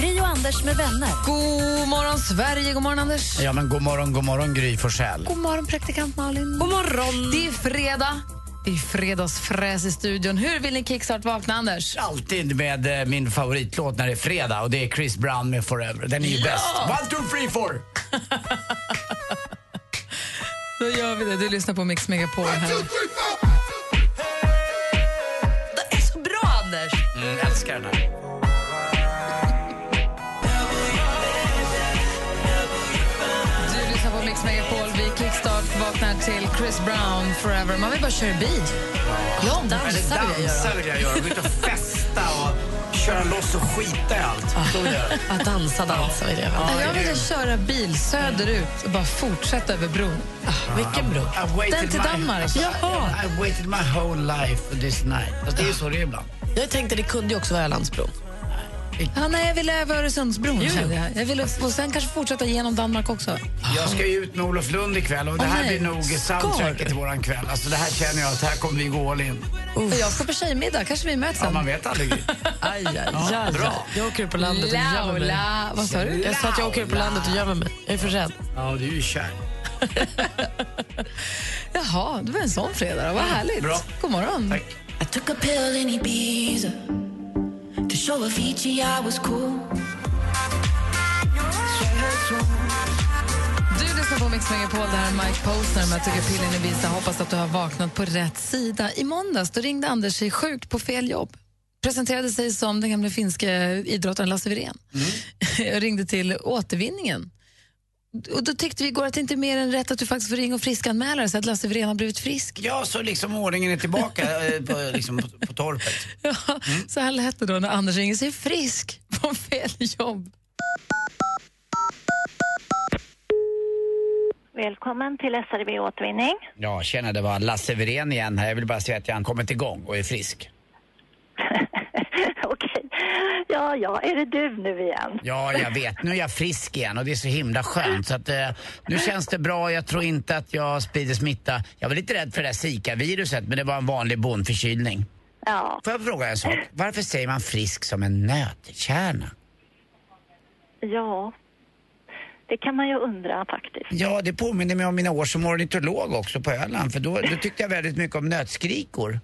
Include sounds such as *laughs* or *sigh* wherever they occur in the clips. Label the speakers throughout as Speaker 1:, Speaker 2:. Speaker 1: Gri och Anders med vänner.
Speaker 2: God morgon, Sverige. God morgon, Anders.
Speaker 3: Ja, men god morgon, god morgon Gry Forssell.
Speaker 2: God morgon, praktikant Malin.
Speaker 4: God morgon!
Speaker 2: Det är fredag. Det är fredagsfräs i studion. Hur vill ni kickstart vakna, Anders?
Speaker 3: Alltid med eh, min favoritlåt när det är fredag och det är Chris Brown med Forever. Den är ju bäst. One, two, three, four!
Speaker 2: Då gör vi det. Du lyssnar på Mix Megapol. Här.
Speaker 4: Det är så bra, Anders!
Speaker 3: Mm, älskar den här.
Speaker 2: Du lyssnar på Mix Megapol. Vi kickstart vaknar till Chris Brown Forever. Man vill bara köra bil. Ja,
Speaker 3: Eller
Speaker 2: dansa vill jag göra.
Speaker 3: dansa vill jag göra. Gå ut och festa och köra loss och skita i allt.
Speaker 2: Ah,
Speaker 3: Så vill jag. göra.
Speaker 4: *laughs* Att dansa, dansa vill jag.
Speaker 2: Nej, Jag
Speaker 3: grym.
Speaker 2: vill köra bil söderut och bara fortsätta över bron.
Speaker 4: Vilken bro.
Speaker 3: I waited
Speaker 2: Den till
Speaker 3: my-
Speaker 2: Danmark. Jaha.
Speaker 3: I waited my whole life for this night. Fast det är ju så det är ibland.
Speaker 4: Jag tänkte det kunde ju också vara Ölandsbron.
Speaker 2: Ja, nej, jag vill över Öresundsbron. kände Jag. Jag vill, och sen kanske fortsätta genom Danmark också.
Speaker 3: Jag ska ju ut med Olof Lund ikväll och det
Speaker 2: Åh,
Speaker 3: här
Speaker 2: nej.
Speaker 3: blir nog
Speaker 2: Skål.
Speaker 3: soundtracket till våran kväll. Alltså det här känner jag att här kommer vi gå all in.
Speaker 2: Och jag ska på tjejmiddag. Kanske vi möts
Speaker 3: Ja,
Speaker 2: sen. *laughs*
Speaker 3: man vet aldrig. Gry.
Speaker 4: Aj, aj, aj.
Speaker 3: bra.
Speaker 4: Jag åker upp på landet och gömmer mig.
Speaker 2: Laula. Vad sa du?
Speaker 4: Jag sa att jag åker upp på landet och gömmer mig. Jag är för rädd.
Speaker 3: Ja, du är ju kär.
Speaker 2: Jaha, det var en sån fredag. då. Vad härligt.
Speaker 3: Bra.
Speaker 2: God morgon.
Speaker 3: Tack.
Speaker 5: I took a pill in Ibiza to show Avicii I was cool.
Speaker 2: Du lyssnar på Mix Megapol. Det här är Mike Posner med Jag tog pillen i Ibiza. Hoppas att du har vaknat på rätt sida. I måndags då ringde Anders sig sjuk på fel jobb. Presenterade sig som den gamle finske idrottaren Lasse Wirén. *laughs* Jag ringde till återvinningen. Och då tyckte vi igår att det inte är mer än rätt att du faktiskt får ringa och friskanmäla dig så att Lasse Wirén har blivit frisk.
Speaker 3: Ja, så liksom ordningen är *laughs* tillbaka eh, på, liksom på, på torpet.
Speaker 2: Ja, Så här lät det då när Anders ringer sig frisk på fel jobb.
Speaker 6: Välkommen till SRB Återvinning.
Speaker 3: Ja, tjena, det var Lasse Wirén igen här. Jag vill bara säga att jag har kommit igång och är frisk.
Speaker 6: Okej. Ja, ja, är det du nu igen?
Speaker 3: Ja, jag vet. Nu är jag frisk igen och det är så himla skönt. Så att, eh, nu känns det bra. Jag tror inte att jag sprider smitta. Jag var lite rädd för det där Zika-viruset, men det var en vanlig bondförkylning.
Speaker 6: Ja,
Speaker 3: Får jag fråga en sak? Varför säger man frisk som en nötkärna?
Speaker 6: ja. Det kan man ju undra faktiskt.
Speaker 3: Ja, det påminner mig om mina år som ornitolog också på Öland. För då, då tyckte jag väldigt mycket om nötskrikor.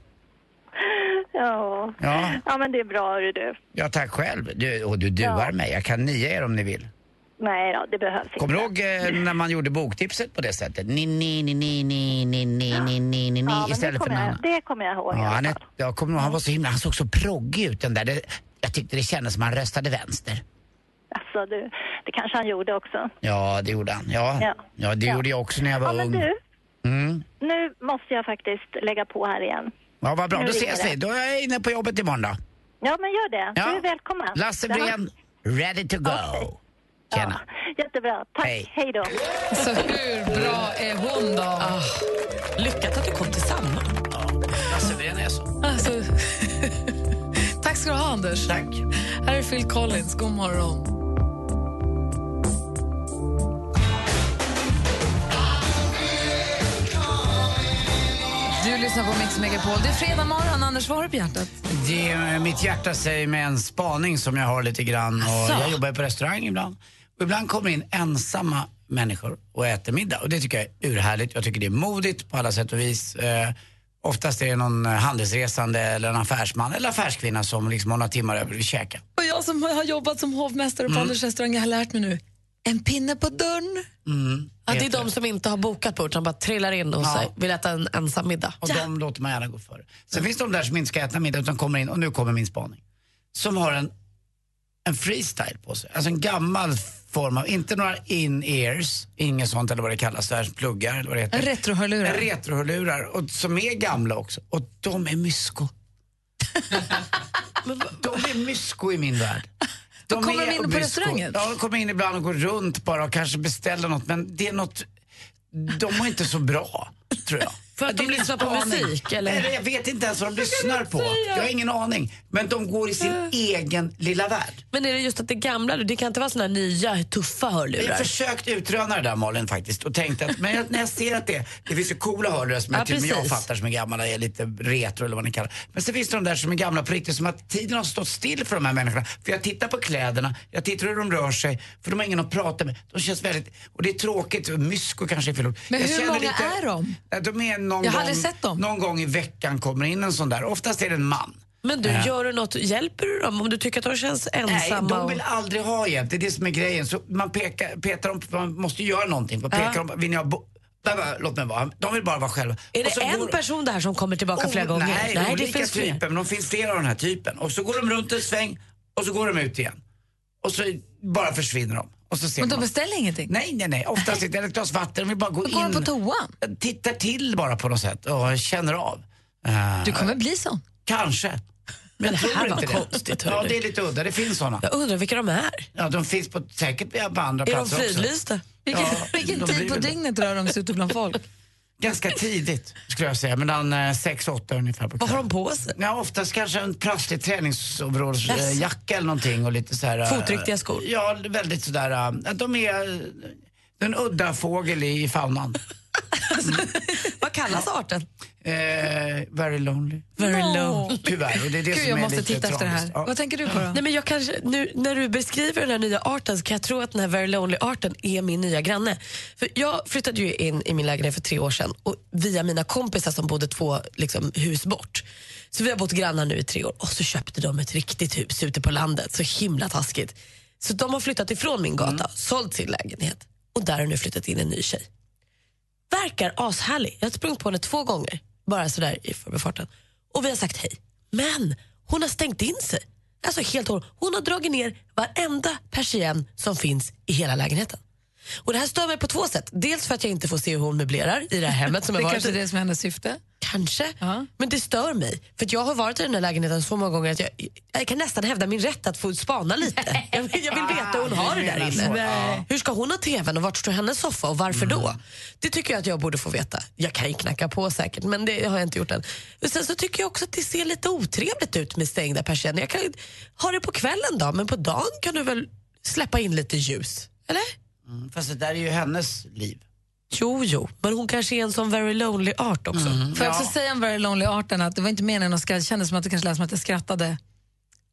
Speaker 6: Ja,
Speaker 3: Ja.
Speaker 6: ja men det är bra hörru du.
Speaker 3: Ja, tack själv. Du, och du duar mig. Jag kan nia er om ni vill.
Speaker 6: Nej då, det behövs inte.
Speaker 3: Kommer du ihåg eh, när man gjorde boktipset på det sättet? Ni, ni, ni, ni, ni, ni, ni, ni, ni, ni,
Speaker 6: ja,
Speaker 3: ni,
Speaker 6: men det,
Speaker 3: istället för någon
Speaker 6: kommer jag,
Speaker 3: annan.
Speaker 6: det kommer jag ihåg
Speaker 3: Ja,
Speaker 6: i
Speaker 3: han,
Speaker 6: alla
Speaker 3: är,
Speaker 6: fall.
Speaker 3: jag kommer ihåg, han var så himla, han såg så proggig ut den där. Det, jag tyckte det kändes som han röstade vänster.
Speaker 6: Alltså, du, det kanske han gjorde också.
Speaker 3: Ja, det gjorde han. Ja,
Speaker 6: Ja.
Speaker 3: ja det
Speaker 6: Ja.
Speaker 3: gjorde jag också när jag
Speaker 6: Ja,
Speaker 3: var
Speaker 6: men
Speaker 3: ung.
Speaker 6: du,
Speaker 3: Mm.
Speaker 6: nu måste jag faktiskt lägga på här igen.
Speaker 3: Ja, vad bra.
Speaker 6: Nu
Speaker 3: Då
Speaker 6: ringer
Speaker 3: ses
Speaker 6: det.
Speaker 3: vi. Då är jag inne på jobbet imorgon då.
Speaker 6: Ja, men gör det. Du är välkommen.
Speaker 3: Lasse
Speaker 6: Ja.
Speaker 3: Breen, ready to go. Tjena.
Speaker 6: Jättebra. Tack.
Speaker 3: Hej.
Speaker 6: Hej då.
Speaker 2: Så hur bra är hon då?
Speaker 3: Ah.
Speaker 4: Lyckat att du kom till samma.
Speaker 3: Lasse Breen är så.
Speaker 2: Alltså, *laughs* tack ska du ha, Anders.
Speaker 3: Tack.
Speaker 2: Här är Phil Collins. God morgon. Du lyssnar på Mix Megapol. Det är fredag morgon. Anders, vad har du på hjärtat?
Speaker 3: Det, är- mitt hjärta säger mig en spaning som jag har lite grann. Och
Speaker 2: Asså?
Speaker 3: jag jobbar ju på restaurang ibland. Och ibland kommer in ensamma människor och äter middag. Och det tycker jag är urhärligt. Jag tycker det är modigt på alla sätt och vis. Eh, oftast är det någon eh, handelsresande eller en affärsman eller affärskvinna som liksom har några timmar över och vill käka.
Speaker 2: Och jag som har jobbat som hovmästare
Speaker 3: Mm.
Speaker 2: på Anders restaurang, jag har lärt mig nu. En pinne på dörren.
Speaker 4: Mm. Ja, det är de som inte har bokat bord som bara trillar in och
Speaker 3: Ja.
Speaker 4: ja. vill äta en ensam middag.
Speaker 3: Och de låter man gärna gå före. Sen finns det de där som inte ska äta middag utan kommer in, och nu kommer min spaning, som har en, en freestyle på sig. Alltså en gammal form av, inte några in-ears, inget sånt eller vad det kallas, där, pluggar eller vad det heter.
Speaker 2: En retrohörlurar.
Speaker 3: Retrohörlurar, och som är gamla också. Och de är mysko. de är mysko i min värld.
Speaker 2: Då
Speaker 3: De
Speaker 2: kommer
Speaker 3: är
Speaker 2: de in på
Speaker 3: obskur.
Speaker 2: restaurangen.
Speaker 3: Ja, de kommer in ibland och går runt bara och kanske beställer något. Men det är något, de mår inte så bra, tror jag.
Speaker 4: *laughs* För att
Speaker 3: Det är
Speaker 4: de
Speaker 3: min
Speaker 4: lyssnar på
Speaker 3: spaning.
Speaker 4: musik, eller?
Speaker 3: Nej, jag vet inte ens vad de lyssnar på. Jag har ingen aning. Men de går i
Speaker 4: Eh.
Speaker 3: sin egen lilla värld.
Speaker 4: Men är det just att det gamla, det kan inte vara såna här nya tuffa
Speaker 3: Jag har
Speaker 4: hörlurar?
Speaker 3: försökt utröna det där Malin faktiskt och tänkt att, men jag, när jag ser att det, det finns ju coola hörlurar som
Speaker 4: Ja,
Speaker 3: jag till och med jag
Speaker 4: precis.
Speaker 3: fattar som är gamla, är lite retro eller vad ni kallar det. Men sen finns det de där som är gamla på riktigt, som att tiden har stått still för de här människorna. För jag tittar på kläderna, jag tittar hur de rör sig, för de har ingen att prata med. De känns väldigt, och det är tråkigt, mysko kanske är fel ord.
Speaker 2: Men
Speaker 3: Jag
Speaker 2: hur
Speaker 3: känner
Speaker 2: många är de?
Speaker 3: Ja, De är någon
Speaker 2: Jag har
Speaker 3: gång,
Speaker 2: aldrig sett dem.
Speaker 3: Någon gång i veckan kommer in en sån där, oftast är det en man. Eh.
Speaker 4: Men du, gör du något, hjälper du dem om du tycker att de känns
Speaker 3: Nej,
Speaker 4: ensamma?
Speaker 3: de vill
Speaker 4: och...
Speaker 3: aldrig ha hjälp. Det är det som är grejen. Så man pekar, petar dem, man måste göra någonting. Man pekar dem, vill ni ha bo- Blah, blah, Låt mig vara. De vill bara vara själva.
Speaker 4: Är
Speaker 3: Och så
Speaker 4: det en
Speaker 3: går-
Speaker 4: person där som kommer tillbaka flera
Speaker 3: Oh,
Speaker 4: gånger?
Speaker 3: Nej,
Speaker 4: nej det
Speaker 3: olika
Speaker 4: finns
Speaker 3: typer,
Speaker 4: fler.
Speaker 3: men de finns flera av den här typen. Och så går de runt en sväng och så går de ut igen. Och så bara försvinner de. Och så ser
Speaker 2: Men de
Speaker 3: man.
Speaker 2: beställer ingenting.
Speaker 3: Nej, nej, nej. Oftast inte. Eller ett glas vatten. De vill bara gå
Speaker 2: Då går de
Speaker 3: in.
Speaker 2: på toan.
Speaker 3: Tittar till bara på något sätt och känner av. Eh,
Speaker 2: Du kommer bli sån.
Speaker 3: Kanske. Men
Speaker 4: det
Speaker 3: jag
Speaker 4: här
Speaker 3: tror
Speaker 4: var
Speaker 3: inte det.
Speaker 4: konstigt, hörru.
Speaker 3: ja, det är lite udda. Det finns sådana.
Speaker 4: Jag undrar vilka de är.
Speaker 3: Ja, de finns på, säkert på andra
Speaker 4: Är de
Speaker 3: platser också.
Speaker 4: fridlysta?
Speaker 2: Vilken,
Speaker 3: Ja,
Speaker 2: vilken
Speaker 3: de
Speaker 2: tid
Speaker 3: blir
Speaker 2: på
Speaker 3: väl-
Speaker 2: dygnet rör de sig ute bland folk?
Speaker 3: *laughs* Ganska tidigt skulle jag säga, mellan eh, 6-8 ungefär. På
Speaker 4: Vad har
Speaker 3: kvällen.
Speaker 4: de på sig?
Speaker 3: Ja, oftast kanske en prasslig träningsoverallsjacka eller någonting och lite så
Speaker 4: äh,
Speaker 3: här... eh,
Speaker 4: Fotriktiga skor.
Speaker 3: Ja, väldigt sådär... eh, De är eh, en udda fågel
Speaker 2: *laughs*
Speaker 3: i faunan.
Speaker 2: Alltså,
Speaker 4: Vad kallas arten?
Speaker 3: Eh, very lonely.
Speaker 4: Very
Speaker 2: No.
Speaker 4: low.
Speaker 3: Tyvärr, och det är det
Speaker 2: Gud,
Speaker 3: som
Speaker 2: jag
Speaker 3: är
Speaker 2: måste
Speaker 3: lite
Speaker 2: titta efter det här.
Speaker 3: tragiskt. Ja.
Speaker 2: Vad tänker du på då?
Speaker 4: Nej, men jag kanske, nu, när du beskriver den här nya arten så kan jag tro att den här Very Lonely-arten är min nya granne. För Jag flyttade ju in i min lägenhet för tre år sedan och via mina kompisar som bodde två liksom, hus bort. Så vi har bott grannar nu i tre år och så köpte de ett riktigt hus ute på landet. Så himla taskigt. Så de har flyttat ifrån min gata, sålt sin lägenhet och där har nu flyttat in en ny tjej. Verkar ashärlig. Jag har sprungit på henne två gånger, bara sådär i förbifarten. Och vi har sagt hej. Men hon har stängt in sig. Alltså helt och hållet. Hon har dragit ner varenda persienn som finns i hela lägenheten. Och Det här stör mig på två sätt. Dels för att jag inte får se hur hon möblerar i det här hemmet
Speaker 2: *laughs*
Speaker 4: som
Speaker 2: Det
Speaker 4: jag varit
Speaker 2: är kanske
Speaker 4: i.
Speaker 2: är det som är hennes syfte.
Speaker 4: Kanske.
Speaker 2: Ja.
Speaker 4: Men det stör mig. För att jag har varit i den här lägenheten så många gånger att jag, jag kan nästan hävda min rätt att få spana lite. Jag vill, *laughs* jag vill veta hur hon har det där
Speaker 3: menar
Speaker 4: inne.
Speaker 3: så, ja. Mm.
Speaker 4: Hur ska hon ha tvn och vart står hennes soffa och varför då? Det tycker jag att jag borde få veta. Jag kan ju knacka på säkert men det har jag inte gjort än. Och Sen så tycker jag också att det ser lite otrevligt ut med stängda persienner. Jag kan ju ha det på kvällen då men på dagen kan du väl släppa in lite ljus? Eller?
Speaker 3: Mm, Fast det där är ju hennes liv.
Speaker 4: Jo, jo, men hon kanske är en sån very lonely art också.
Speaker 3: Mm.
Speaker 2: Får jag också säga om Very Lonely Arten att det var inte meningen att skratta. Det kändes som att det kanske lät som att jag skrattade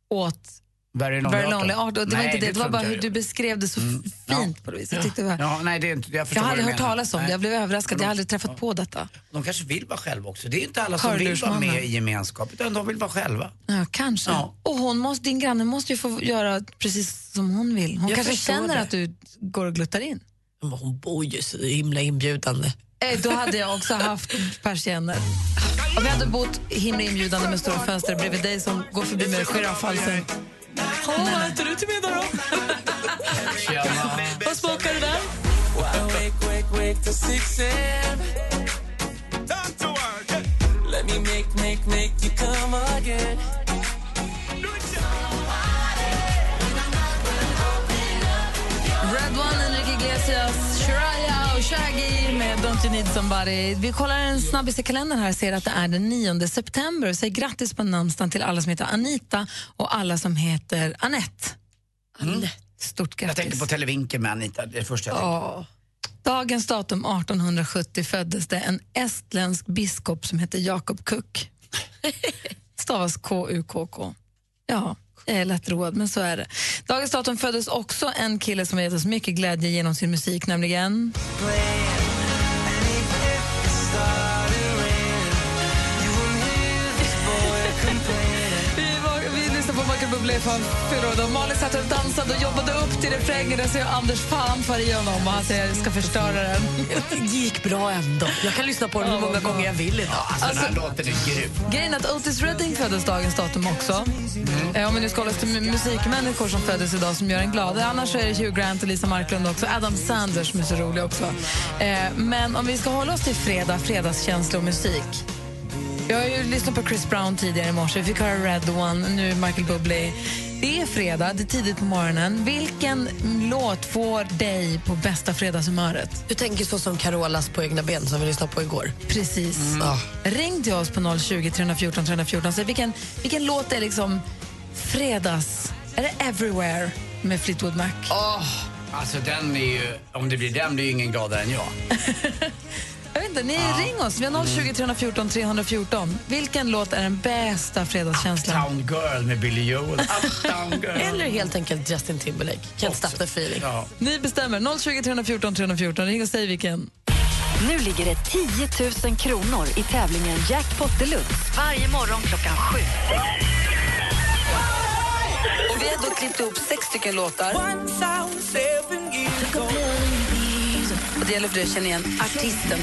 Speaker 2: åt
Speaker 3: Very lonely.
Speaker 2: Very Lonely
Speaker 3: arten.
Speaker 2: Art. Och det
Speaker 3: Nej,
Speaker 2: var inte det, det, var
Speaker 3: tror
Speaker 2: bara
Speaker 3: inte jag
Speaker 2: hur du
Speaker 3: gjorde.
Speaker 2: beskrev det så
Speaker 3: Mm.
Speaker 2: f- fint på något vis. Jag, tyckte det var,
Speaker 3: Ja, nej, det är inte, jag,
Speaker 2: jag
Speaker 3: förstår
Speaker 2: har
Speaker 3: vad du
Speaker 2: aldrig hört
Speaker 3: menar.
Speaker 2: talas om det.
Speaker 3: Nej.
Speaker 2: Jag blev överraskad. Jag har aldrig träffat på detta.
Speaker 3: De kanske vill vara själva också. Det är inte alla som vill vara
Speaker 2: Hörlursmannen.
Speaker 3: med i gemenskap, utan de vill vara själva.
Speaker 2: Ja, kanske.
Speaker 3: Ja.
Speaker 2: Och hon måste, din granne måste ju få göra precis som hon vill. Hon
Speaker 4: Jag
Speaker 2: kanske
Speaker 4: förstår
Speaker 2: känner
Speaker 4: det.
Speaker 2: att du går och gluttar in.
Speaker 4: Men hon bor ju så himla inbjudande.
Speaker 2: Eh, Då hade jag också haft persienner. Och vi hade bott himla inbjudande med stora fönster bredvid dig som går förbi med giraffhalsen. Åh, vad äter du till middag då? Vad smakar det där? Red One, Enrique Iglesias, Shiraya och Shaggy med Don't You Need Somebody. Vi kollar en snabbis i kalendern här och ser att det är den 9 september. Säg grattis på namnsdagen till alla som heter Anita och alla som heter Annette. Annette. Stort
Speaker 3: Mm. Jag
Speaker 2: grattis.
Speaker 3: tänker på Televinken med Anita, det är det första jag tänker.
Speaker 2: Ja. Dagens datum 1870 föddes det en estländsk biskop som hette Jakob
Speaker 3: *laughs*
Speaker 2: Kuk. Stavas K-U-K-K. Ja, jag är lätt road, men så är det. Dagens datum föddes också en kille som har gett oss mycket glädje genom sin musik, nämligen... Vi, var, vi lyssnade på Michael Bublé från fyra år då. Malin satt och dansade och jobbade upp till refrängen. Där ser jag Anders fan för i honom och han säger jag ska förstöra den.
Speaker 4: Det gick bra ändå. Jag kan lyssna på den hur många gånger jag vill idag.
Speaker 3: Alltså, den här låten är grym.
Speaker 2: Grejen är att Otis Redding föddes dagens datum också. Eh, Om vi nu ska hålla oss till mu- musikmänniskor som föddes idag som gör en glad. Annars så är det Hugh Grant och Lisa Marklund också. Adam Sanders som är så rolig också. Eh, Men om vi ska hålla oss till fredag, fredagskänsla och musik. Jag har ju lyssnat på Chris Brown tidigare i morse. Vi fick höra Red One, nu Michael Bublé. Det är fredag, det är tidigt på morgonen. Vilken låt får dig på bästa fredagshumöret?
Speaker 4: Du tänker så som Carolas på egna ben som vi lyssnade på igår.
Speaker 2: Precis.
Speaker 4: Ja.
Speaker 2: Ring till oss på 020 314 314 säg vilken, vilken låt är liksom fredags... Är det Everywhere med Fleetwood Mac?
Speaker 3: Alltså den är ju, om det blir den blir ju ingen gladare än jag.
Speaker 2: Jag vet inte, ni ring oss. Vi har 020 314 314. Vilken låt är den bästa fredagskänslan?
Speaker 3: Town Girl med Billy Joel. Uptown Girl.
Speaker 4: Eller helt enkelt Justin Timberlake. Can't stop the feeling.
Speaker 3: Ja.
Speaker 2: Ni bestämmer. 020 314 314. Ring och säg vilken.
Speaker 1: Nu ligger det 10 000 kronor i tävlingen Jackpot Deluxe varje morgon klockan sju.
Speaker 7: Och vi har då klippt ihop sex stycken låtar. Och det gäller för dig att känna igen artisten.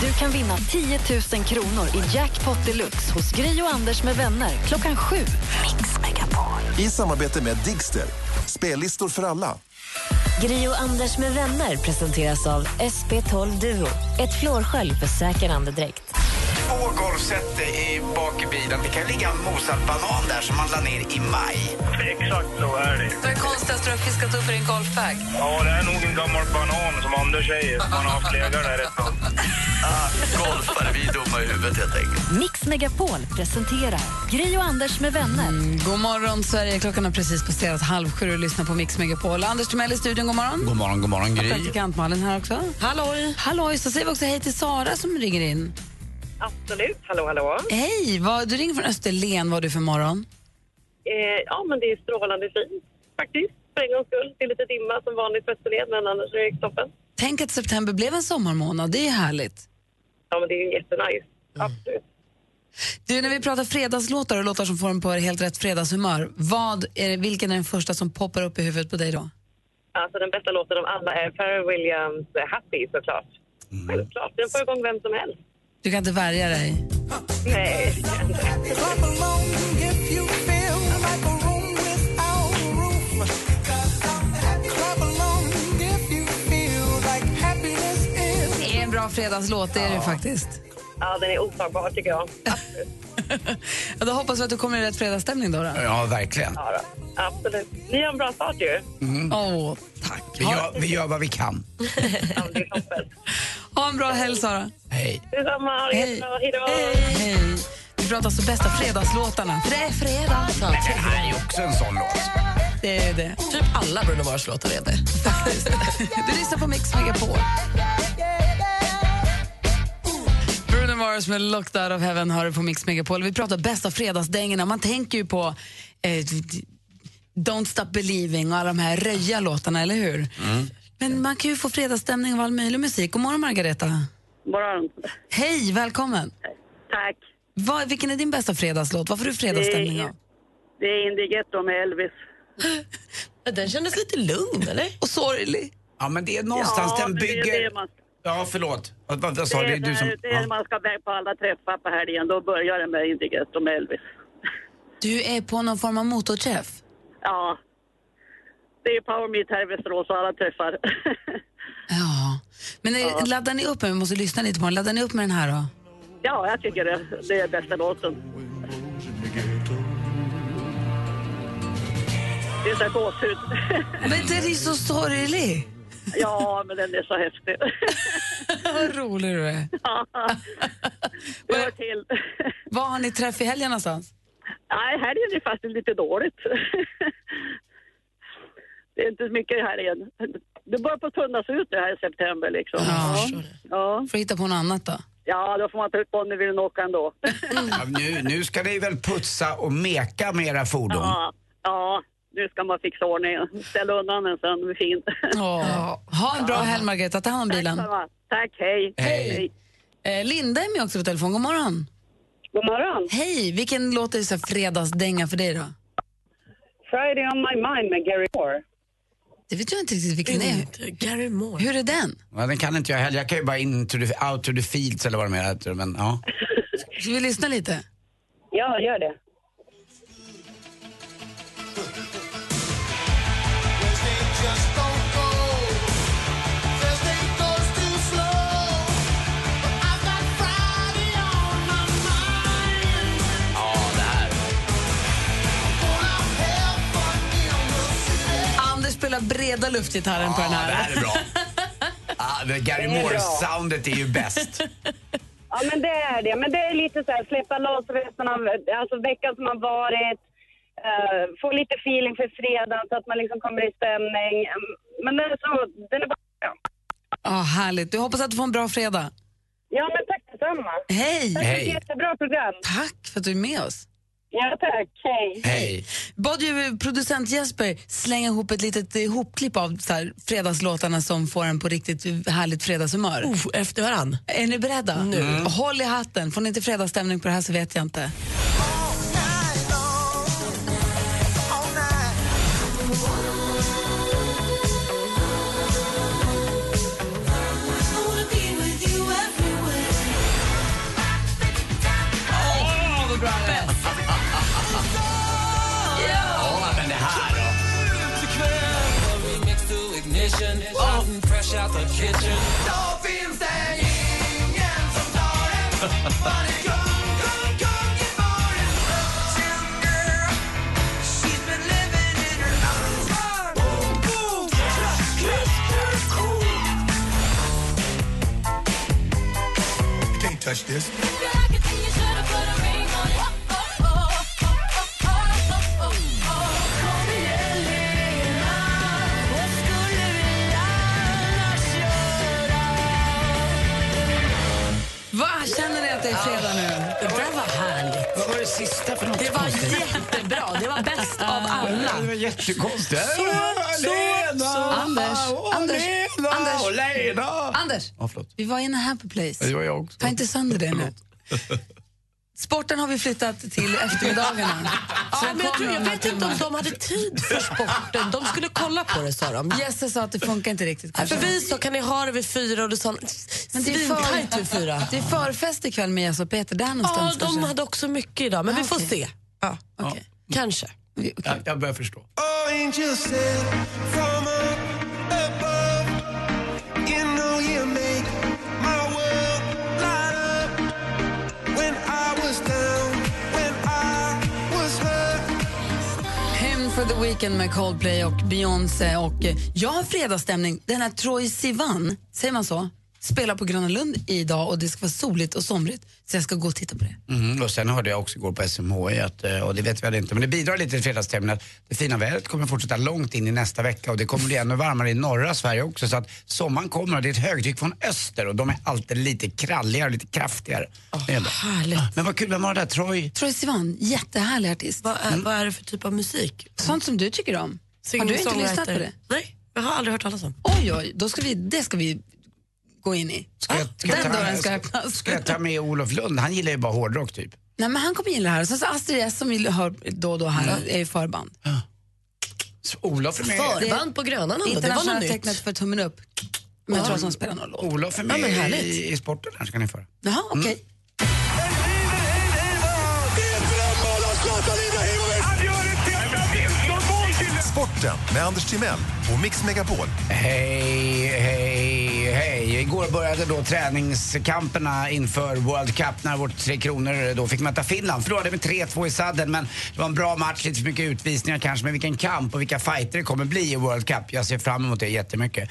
Speaker 1: Du kan vinna 10 000 kronor i Jackpot Deluxe hos Gri och Anders med vänner klockan sju. Mix Megapol.
Speaker 8: I samarbete med Digster. Spellistor för alla.
Speaker 1: Gri och Anders med vänner presenteras av SP12 Duo. Ett flårskölj för säker andedräkt.
Speaker 3: Två golfset i bak i bilen. Det kan ligga en mosad banan där som man la ner i maj.
Speaker 7: Exakt så är det.
Speaker 2: Vad är det konstigaste du har fiskat upp i din golfbag?
Speaker 7: Ja, det är nog en gammal banan som Anders säger. Man har haft legat där ett tag.
Speaker 8: Ah, Golfare, vi är dumma i huvudet helt enkelt.
Speaker 1: Mix Megapol presenterar Gri och Anders med vänner.
Speaker 2: Mm, God morgon, Sverige. Klockan har precis passerat halv sju och lyssnar på Mix Megapol. Anders Timell i studion, god morgon.
Speaker 3: God morgon, god morgon Gry.
Speaker 2: Praktikant Malin här också. Halloj! Halloj, så säger vi också hej till Sara som ringer in.
Speaker 6: Absolut. Hallå, hallå.
Speaker 2: Hej! Vad, du ringer från Österlen, vad har du för morgon?
Speaker 6: Eh, ja, men det är strålande fint faktiskt. För en gångs skull. Det är lite dimma som vanligt på Österled, men annars är det toppen.
Speaker 2: Tänk att september blev en sommarmånad, det är ju härligt.
Speaker 6: Ja, men det är ju jättenice.
Speaker 4: Mm.
Speaker 6: Absolut.
Speaker 2: Du, när vi pratar fredagslåtar och låtar som får en på helt rätt fredagshumör, vad är, det- vilken är den första som poppar upp i huvudet på dig då?
Speaker 6: Alltså den bästa låten av alla är Pharrell Williams eh, Happy såklart.
Speaker 4: Mm.
Speaker 6: Självklart. Den får igång vem som helst.
Speaker 2: Du kan inte värja dig.
Speaker 6: Nej.
Speaker 2: Det är en bra fredagslåt, det är det faktiskt.
Speaker 6: Ja, den är otagbar tycker jag.
Speaker 2: Ja, då hoppas vi att du kommer i rätt fredagsstämning då. då.
Speaker 3: Ja, verkligen. Mm.
Speaker 6: Ja, då. Absolut. Ni har en bra start ju.
Speaker 2: Åh, tack.
Speaker 3: Vi gör, vi gör vad vi kan.
Speaker 6: Ja, men det är toppen.
Speaker 2: Ha en bra helg, Sara.
Speaker 3: Hej.
Speaker 6: Detsamma. Ha det jättebra. Hej då.
Speaker 2: Hej. Vi pratar alltså bästa fredagslåtarna. För det är fredag.
Speaker 3: Det här är ju också en sån låt.
Speaker 2: Det är det.
Speaker 4: Typ alla Bruno Mars-låtar är det.
Speaker 2: *laughs* Du lyssnar på Mix Megapol. Bruno Mars med Locked Out of Heaven hör du på Mix Megapol. Vi pratar bästa fredagsdängorna. Man tänker ju på eh, Don't Stop Believing och alla de här röja låtarna, eller hur?
Speaker 3: Mm.
Speaker 2: Men man kan ju få fredagsstämning av all möjlig musik. God morgon, Margareta.
Speaker 6: morgon.
Speaker 2: Hej, välkommen.
Speaker 6: Tack.
Speaker 2: Vad, vilken är din bästa fredagslåt? Vad får du fredagsstämning av?
Speaker 6: Det är Indigetto med Elvis.
Speaker 4: *laughs* Den kändes lite lugn, eller?
Speaker 2: Och sorglig.
Speaker 3: Ja, men det är någonstans den
Speaker 6: men det är
Speaker 3: bygger...
Speaker 6: det man-
Speaker 3: Ja, förlåt. Vad, vad, vad
Speaker 6: Det
Speaker 3: sa du?
Speaker 6: är,
Speaker 3: Det är du som...
Speaker 6: där, det är när
Speaker 3: Ja.
Speaker 6: man ska iväg på alla träffar på helgen. Då börjar det med Indigetto med Elvis.
Speaker 2: Du är på någon form av motorträff.
Speaker 6: Ja. Det är Power Meet här i Västerås och alla träffar. *laughs*
Speaker 2: Ja. Men är, laddar ni upp med, vi måste lyssna lite på den, laddar ni upp med den här då?
Speaker 6: ja, jag tycker det, det är bästa låten. Det är så här gåshud.
Speaker 2: *laughs* Men den är så sorglig!
Speaker 6: ja, men den är så häftig. *laughs*
Speaker 2: Vad rolig du är. *laughs*
Speaker 6: Det hör till.
Speaker 2: Vad har ni träff i helgen någonstans?
Speaker 6: Nej, helgen är faktiskt lite dåligt. *laughs* det är inte mycket i helgen. Det börjar på att tunnas ut nu här i september liksom.
Speaker 2: Ja.
Speaker 6: Ja.
Speaker 2: Får hitta på något annat då.
Speaker 6: Ja, då får man ta ut Bonnie vill åka ändå.
Speaker 3: Mm. Ja, nu, nu ska ni väl putsa och meka med era fordon?
Speaker 6: ja, ja, nu ska man fixa ordningen. Ställ undan den sen, det blir fint.
Speaker 2: Ha en bra helg Margareta, ta hand om bilen.
Speaker 6: Tack, Sara. Tack, hej.
Speaker 3: Hej.
Speaker 2: Eh, Linda är med också på telefon, god morgon.
Speaker 6: God morgon.
Speaker 2: Hej, vilken låt är så här fredagsdänga för dig då?
Speaker 6: *laughs* Friday on my mind med Gary Moore.
Speaker 2: Det vet jag inte riktigt vilken det är.
Speaker 4: Gary Moore.
Speaker 2: Hur är den?
Speaker 3: Ja, den kan inte jag heller. Jag kan ju bara in to the, out to the fields eller vad de heter. Men, ja.
Speaker 2: Ska vi lyssna lite?
Speaker 6: Ja, gör det.
Speaker 3: ja, det här.
Speaker 2: spela breda luftgitarren på
Speaker 3: Ja,
Speaker 2: den
Speaker 3: det
Speaker 2: här.
Speaker 3: här är bra. Ah, men Gary
Speaker 6: Det är bra.
Speaker 3: Moore-soundet är ju bäst.
Speaker 6: Ja, men det är det. Men det är lite så här, släppa loss resten av alltså, veckan som har varit. eh, få lite feeling för fredag så att man liksom kommer i stämning. Mm, Men den är, så, den är bara... Ja,
Speaker 2: *laughs* Ja, härligt. Du hoppas att du får en bra fredag.
Speaker 6: ja men tack detsamma.
Speaker 2: Hej!
Speaker 6: Tack för ett jättebra program.
Speaker 2: Tack för att du är med oss.
Speaker 6: Ja, tack. Hej.
Speaker 3: Hej.
Speaker 2: Bad ju producent Jesper slänga ihop ett litet eh, hopklipp av så här, fredagslåtarna som får en på riktigt härligt fredagshumör.
Speaker 4: Oh, efter varann.
Speaker 2: Är ni beredda? Nu. Håll i hatten. Får ni inte fredagsstämning på det här så vet jag inte.
Speaker 3: Ja, men det här då.
Speaker 2: Va? Känner ni att det är fredag nu?
Speaker 4: Det där var härligt.
Speaker 3: Vad var det sista för något?
Speaker 4: Det var jättebra. Det var bäst av alla.
Speaker 3: Det var jättekonstigt.
Speaker 4: Så, så, så.
Speaker 2: Anders, Anders, Anders.
Speaker 3: Anders. Lena.
Speaker 2: Anders,
Speaker 3: Ja, förlåt.
Speaker 2: vi var in a happy place.
Speaker 3: Det var jag också.
Speaker 2: Ta inte sönder det nu. Sporten har vi flyttat till *laughs* eftermiddagarna. Så
Speaker 4: Ja,
Speaker 2: den
Speaker 4: men jag,
Speaker 2: kommer
Speaker 4: tror, jag
Speaker 2: om några
Speaker 4: vet inte om
Speaker 2: timmar.
Speaker 4: de hade tid för sporten. De skulle kolla på det, sa de.
Speaker 2: Jesse sa att det funkar inte riktigt. kanske.
Speaker 4: För vi sa, kan ni ha det vid fyra? Och du sa,
Speaker 2: Men det är för-
Speaker 4: svintajt vid fyra.
Speaker 2: Det är förfest ikväll med Jesse och Peter. Där
Speaker 4: Ja,
Speaker 2: någonstans
Speaker 4: de
Speaker 2: kanske.
Speaker 4: hade också mycket idag, men
Speaker 2: Ah,
Speaker 4: vi får
Speaker 2: okej.
Speaker 4: se. Ja. Mm.
Speaker 2: Okej.
Speaker 4: Kanske.
Speaker 2: Vi- okej.
Speaker 3: Jag, jag börjar förstå.
Speaker 2: Hymn för The Weeknd med Coldplay och Beyoncé. Och eh, jag har fredagsstämning. Den här Troy Sivan, säger man så? Spelar på Gröna Lund idag och det ska vara soligt och somrigt. Så jag ska gå och titta på det.
Speaker 3: Mm, och sen hörde jag också igår på SMHI, att, eh, och det vet vi väl inte, men det bidrar lite till fredagstämningen att det fina vädret kommer fortsätta långt in i nästa vecka och det kommer bli ännu varmare i norra Sverige också. Så att sommaren kommer och det är ett högtryck från öster och de är alltid lite kralligare och lite kraftigare. Det är det.
Speaker 4: Härligt.
Speaker 3: Men vad kul, vem var det där? Troy?
Speaker 2: Troye Ah. Sivan, jättehärlig artist. Mm.
Speaker 4: Vad är, vad är det för typ av musik?
Speaker 2: Sånt som du tycker om. har du inte
Speaker 4: Singer-songwriter.
Speaker 2: lyssnat på det?
Speaker 4: Nej, jag har aldrig hört talas om.
Speaker 2: Oj, oj, då ska vi, det ska vi gå in i. Ah,
Speaker 3: Ska jag, ska jag
Speaker 2: Den
Speaker 3: ta-
Speaker 2: dörren ska
Speaker 3: ska-
Speaker 2: öppnas.
Speaker 3: Ska jag ta med Olof Lund? Han gillar ju bara hårdrock typ.
Speaker 2: Nej, men han kommer gilla det här. Sen så Astrid S som vi hör då och då här är i förband.
Speaker 3: Så Olof är med,
Speaker 4: Förband på Grönan ändå, det var
Speaker 2: Internationella
Speaker 4: något
Speaker 2: tecknet
Speaker 4: nytt.
Speaker 2: för tummen upp. Men jag tror att de spelar någon låt.
Speaker 3: Olof är
Speaker 4: Ja, men
Speaker 3: med
Speaker 4: härligt.
Speaker 3: i, i sporten här ska ni föra.
Speaker 2: Jaha, okej.
Speaker 9: Sporten med Anders Timell och Mix Megapol.
Speaker 3: Hej, hej, hej. Igår började då träningskamperna inför World Cup när vårt Tre Kronor då fick möta Finland. Förlorade med 3-2 i sadden men det var en bra match, lite för mycket utvisningar kanske, men vilken kamp och vilka fighter det kommer bli i World Cup. Jag ser fram emot det jättemycket.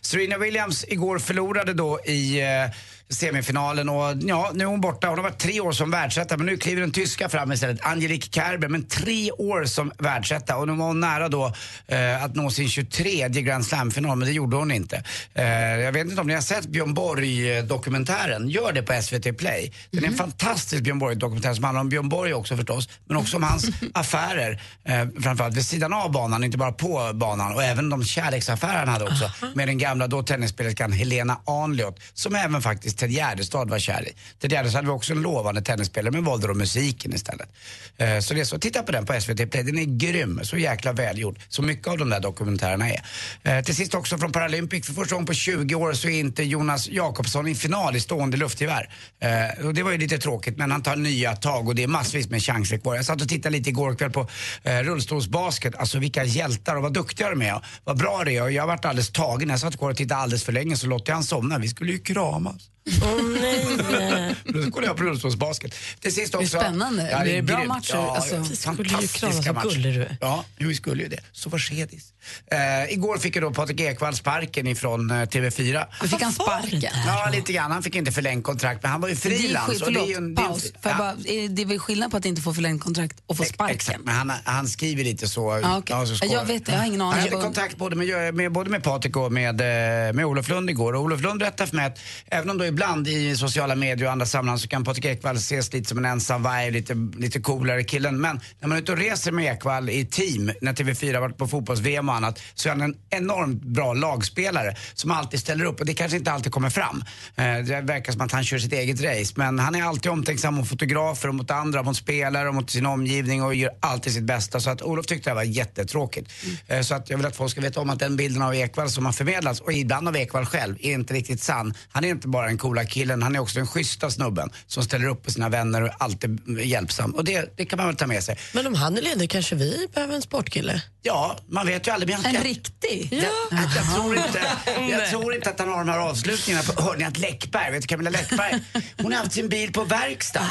Speaker 3: Serena Williams igår förlorade då i eh, semifinalen och ja, nu är hon borta. Hon har varit tre år som världsetta men nu kliver den tyska fram istället, Angelique Kerber, men tre år som världsetta och nu var hon nära då eh, att nå sin 23 Grand Slam-final men det gjorde hon inte. Eh, jag vet inte om ni har sett Björn Borg-dokumentären, gör det på SVT Play. Den är en fantastisk Björn Borg-dokumentär som handlar om Björn Borg också förstås, men också om hans affärer, eh, framförallt vid sidan av banan, inte bara på banan och även de kärleksaffärer han hade också med den gamla då tennisspelerskan Helena Ahnliot som även faktiskt Ted Gärdestad var kär i. Ted Gärdestad var också en lovande tennisspelare men valde då musiken istället. Eh, Så det är så, titta på den på SVT Play, den är grym, så jäkla välgjord. Så mycket av de där dokumentärerna är. Eh, Till sist också från Paralympic, för första gången på 20 år så är inte Jonas Jakobsson i final i stående luftgevär. Eh, Och det var ju lite tråkigt men han tar nya tag och det är massvis med chanser kvar. Jag satt och tittade lite igår kväll på eh, rullstolsbasket, alltså vilka hjältar och vad duktiga de är. Vad bra det är och jag har varit alldeles tagen. Jag satt kvar och tittade alldeles för länge så låter jag han somna. Vi skulle ju kramas.
Speaker 4: Åh
Speaker 3: *laughs*
Speaker 4: nej.
Speaker 3: Då kollar jag på rullstolsbasket. Till sist
Speaker 2: Det är
Speaker 3: också.
Speaker 2: spännande. Det är
Speaker 3: grymt.
Speaker 2: bra matcher,
Speaker 3: Ja,
Speaker 2: alltså. Vi
Speaker 3: fantastiska
Speaker 2: skulle ju kramas, vad
Speaker 3: matcher.
Speaker 2: gullig du är.
Speaker 3: Ja, vi skulle ju det. Så var skedis. Eh, igår fick ju då Patrik Ekwall sparken ifrån eh, TV4.
Speaker 2: Då fick han sparken.
Speaker 3: Ja, lite grann. Han fick inte förlängt kontrakt, men han var ju
Speaker 2: Det är ju
Speaker 3: frilans.
Speaker 2: skill-
Speaker 3: och det är
Speaker 2: Förlåt,
Speaker 3: ju en- det är ju en-
Speaker 2: paus. Får jag
Speaker 3: Ja.
Speaker 2: bara, är- det är väl skillnad på att inte få förlängt kontrakt och få sparken?
Speaker 3: Exakt, men han, han skriver lite så.
Speaker 2: Ja, okej.
Speaker 3: Ja, så skojar.
Speaker 2: Jag vet, jag har ingen aning.
Speaker 3: Han hade
Speaker 2: Jag bara-
Speaker 3: kontakt både med, med, både med Patrik och med, eh, med Olof Lund igår. Och Olof Lund rättade för mig att även om då ibland i sociala medier och andra sammanhang så kan Patrik Ekwall ses lite som en ensam varg, lite, lite coolare killen. Men när man är ute och reser med Ekwall i team, när TV4 har varit på fotbolls-VM och annat, så är han en enormt bra lagspelare som alltid ställer upp. Och det kanske inte alltid kommer fram. Eh, Det verkar som att han kör sitt eget race. Men han är alltid omtänksam mot fotografer och mot andra, mot spelare och mot sin omgivning och gör alltid sitt bästa. Så att Olof tyckte det här var jättetråkigt. Eh, Så att jag vill att folk ska veta om att den bilden av Ekwall som har förmedlats, och ibland av Ekwall själv, är inte riktigt sann. Han är inte bara den coola killen, han är också den schyssta snubben som ställer upp på sina vänner och är alltid mm, hjälpsam. Och det, det kan man väl ta med sig.
Speaker 4: Men om han är ledig kanske vi behöver en sportkille?
Speaker 3: Ja, man vet ju aldrig. Men jag,
Speaker 2: En
Speaker 3: jag-
Speaker 2: riktig?
Speaker 3: Jag, jag, jag, tror inte, jag
Speaker 4: Nej.
Speaker 3: tror inte att han har de här avslutningarna. På, hörde ni att Läckberg, vet du Camilla Läckberg, hon har haft sin bil på verkstad.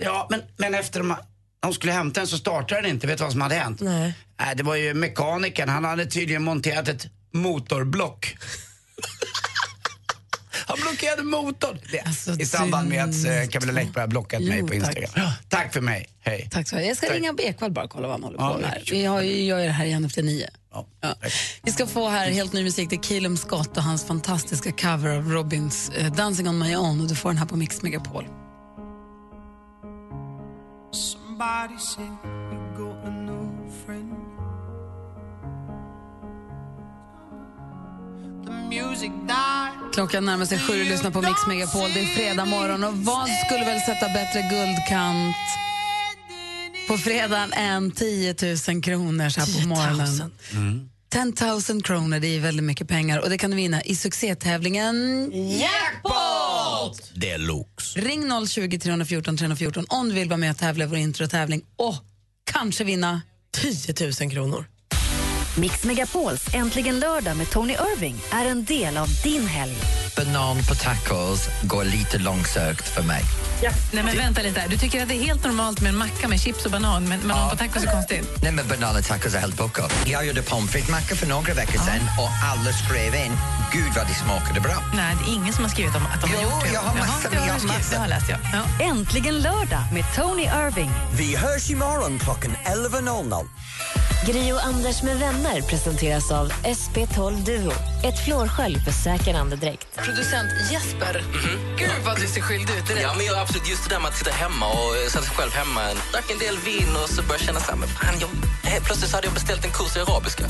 Speaker 3: Ja, men, men efter de, hon skulle hämta den så startade den inte. Vet du vad som hade hänt?
Speaker 4: Nej.
Speaker 3: Nej, det var ju mekanikern. Han hade tydligen monterat ett motorblock. *laughs* Han blockerade motorn. Det,
Speaker 2: Alltså,
Speaker 3: I samband med att eh, Camilla Läckberg har blockat mig på Instagram. Tack, för mig. Hej.
Speaker 2: Tack så mycket. Jag ska ringa Ekwall bara och kolla vad han håller på
Speaker 3: Ja,
Speaker 2: med. här. Vi har ju, gör ju det här igen efter nio. Ja. Vi ska få här helt ny musik. Det är Kilum Scott och hans fantastiska cover av Robins eh, Dancing on my own. Och du får den här på Mix Megapol.
Speaker 10: Somebody said you got a new friend. The music died.
Speaker 2: Klockan närmar sig sju och lyssnar på Mix Megapol. Det är fredag morgon och vad skulle väl sätta bättre guldkant på fredagen än 10 000 kronor så här på morgonen? 10 000 kronor, det är väldigt mycket pengar och det kan du vinna i succétävlingen Jackpot!
Speaker 11: Deluxe.
Speaker 2: Ring 020 314 314 om du vill vara med och tävla i vår introtävling och kanske vinna
Speaker 4: 10 000 kronor.
Speaker 1: Mix Megapols Äntligen lördag med Tony Irving är en del av din helg.
Speaker 11: Banan på tacos går lite långsökt för mig.
Speaker 12: Nej, men vänta lite. här. Du tycker att det är helt normalt med en macka med chips och banan, men banan på tacos är konstigt.
Speaker 11: Nej, men banala tacos är helt bucko. Jag gjorde pommes frites-macka för några veckor
Speaker 12: Ah.
Speaker 11: sedan och alla skrev in gud vad det smakade bra.
Speaker 12: Nej, det är ingen som har skrivit om att de har gjort det.
Speaker 11: jag har
Speaker 12: Jaha,
Speaker 11: massor
Speaker 12: det
Speaker 11: med- jag har
Speaker 12: skrivit,
Speaker 11: massor.
Speaker 12: Det har läst jag. Ja.
Speaker 1: Äntligen lördag med Tony Irving.
Speaker 13: Vi hörs imorgon klockan 11.00.
Speaker 1: Gri och Anders med vänner presenteras av SP12 Duo. Ett flårskölj för säker andedräkt.
Speaker 2: Producent Jesper. Gud vad du ser skyldig ut
Speaker 14: Mm-hmm. Ja, men jag är absolut just det där med att sitta hemma och eh, sätta sig själv hemma. Drack en del vin och så började jag känna så här, men fan, jag, helt plötsligt så hade jag beställt en kurs i arabiska.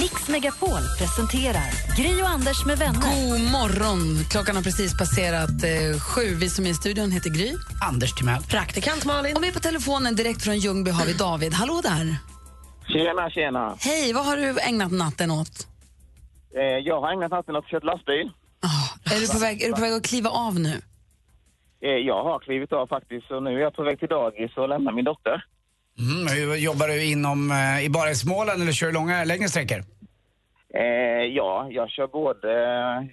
Speaker 1: Mix Megapol presenterar Gri och Anders med vänner.
Speaker 2: God morgon! Klockan har precis passerat eh, sju. Vi som är i studion heter Gry.
Speaker 3: Anders Timell.
Speaker 2: Praktikant Malin. Och med på telefonen direkt från Ljungby har vi David. Hallå där!
Speaker 15: Tjena, tjena.
Speaker 2: Hej, vad har du ägnat natten åt?
Speaker 15: Eh, jag har ägnat natten åt att köra lastbil.
Speaker 2: Ah, Är du, på väg, är du på väg att kliva av nu?
Speaker 15: Eh, jag har klivit av faktiskt och nu är jag på väg till dagis och lämnar min dotter.
Speaker 3: Mm, hur jobbar du inom, eh, i bara i Småland eller kör du långa, längre sträckor?
Speaker 15: Eh, ja, jag kör både,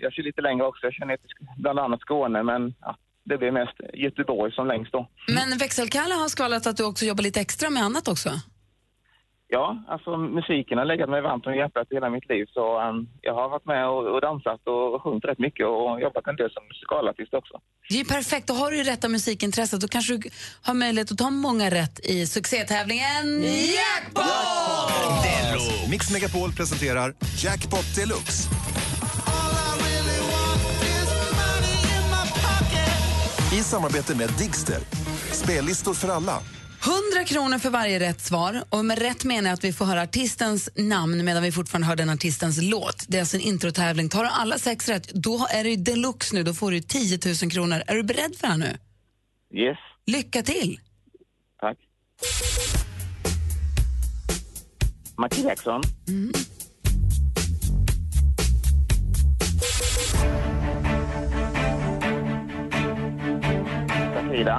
Speaker 15: jag kör lite längre också. Jag kör ner till Sk- bland annat Skåne men ja, det blir mest Göteborg som längst då.
Speaker 2: Men växelkalle har skvallrat att du också jobbar lite extra med annat också.
Speaker 15: Ja, alltså musiken har legat mig varmt om hjärtat hela mitt liv så ehm, jag har varit med och, och dansat och sjungit rätt mycket och jobbat en del som musikalartist också.
Speaker 2: Det är ju perfekt. Då har du ju rätta musikintresset. Då kanske du har möjlighet att ta många rätt i succétävlingen Jackpot!
Speaker 9: Mix Megapol presenterar Jackpot Deluxe.
Speaker 16: I samarbete med Digster. Spellistor för alla.
Speaker 2: 100 kronor för varje rätt svar. Och med rätt menar jag att vi får höra artistens namn medan vi fortfarande hör den artistens låt. Det är alltså en introtävling. Tar du alla sex rätt, då är det ju deluxe nu. Då får du 10 000 kronor. Är du beredd för det här nu?
Speaker 15: Yes,
Speaker 2: Lycka till!
Speaker 15: tack. Michael Jackson, Shakira.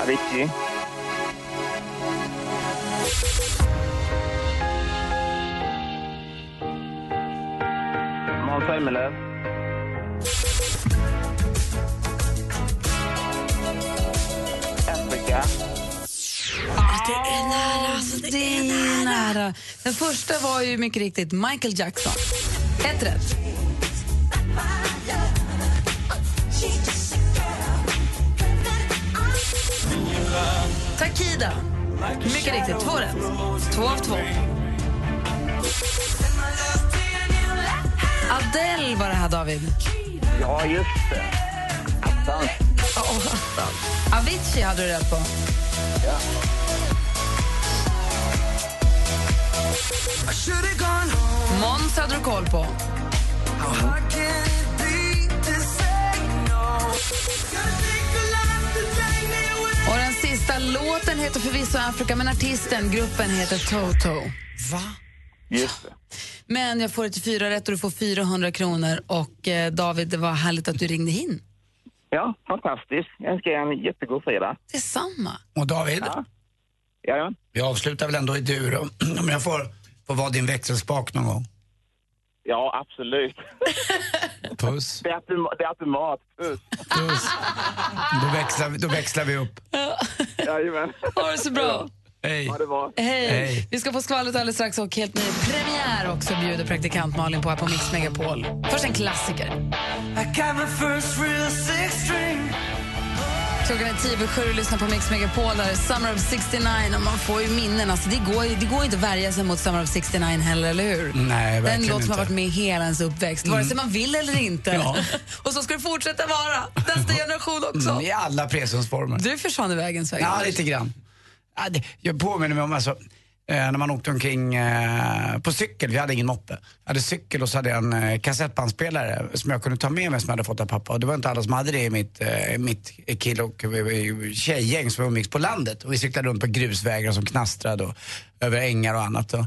Speaker 7: Avicii. Måns Zelmerlöw. Afrika.
Speaker 2: Det är nära, alltså, det är nära. Den första var ju mycket riktigt Michael Jackson. Ett rätt. Takida. Mycket riktigt, två rätt. Två av två. Adele var det här, David.
Speaker 7: Ja, just det. Attan.
Speaker 2: Oh, Avicii hade du rätt på.
Speaker 7: Ja.
Speaker 2: Måns hade du koll på. Och den sista låten heter förvisso Afrika, men artisten, gruppen heter Toto. Va?
Speaker 7: Just det.
Speaker 2: Men jag får ett fyra rätt och du får 400 kronor. Och eh, David, det var härligt att du ringde in.
Speaker 7: Ja, fantastiskt. Jag önskar er en jättegod fredag.
Speaker 2: Detsamma.
Speaker 3: Och David? Ja. Vi avslutar väl ändå i dur om, *clears throat* om jag får, får vara din växelspak någon gång.
Speaker 7: Ja, absolut.
Speaker 3: Puss.
Speaker 7: Det är, automa- det är automat. Puss.
Speaker 3: Puss. Då växlar, vi- då växlar vi upp.
Speaker 7: Jajamän.
Speaker 2: Ha det så bra.
Speaker 3: Hej.
Speaker 7: Ha det bra.
Speaker 2: Hej. Vi ska få skvallret alldeles strax och helt ny premiär också bjuder praktikant Malin på här på Mix Megapol. Först en klassiker. Klockan är tio över sju och lyssnar på Mix Megapol. Där är Summer of 69 och man får ju minnen. Alltså, det, går, ju- det går inte att värja sig mot Summer of 69 heller, eller hur?
Speaker 3: Nej,
Speaker 2: Den
Speaker 3: verkligen
Speaker 2: låt som har
Speaker 3: inte. Mm.
Speaker 2: varit med i hela ens uppväxt, vare sig man vill eller inte.
Speaker 3: Ja.
Speaker 2: *laughs* och så ska det fortsätta vara, nästa generation också.
Speaker 3: Mm, I alla presensformer.
Speaker 2: Du försvann i vägen, Sverige.
Speaker 3: Ja, lite grann. Ja, det- Jag påminner mig om alltså, eh, när man åkte omkring eh, på cykel, vi hade ingen moppe. Jag hade cykel och så hade jag en eh, kassettbandspelare som jag kunde ta med mig som jag hade fått av pappa. Och det var inte alla som hade det i mitt, eh, mitt kill och eh, tjejgäng som umgicks på landet. Och vi cyklade runt på grusvägar som knastrade och över ängar och annat. Och,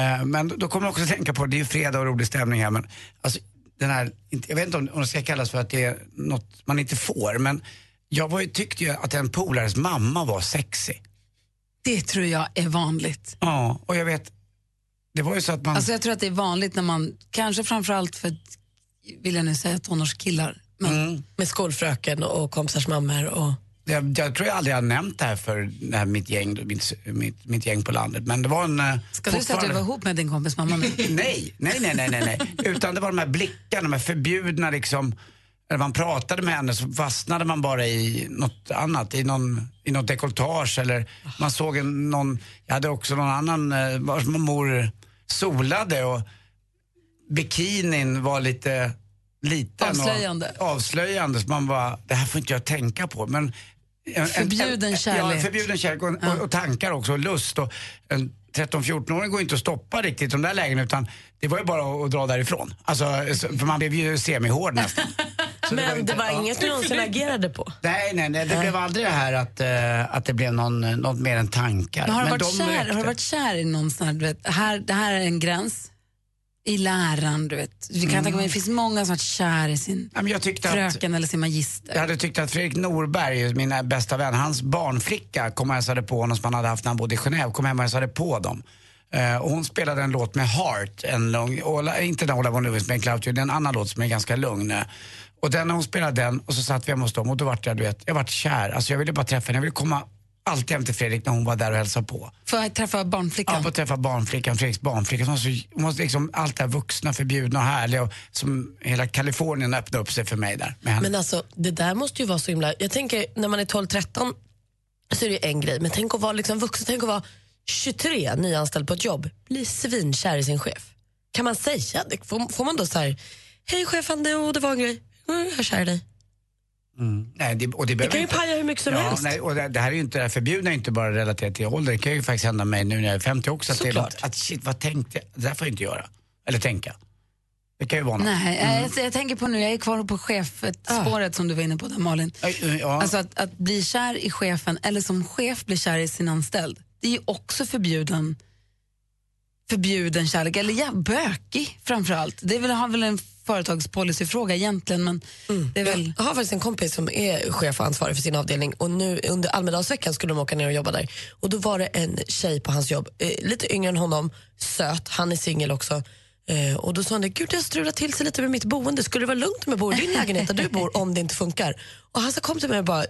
Speaker 3: eh, men då- då kommer jag också att tänka på, det är ju fredag och rolig stämning här, men alltså, den här, inte- jag vet inte om om det ska kallas för att det är något man inte får, men jag var ju, tyckte ju att en polares mamma var sexig.
Speaker 2: Det tror jag är vanligt.
Speaker 3: Ja, och jag vet, det var ju så att man...
Speaker 2: Alltså jag tror att det är vanligt när man, kanske framförallt för, vill jag nu säga, tonårskillar. Men
Speaker 3: Mm.
Speaker 4: Med skolfröken och kompisars mammor. Och...
Speaker 3: jag, jag tror jag aldrig har nämnt det här för det här mitt, gäng, då, mitt, mitt, mitt gäng på landet, men det var en... eh,
Speaker 2: ska du säga att du
Speaker 3: fortfarande-
Speaker 2: var ihop med din kompis mamma nu?
Speaker 3: *laughs* nej, nej, nej, nej, nej, nej. Utan det var de här blickarna, de här förbjudna liksom. När man pratade med henne så fastnade man bara i något annat, i, någon, i något dekolletage eller man såg en, någon, jag hade också någon annan eh, vars mor solade och bikinin var lite liten.
Speaker 2: Avslöjande.
Speaker 3: Och avslöjande, så man bara, det här får inte jag tänka på. Men en- en-
Speaker 2: Förbjuden
Speaker 3: en- Ja,
Speaker 2: kärlek.
Speaker 3: förbjuden kärlek och, och, och tankar också, och lust. Och en 13-14-åring går inte att stoppa riktigt de där lägena utan det var ju bara att dra därifrån. Alltså, så- för man blev ju semihård nästan.
Speaker 4: Men det var inget du någonsin agerade på?
Speaker 3: Nej, nej, nej. Det blev aldrig det här att, eh, att det blev någon, något mer än tankar.
Speaker 2: Men har, du
Speaker 3: Men
Speaker 2: varit
Speaker 3: de
Speaker 2: kär,
Speaker 3: räckte.
Speaker 2: har du varit kär i någon sån här, du vet, här, det här är en gräns i läran, du vet. Vi kan
Speaker 3: Mm.
Speaker 2: tänka mig, det finns många som har varit kär i sin
Speaker 3: Ja, men jag tyckte att-
Speaker 2: fröken eller sin magister.
Speaker 3: Jag hade tyckt att Fredrik Norberg, min bästa vän, hans barnflicka kom och hälsade på honom som han hade haft när han bodde i Genève, kom hem och hälsade på dem. Eh, och hon spelade en låt med Heart, en lång, Ola, inte den Ola von Lewis med Cloud, det är en annan låt som är ganska lugn. eh. Och den, när hon spelade den och så satt vi hemma hos dem och då vart jag, du vet, jag vart kär. Alltså jag ville bara träffa henne, jag ville komma alltid hem till Fredrik när hon var där och hälsade på.
Speaker 2: Får jag träffa barnflickan?
Speaker 3: Ja, få träffa barnflickan, Fredriks barnflicka. Som så, hon var liksom, allt det här vuxna, förbjudna och härliga. Och, som hela Kalifornien öppnade upp sig för mig där. Med henne.
Speaker 4: Men alltså, det där måste ju vara så himla... Jag tänker, när man är 12-13 så är det ju en grej. Men tänk att vara liksom vuxen, tänk att vara 23, nyanställd på ett jobb, bli svinkär i sin chef. Kan man säga det? Får, får man då så här, hej chefen, det, och det var en grej, Mm, jag är kär i dig.
Speaker 3: Nej, det, och det, behöver
Speaker 4: kan ju
Speaker 3: inte-
Speaker 4: paja hur mycket som
Speaker 3: ja,
Speaker 4: helst.
Speaker 3: Nej, och det, det här är ju inte, det här förbjudna är inte bara relaterat till ålder. Det kan ju faktiskt hända mig nu när jag är 50 också. Att, det är
Speaker 2: Såklart.
Speaker 3: något, att shit, vad tänkte jag? Det där får jag inte göra. Eller tänka. Det kan ju vara något.
Speaker 2: Nej, eh,
Speaker 3: Mm. Ah.
Speaker 2: jag, jag tänker på nu, jag är kvar på chefspåret som du var inne på där Malin.
Speaker 3: Mm, ja.
Speaker 2: Alltså att, att bli kär i chefen eller som chef bli kär i sin anställd, det är ju också förbjuden förbjuden kärlek, eller ja, bökig framförallt. Det är väl, har väl en företagspolicyfråga egentligen, men det är väl...
Speaker 4: Mm. Jag har faktiskt en kompis som är chef och ansvarig för sin avdelning och nu under Almedalsveckan skulle de åka ner och jobba där. Och då var det en tjej på hans jobb, eh, lite yngre än honom, söt, han är singel också. Eh, och då sa han det, gud det har strulat till sig lite med mitt boende, skulle det vara lugnt om jag bor i
Speaker 2: *laughs*
Speaker 4: din lägenhet där du bor om det inte funkar? Och han sa kom till mig och bara,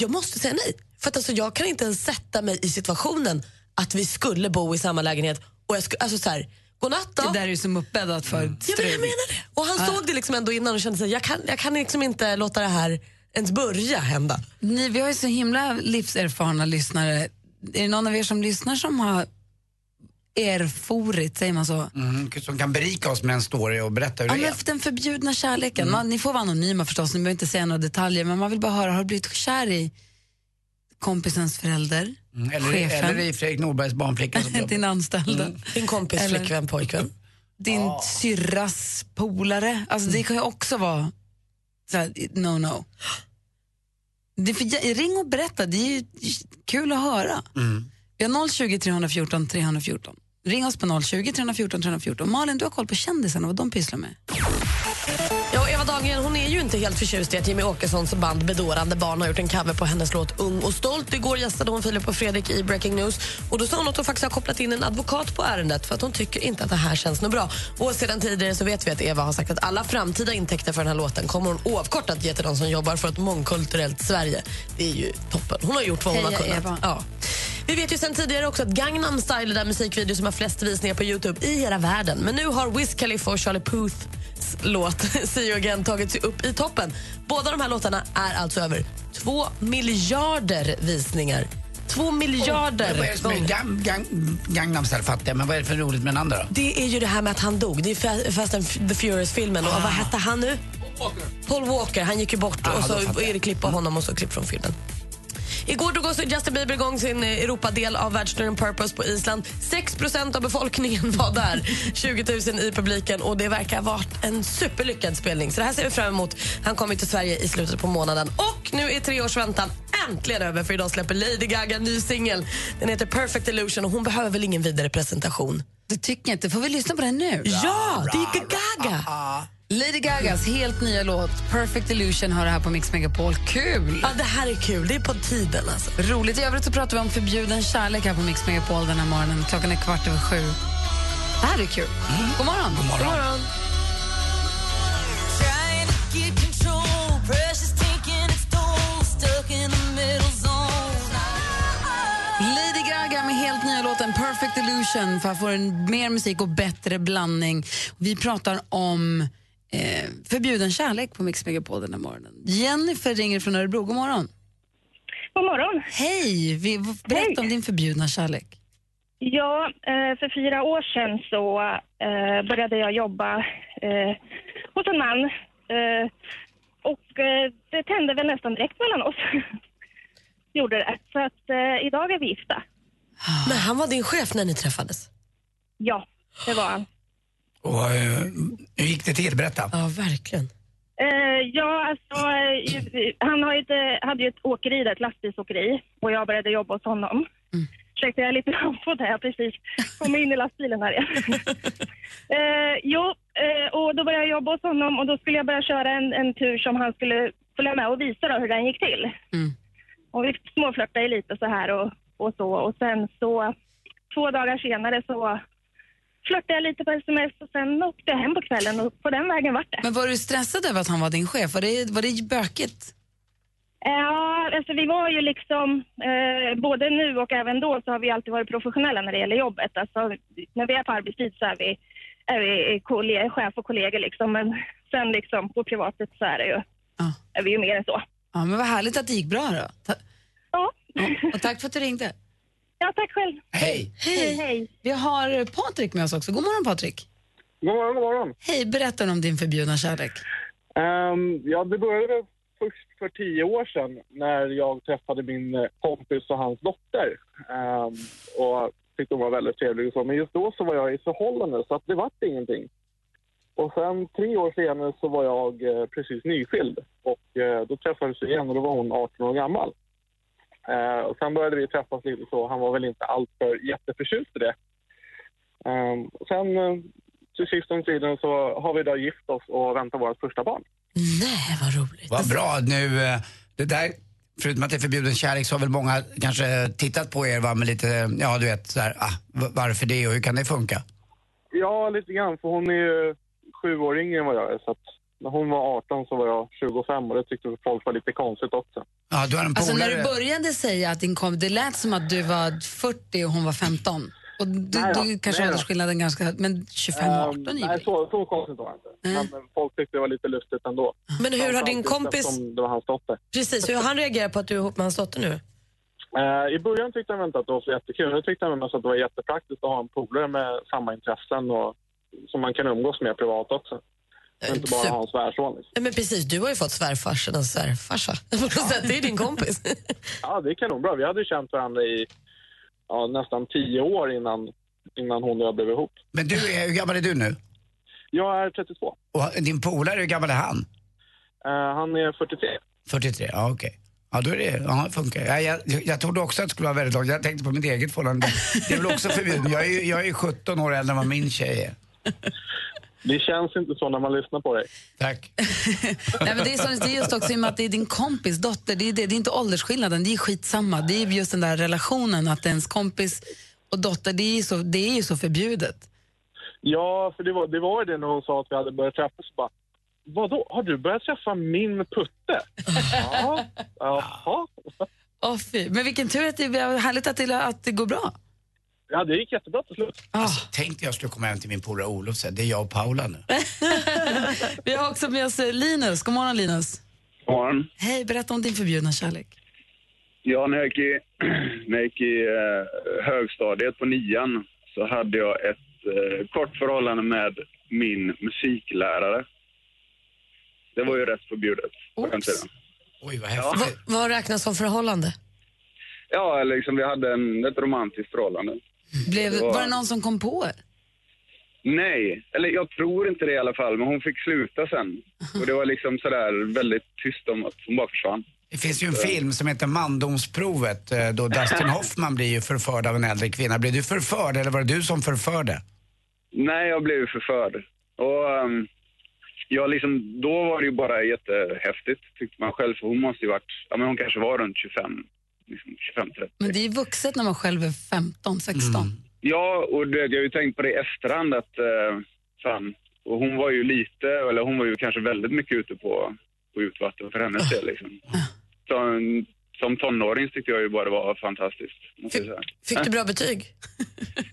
Speaker 4: jag måste säga nej. För att alltså, jag kan inte ens sätta mig i situationen att vi skulle bo i samma lägenhet och jag skulle, alltså så här, godnatt då. Mm.
Speaker 2: Det där är ju som uppbäddat för
Speaker 4: Ja, men jag menar det. Och
Speaker 2: Ah.
Speaker 4: han såg det liksom ändå innan och kände sig, jag kan, jag kan liksom inte låta det här ens börja hända.
Speaker 2: Ni, vi har ju så himla livserfarna lyssnare. Är det någon av er som lyssnar som har erforit, säger man så?
Speaker 3: Mm, som kan berika oss med en story och berätta hur
Speaker 2: Ja,
Speaker 3: det
Speaker 2: men
Speaker 3: är.
Speaker 2: för den förbjudna kärleken. Man, ni får vara anonyma förstås, ni behöver inte säga några detaljer, men man vill bara höra, har du blivit kär i kompisens förälder?
Speaker 3: Mm, Eller,
Speaker 2: chefen?
Speaker 3: eller i Fredrik Norbergs barnflicka.
Speaker 4: *laughs*
Speaker 3: som jobbar. Mm.
Speaker 2: Din anställda?
Speaker 4: Din kompis, flickvän, pojkvän?
Speaker 2: Din syrras polare? Alltså det kan ju också vara så här, no no. Det är för, jä- ring och berätta, det är ju kul att höra.
Speaker 3: Mm.
Speaker 2: Vi har 020 314 314. Ring oss på 020 314 314. Malin, du har koll på kändisarna, vad de pysslar med.
Speaker 4: Ja, och Eva Dahlgren hon är ju inte helt förtjust i att Jimmy Åkessons band Bedårande barn har gjort en cover på hennes låt Ung och stolt. Igår gästade hon Filip och Fredrik i Breaking News och då sa hon att hon faktiskt har kopplat in en advokat på ärendet för att hon tycker inte att det här känns något bra. Och sedan tidigare så vet vi att Eva har sagt att alla framtida intäkter för den här låten kommer hon oavkortat ge till de som jobbar för ett mångkulturellt Sverige. Det är ju toppen. Hon har gjort vad hon
Speaker 2: Heja,
Speaker 4: har kunnat.
Speaker 2: Eva.
Speaker 4: Ja. Vi vet ju sen tidigare också att Gangnam Style är den musikvideo som har flest visningar på Youtube i hela världen. Men nu har Wiz Khalifa och Charlie Puth *laughs* låt See you again tagit sig upp i toppen. Båda de här låtarna är alltså över två miljarder visningar. Två miljarder
Speaker 3: Oh, Men Vad är det som är
Speaker 4: gånger.
Speaker 3: gang, gang, Gangnam Style fattar jag, men vad är det för roligt med den andra då?
Speaker 4: Det är ju det här med att han dog. Det är Fa- Fast and F- the Furious-filmen. Och vad hette han nu? Paul Walker. Han gick ju bort
Speaker 3: Ah,
Speaker 4: och
Speaker 3: då
Speaker 4: så
Speaker 3: fattar jag.
Speaker 4: är det klipp av honom och så klipp från filmen. Igår drog också Justin Bieber igång sin eh, Europadel av världsturnén Purpose på Island. 6 av befolkningen var där, 20 000 i publiken och det verkar ha varit en superlyckad spelning. Så det här ser vi fram emot. Han kommer till Sverige i slutet på månaden och nu är tre års väntan äntligen över för idag släpper Lady Gaga en ny singel. Den heter Perfect Illusion och hon behöver väl ingen vidare presentation.
Speaker 2: Det tycker jag inte. Får vi lyssna på den nu?
Speaker 4: Ja, det är Gaga!
Speaker 2: Lady Gagas helt nya låt Perfect Illusion har det här på Mix Megapol. Kul!
Speaker 4: Ja, det här är kul. Det är på tiden alltså.
Speaker 2: Roligt. I övrigt så pratar vi om förbjuden kärlek här på Mix Megapol den här morgonen. Klockan är kvart över sju. Det här är kul. God morgon! Mm. God morgon.
Speaker 5: Trying to get control, pressure's taking its toll, stuck in the middle zone.
Speaker 2: Lady Gaga med helt nya låten Perfect Illusion för att få en mer musik och bättre blandning. Vi pratar om eh, förbjuden kärlek på Mix Megapol den här morgonen. Jennifer ringer från Örebro. God morgon!
Speaker 17: God morgon.
Speaker 2: Hej! Vi, berätta om din förbjudna kärlek.
Speaker 17: Ja, eh, för fyra år sedan så eh, började jag jobba eh, hos en man. Eh, Och eh, det tände väl nästan direkt mellan oss. *laughs* Gjorde det. Så att eh, idag är vi gifta.
Speaker 4: Men han var din chef när ni träffades?
Speaker 17: Ja, det var han.
Speaker 3: Och, eh, hur gick det till? Berätta.
Speaker 4: Ja, verkligen.
Speaker 17: Eh, ja, alltså, eh, han har ju ett, eh, hade ju ett åkeri där, ett lastbilsåkeri, och jag började jobba hos honom.
Speaker 6: Mm.
Speaker 17: Ursäkta, jag är lite på det här precis. Kom in i lastbilen här igen. eh, jo, eh, och då började jag jobba hos honom och då skulle jag börja köra en, en tur som han skulle följa med och visa då hur den gick till. Och vi småflörtade ju lite så här och, och så och sen så två dagar senare så flörtade jag lite på sms och sen åkte jag hem på kvällen och på den vägen vart det.
Speaker 2: Men var du stressad över att han var din chef? Var det, var det bökigt?
Speaker 17: Ja, alltså vi var ju liksom, eh, både nu och även då så har vi alltid varit professionella när det gäller jobbet. Alltså när vi är på arbetstid så är vi, är vi kollega, chef och kollegor liksom. Men sen liksom på privatet så är det ju, är vi ju mer än så.
Speaker 2: Ja, men vad härligt att det gick bra då. Ta-
Speaker 17: ja.
Speaker 2: Och tack för att du ringde.
Speaker 17: Ja, tack själv.
Speaker 3: Hej.
Speaker 2: Hej. Vi har Patrik med oss också. God morgon Patrik.
Speaker 18: God morgon, god morgon.
Speaker 2: Hej, berätta om din förbjudna kärlek.
Speaker 18: Ehm, ja, det började först för tio år sedan när jag träffade min eh, kompis och hans dotter. Ehm, och tyckte hon var väldigt trevlig och så. Men just då så var jag i förhållande så att det vart ingenting. Och sen tre år senare så var jag eh, precis nyskild och eh, då träffades vi igen och då var hon 18 år gammal. Eh, och sen började vi träffas lite så. Han var väl inte alltför jätteförtjust i det. Ehm, sen eh, till sist om tiden så har vi då gift oss och väntar vårt första barn.
Speaker 4: Nej, vad roligt.
Speaker 3: Vad bra. Nu, eh, det där, förutom att det är förbjuden kärlek så har väl många kanske tittat på er va, med lite, ja du vet, så här, ah, v- varför det och hur kan det funka?
Speaker 18: Ja, lite grann. För hon är ju sju år yngre än vad jag är. Så att när hon var 18 så var jag 25 och det tyckte folk var lite konstigt också.
Speaker 3: Ja, du har en
Speaker 2: Alltså när du
Speaker 3: polare.
Speaker 2: började säga att din kom, det lät som att du var 40 och hon var 15. Och du,
Speaker 18: Nej då,
Speaker 2: du kanske
Speaker 18: nej då.
Speaker 2: åldersskillnaden ganska, men 25 och 18 är
Speaker 18: Ehm,
Speaker 2: ju
Speaker 18: Nej, så, så konstigt var det inte. Men eh, folk tyckte det var lite lustigt ändå.
Speaker 4: Men hur har din
Speaker 18: Framförallt
Speaker 4: kompis-
Speaker 18: eftersom Det var hans dotter.
Speaker 4: Precis, hur han reagerar på att du är ihop med hans dotter nu?
Speaker 18: Eh, I början tyckte han inte att det var så jättekul. Nu tyckte han mest att det var jättepraktiskt att ha en polare med samma intressen och som man kan umgås med privat också. Och inte bara ha en svärson. liksom.
Speaker 4: Ja, Men precis, du har ju fått svärfarsan och svärfarsa. *laughs* På något sätt, Det är din kompis.
Speaker 18: Ja, det är kanonbra. Vi hade ju känt varandra i ja, nästan tio år innan, innan hon och jag blev ihop.
Speaker 3: Men du, är, hur gammal är du nu?
Speaker 18: Jag är 32.
Speaker 3: Och din polare, hur gammal är han?
Speaker 18: Eh, han är 43.
Speaker 3: 43, ja okej. Ja, då är det, ja, det funkar. Ja, jag, jag trodde också att det skulle vara väldigt långt. Jag tänkte på mitt eget förhållande. Det är väl också förbjudet. Jag är ju jag är ju 17 år äldre än vad min tjej är.
Speaker 18: Det känns inte så när man lyssnar på dig.
Speaker 3: Tack.
Speaker 2: Nej, men det är som det är just också i och med att det är din kompis dotter. Det är, det, det är inte åldersskillnaden, det är skitsamma. Det är just den där relationen att ens kompis och dotter, det är ju så, det är ju så förbjudet.
Speaker 18: Ja, för det var, det var ju det när hon sa att vi hade börjat träffas. Bara, Vadå, har du börjat träffa min putte? ja, jaha.
Speaker 2: Åh fy. Men vilken tur att det är härligt att det, att det går bra.
Speaker 18: Ja, det gick jättebra till slut.
Speaker 4: Ah.
Speaker 3: Alltså, tänk dig jag skulle komma hem till min polare Olof och säga, det är jag och Paula nu.
Speaker 2: Vi har också med oss eh, Linus. God morgon Linus.
Speaker 19: morgon.
Speaker 2: Hej, berätta om din förbjudna kärlek.
Speaker 19: Ja, när jag gick i, *clears throat* när jag gick i eh, högstadiet på nian så hade jag ett eh, kort förhållande med min musiklärare. Det var ju rätt förbjudet på den tiden.
Speaker 3: Oj, vad
Speaker 19: ja.
Speaker 4: Vad räknas som förhållande?
Speaker 19: ja, liksom vi hade en, ett romantiskt förhållande.
Speaker 2: Blev,
Speaker 19: Det var-
Speaker 2: var det någon som kom på er?
Speaker 19: Nej, eller jag tror inte det i alla fall, men hon fick sluta sen. Och det var liksom sådär väldigt tyst om att hon bara försvann.
Speaker 3: Det finns ju en film som heter Mandomsprovet eh, då Dustin Hoffman blir ju förförd av en äldre kvinna. Blev du förförd eller var det du som förförde?
Speaker 19: Nej, jag blev ju förförd. Och ehm, jag liksom, då var det ju bara jättehäftigt tyckte man själv. För hon måste ju varit, ja men hon kanske var runt 25, liksom 25 30.
Speaker 2: Men det är ju vuxet när man själv är 15, 16.
Speaker 19: Ja, och du vet, jag har ju tänkt på det i efterhand att eh, fan, och hon var ju lite, eller hon var ju kanske väldigt mycket ute på, på utvatten för hennes del liksom. Som, som tonåring tyckte jag ju bara det var fantastiskt. måste jag säga.
Speaker 4: Fick du bra betyg?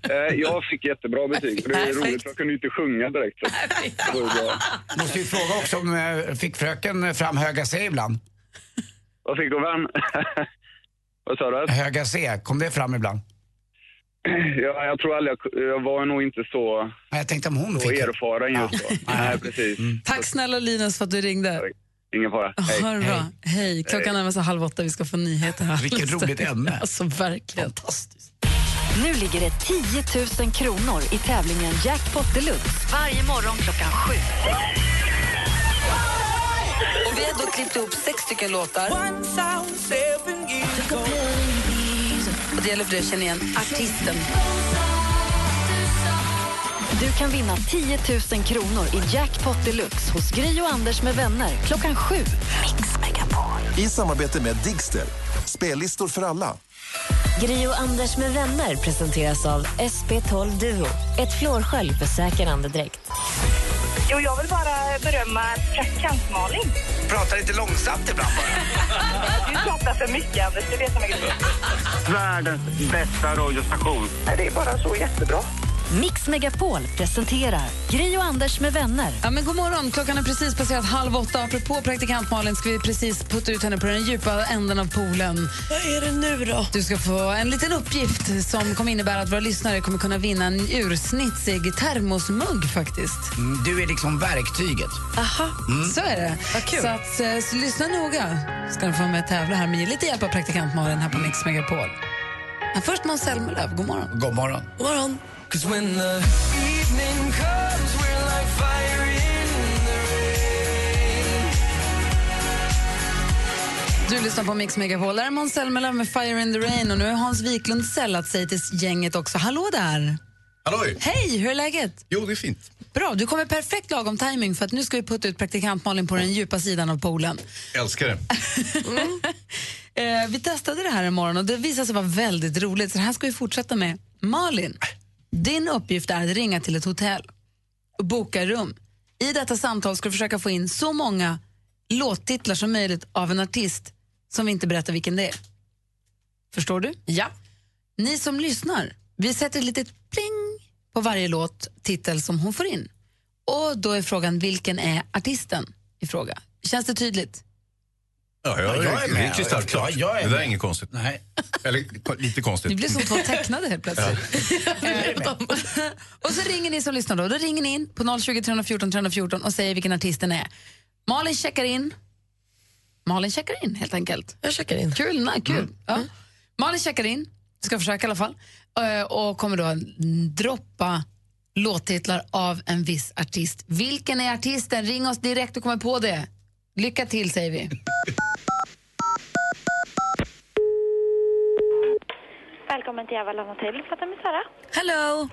Speaker 19: Eh, jag fick jättebra betyg. och Det är roligt, för jag kunde ju inte sjunga direkt. Så. Det var ju bra.
Speaker 3: Måste ju fråga också om eh, fick fröken fram höga C ibland?
Speaker 19: Vad fick du vän? *laughs* Vad sa du? *clears throat*
Speaker 3: Höga C, kom det fram ibland?
Speaker 19: Jag, jag tror aldrig, jag, jag var nog inte så,
Speaker 3: Nej, jag tänkte om hon
Speaker 19: så
Speaker 3: fick Mm. det.
Speaker 19: erfaren just då. Nej, precis.
Speaker 2: Tack snälla Linus för att du ringde.
Speaker 19: Ingen fara. Hej.
Speaker 2: Ha det bra. Hej. Klockan närmar sig halv åtta, vi ska få nyheter här.
Speaker 3: Vilket roligt ämne.
Speaker 2: Alltså verkligen.
Speaker 1: Nu ligger det 10 000 kronor i tävlingen Jackpot Deluxe varje morgon klockan sju.
Speaker 20: Och vi har då klippt ihop sex stycken låtar.
Speaker 2: Och det gäller för dig att känna igen artisten.
Speaker 1: Du kan vinna 10 000 kronor i Jackpot Deluxe hos Gry och Anders med vänner klockan sju.
Speaker 9: I samarbete med Digster. Spellistor för alla.
Speaker 21: Gri och Anders med vänner presenteras av SP12 Duo. Ett flårskölj för säker andedräkt.
Speaker 22: Jo, jag vill bara berömma praktikant Malin.
Speaker 3: Pratar lite långsamt ibland
Speaker 22: Du pratar för mycket, Anders. Det vet man inte.
Speaker 7: Världens bästa radiostation.
Speaker 22: Det är bara så jättebra.
Speaker 1: Mix Megapol presenterar Gry och Anders med vänner.
Speaker 2: Ja, men god morgon. Klockan är precis passerat halv åtta. Apropå praktikant Malin ska vi precis putta ut henne på den djupa änden av poolen.
Speaker 4: Vad är det nu då?
Speaker 2: Du ska få en liten uppgift som kommer innebära att våra lyssnare kommer kunna vinna en ursnitsig termosmugg faktiskt.
Speaker 3: Mm, Du är liksom verktyget.
Speaker 2: Aha, så är det. Så, att, eh, så lyssna noga. Ska ni få vara med och tävla här med lite hjälp av praktikant Malin här på Mix Megapol. Men först Måns Zelmerlöw, god morgon.
Speaker 3: God morgon.
Speaker 2: God morgon. Du lyssnar på Mix Megapol. Där är Måns Zelmerlöw med Fire in the Rain och nu har Hans Wiklund sällat sig till gänget också. Hallå där!
Speaker 23: Halloj!
Speaker 2: Hej, hur är läget?
Speaker 23: Jo, det är fint.
Speaker 2: Bra, du kommer perfekt lagom timing för att nu ska vi putta ut praktikant Malin på den djupa sidan av poolen.
Speaker 24: Älskar det.
Speaker 2: *laughs* Eh, vi testade det här en morgon och det visade sig vara väldigt roligt så det här ska vi fortsätta med. Malin, din uppgift är att ringa till ett hotell och boka rum. I detta samtal ska du försöka få in så många låttitlar som möjligt av en artist som vi inte berättar vilken det är. Förstår du?
Speaker 4: Ja.
Speaker 2: Ni som lyssnar, vi sätter ett litet pling på varje låt, titel som hon får in. Och då är frågan, vilken är artisten i fråga? Känns det tydligt?
Speaker 24: Ja, jag,
Speaker 3: jag är
Speaker 24: är
Speaker 3: med.
Speaker 24: Det är kristallklart.
Speaker 3: Ja, jag är
Speaker 24: det där är
Speaker 3: med.
Speaker 24: inget konstigt.
Speaker 3: Nej.
Speaker 24: Eller ko- lite konstigt.
Speaker 2: Ni blev som två tecknade helt plötsligt. *laughs* Och så ringer ni som lyssnar då. Då ringer ni in på 020 314 314 och säger vilken artisten är. Malin checkar in. Malin checkar in helt enkelt.
Speaker 4: Jag checkar in. Mm.
Speaker 2: Kul, na, kul. Ja. Malin checkar in, ska försöka i alla fall, Eh, och kommer då mm, droppa låttitlar av en viss artist. Vilken är artisten? Ring oss direkt och kommer på det. Lycka till säger vi.
Speaker 22: Välkommen till Avalon Hotel. Pratar med Sara.
Speaker 20: Hello!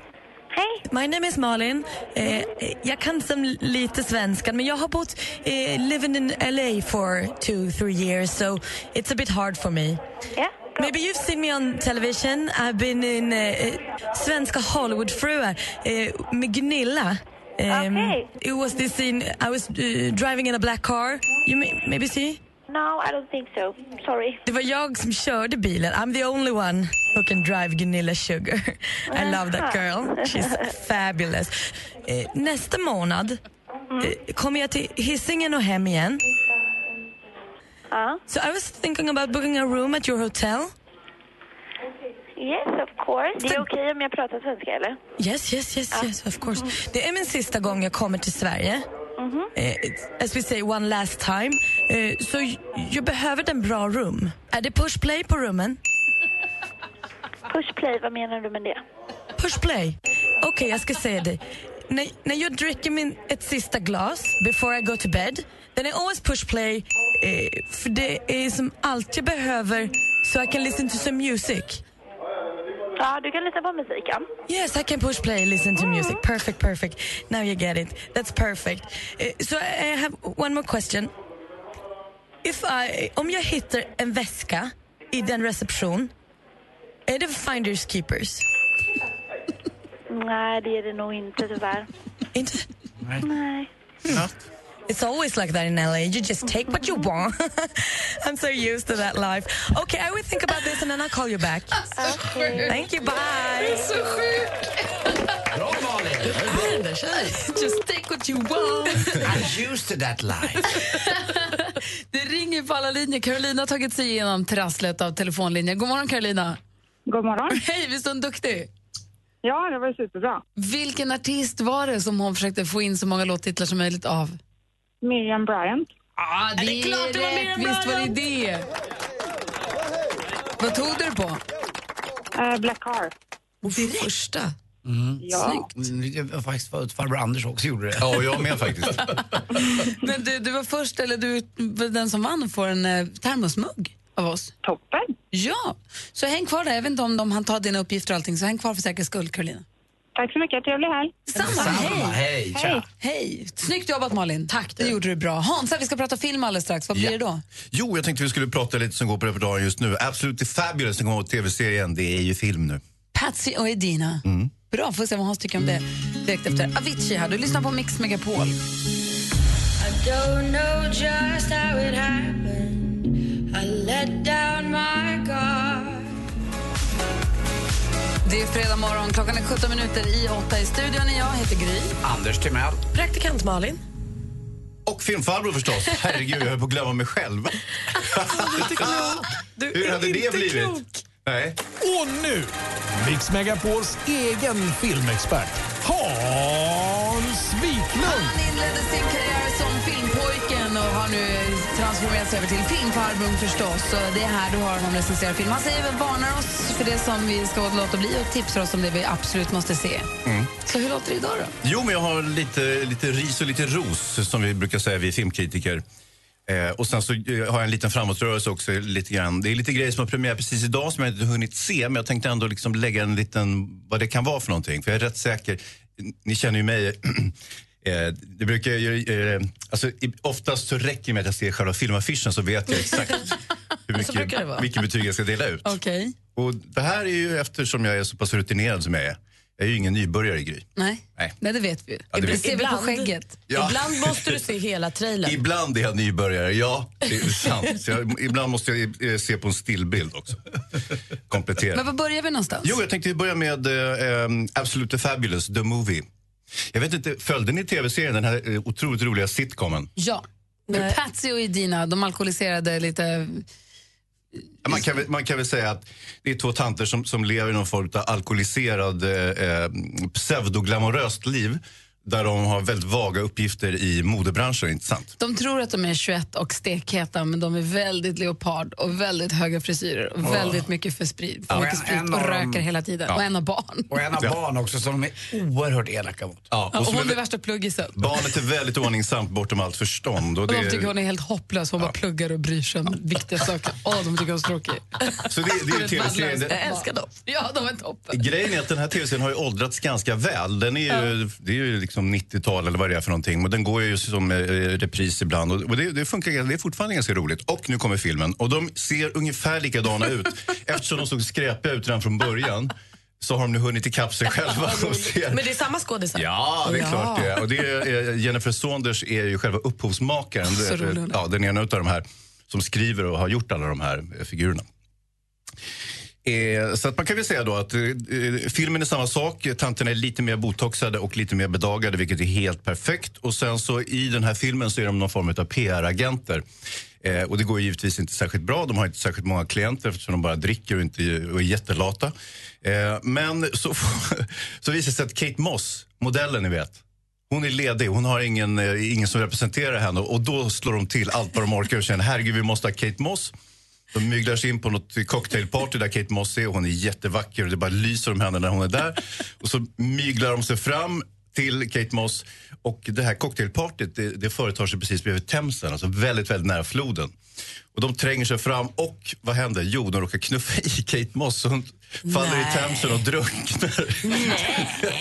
Speaker 22: Hej!
Speaker 20: My name is Malin. Eh, jag kan som lite svenska, men jag har bott eh, living in LA for two, three years, so it's a bit hard for me.
Speaker 22: Yeah.
Speaker 20: Maybe you've seen me on television. I've been in eh, svenska Hollywoodfruar eh, med Gunilla. Um,
Speaker 22: Okay.
Speaker 20: It was this scene, I was eh, driving in a black car. You may, maybe see?
Speaker 22: No, I don't think so. Sorry.
Speaker 20: Det var jag som körde bilen. I'm the only one who can drive Gunilla Sugar. *laughs* I love that girl. She's fabulous. Eh, nästa månad
Speaker 22: Mm-hmm.
Speaker 20: eh, kommer jag till Hisingen och hem igen. So I was thinking about booking a room at your hotel.
Speaker 22: Yes, of course. Det är okej om jag pratar svenska, eller?
Speaker 20: Yes, yes, yes,
Speaker 22: Ah.
Speaker 20: yes, of course.
Speaker 22: Mm-hmm.
Speaker 20: Det är min sista gång jag kommer till Sverige. Eh, it's- as we say, one last time. Eh, så j- jag behöver en bra rum. Är det push play på rummen?
Speaker 22: *laughs* Push play, vad menar du med det?
Speaker 20: Push play. Okej, jag ska säga det. När, när jag dricker min, ett sista glas before I go to bed, then I always push play eh, för det är som allt jag behöver so I can listen to some music.
Speaker 22: Ja, du kan lyssna på musiken. Mm.
Speaker 20: Yes, I can push play, listen to music. Perfect, perfect. Now you get it. That's perfect. Eh, so I have one more question. If I, om jag hittar en väska i den reception, är det finders keepers?
Speaker 22: Nej, det är det nog inte tyvärr.
Speaker 20: Inte?
Speaker 22: Nej.
Speaker 20: It's always like that in LA. You just take what you want. *laughs* I'm so used to that life. Okay, I will think about this and then I'll call you back. Thank you, bye.
Speaker 3: Bra Malin!
Speaker 2: Just take what you want.
Speaker 3: I'm used to that life.
Speaker 2: Det ringer på alla linjer. Carolina har tagit sig igenom trasslet av telefonlinjen. God morgon Carolina.
Speaker 25: God morgon.
Speaker 2: *laughs* Hej, visst är hon duktig?
Speaker 25: Ja, det var superbra.
Speaker 2: Vilken artist var det som hon försökte få in så många låttitlar som möjligt av?
Speaker 25: Miriam Bryant.
Speaker 2: Ah, det,
Speaker 25: det är klart det var
Speaker 2: rätt.
Speaker 25: Miriam
Speaker 2: Visst var det det? Vad tog du det på?
Speaker 25: Eh, Black Car.
Speaker 2: Direkt.
Speaker 4: Första.
Speaker 3: Mm.
Speaker 25: Ja.
Speaker 3: Snyggt. Jag var faktiskt förut farbror Anders också gjorde det.
Speaker 24: Ja, jag med faktiskt.
Speaker 25: *laughs*
Speaker 2: Men du, du var först, eller du var den som vann får en eh, termosmugg av oss.
Speaker 25: Toppen.
Speaker 2: Ja, så häng kvar där. Jag vet inte om de han tar dina uppgifter och allting, så häng kvar för säkerhets skull, Carolina.
Speaker 25: Tack så mycket. Trevlig helg.
Speaker 2: Samma, hej.
Speaker 3: Hej,
Speaker 2: Hej. Hej. Snyggt jobbat Malin. Tack. Det gjorde du bra. Hansa, vi ska prata film alldeles strax. Vad blir det
Speaker 24: Ja.
Speaker 2: då?
Speaker 24: Jo, jag tänkte vi skulle prata lite som går på repertoaren just nu. Absolutely Fabulous, som kommer ihåg tv-serien, det är ju film nu.
Speaker 2: Patsy och Edina. Bra, får se vad Hans tycker om det direkt efter. Avicii här, du lyssnar på Mix Megapol.
Speaker 5: I don't know just how it happened. I let down my guard.
Speaker 2: Det är fredag morgon, klockan är 17 minuter i 8 i studion är jag, heter Gry.
Speaker 3: Anders Timell.
Speaker 4: Praktikant Malin.
Speaker 24: Och filmfarbror förstås. Herregud, jag höll på att glömma mig själv. Hur hade det blivit? Nej.
Speaker 6: Och nu, Mix Megapols egen filmexpert, Hans Wiklund.
Speaker 2: Han inledde sin karriär som filmpojken och har nu transformerats över till filmfarbrorn förstås. Och det är här du har honom recensera film. Han säger väl varnar oss för det som vi ska låta bli och tipsar oss om det vi absolut måste se.
Speaker 24: Mm.
Speaker 2: Så hur låter det idag då?
Speaker 24: Jo, men jag har lite, lite ris och lite ros, som vi brukar säga, vi filmkritiker. Eh, och sen så eh, har jag en liten framåtrörelse också. lite grann. Det är lite grejer som har premiär precis idag som jag inte hunnit se, men jag tänkte ändå liksom lägga en liten, vad det kan vara för någonting. För jag är rätt säker, ni känner ju mig. *clears throat* eh, det brukar jag, ju, eh, alltså, i- oftast så räcker det med att jag ser själva filmaffischen så vet jag exakt
Speaker 2: *laughs*
Speaker 24: hur
Speaker 2: Så brukar det vara.
Speaker 24: mycket, vilket betyg jag ska dela ut.
Speaker 2: Okej.
Speaker 24: Och det här är ju eftersom jag är så pass rutinerad som jag är. Jag är ju ingen nybörjare i Gry.
Speaker 2: Nej.
Speaker 24: Nej.
Speaker 2: Nej, det vet vi ju.
Speaker 24: Ja, det vet
Speaker 2: det
Speaker 24: vi.
Speaker 2: ser vi på
Speaker 4: Ibland.
Speaker 2: skägget.
Speaker 24: Ja.
Speaker 4: Ibland måste du se hela trailern.
Speaker 24: Ibland är jag nybörjare, ja. Det är sant. Så jag, ibland måste jag eh, se på en stillbild också. Komplettera.
Speaker 2: Men var börjar vi någonstans?
Speaker 24: Jo, jag tänkte börja med eh, eh, Absolutely Fabulous, the movie. Jag vet inte, följde ni tv-serien, den här eh, otroligt roliga sitcomen?
Speaker 2: Ja. Med Patsy och Edina, de alkoholiserade lite...
Speaker 24: Ja, Man kan, väl- man kan väl säga att det är två tanter som, som lever i någon form av alkoholiserad, eh, eh, pseudoglamoröst liv där de har väldigt vaga uppgifter i modebranschen, inte sant?
Speaker 2: De tror att de är 21 och stekheta, men de är väldigt leopard och väldigt höga frisyrer och
Speaker 3: Ja.
Speaker 2: väldigt mycket för sprit,
Speaker 3: Ja.
Speaker 2: för mycket
Speaker 3: En-
Speaker 2: sprit
Speaker 3: en
Speaker 2: och
Speaker 3: av
Speaker 2: röker
Speaker 3: dem-
Speaker 2: hela tiden.
Speaker 3: Ja.
Speaker 2: Och en har barn.
Speaker 3: Och en har barn också som de är oerhört elaka mot.
Speaker 24: Ja,
Speaker 2: Ja, och
Speaker 24: som är
Speaker 2: hon är
Speaker 24: vä-
Speaker 2: värsta pluggisen.
Speaker 24: Barnet är väldigt ordningsamt bortom allt förstånd. Och
Speaker 2: Och
Speaker 24: det
Speaker 2: de tycker hon
Speaker 24: är,
Speaker 2: är helt hopplös, hon bara pluggar och bryr sig om viktiga saker. Åh, de tycker hon är så tråkig.
Speaker 24: så det, det är ju tv-serien.
Speaker 2: Jag
Speaker 24: Det-
Speaker 2: älskar dem. Ja, de är toppen.
Speaker 24: Grejen är att den här tv-serien har ju åldrats ganska väl. Den är ju, Det är ju liksom 90-tal eller vad det är för någonting. Och den går ju som eh, repris ibland. Och, och det, det funkar ganska- det är fortfarande ganska roligt. Och nu kommer filmen. Och de ser ungefär
Speaker 4: *laughs*
Speaker 24: likadana ut. Eftersom de såg skräpiga ut redan från början så har de nu hunnit ikapp sig själva. Och ser
Speaker 4: Men det är samma skådisar?
Speaker 24: Ja, det är klart det är. Och det är eh, Jennifer Saunders är ju själva upphovsmakaren. Eh,
Speaker 4: Så rolig hon är.
Speaker 24: ja, den ena av de här som skriver och har gjort alla de här eh, figurerna. Eh, så att man kan väl säga då att eh, eh, filmen är samma sak. Tanterna är lite mer botoxade och lite mer bedagade, vilket är helt perfekt. Och sen så i den här filmen så är de någon form av PR-agenter. Eh, och det går ju givetvis inte särskilt bra. De har inte särskilt många klienter eftersom de bara dricker och, inte, och är jättelata. Eh, men så, *laughs* får- så visar det sig att Kate Moss, modellen ni vet, hon är ledig, hon har ingen, eh, ingen som representerar henne. Och då slår de till allt vad de orkar och känner herregud, vi måste ha Kate Moss. De myglar sig in på något cocktailparty där Kate Moss är och hon är jättevacker och det bara lyser om henne när hon är där. Och så myglar de sig fram till Kate Moss och det här cocktailpartyt det, det företar sig precis bredvid Themsen, alltså väldigt, väldigt nära floden. Och de tränger sig fram och vad händer? Jo, de råkar knuffa i Kate Moss och hon faller
Speaker 2: Nej.
Speaker 24: i Themsen och drunknar.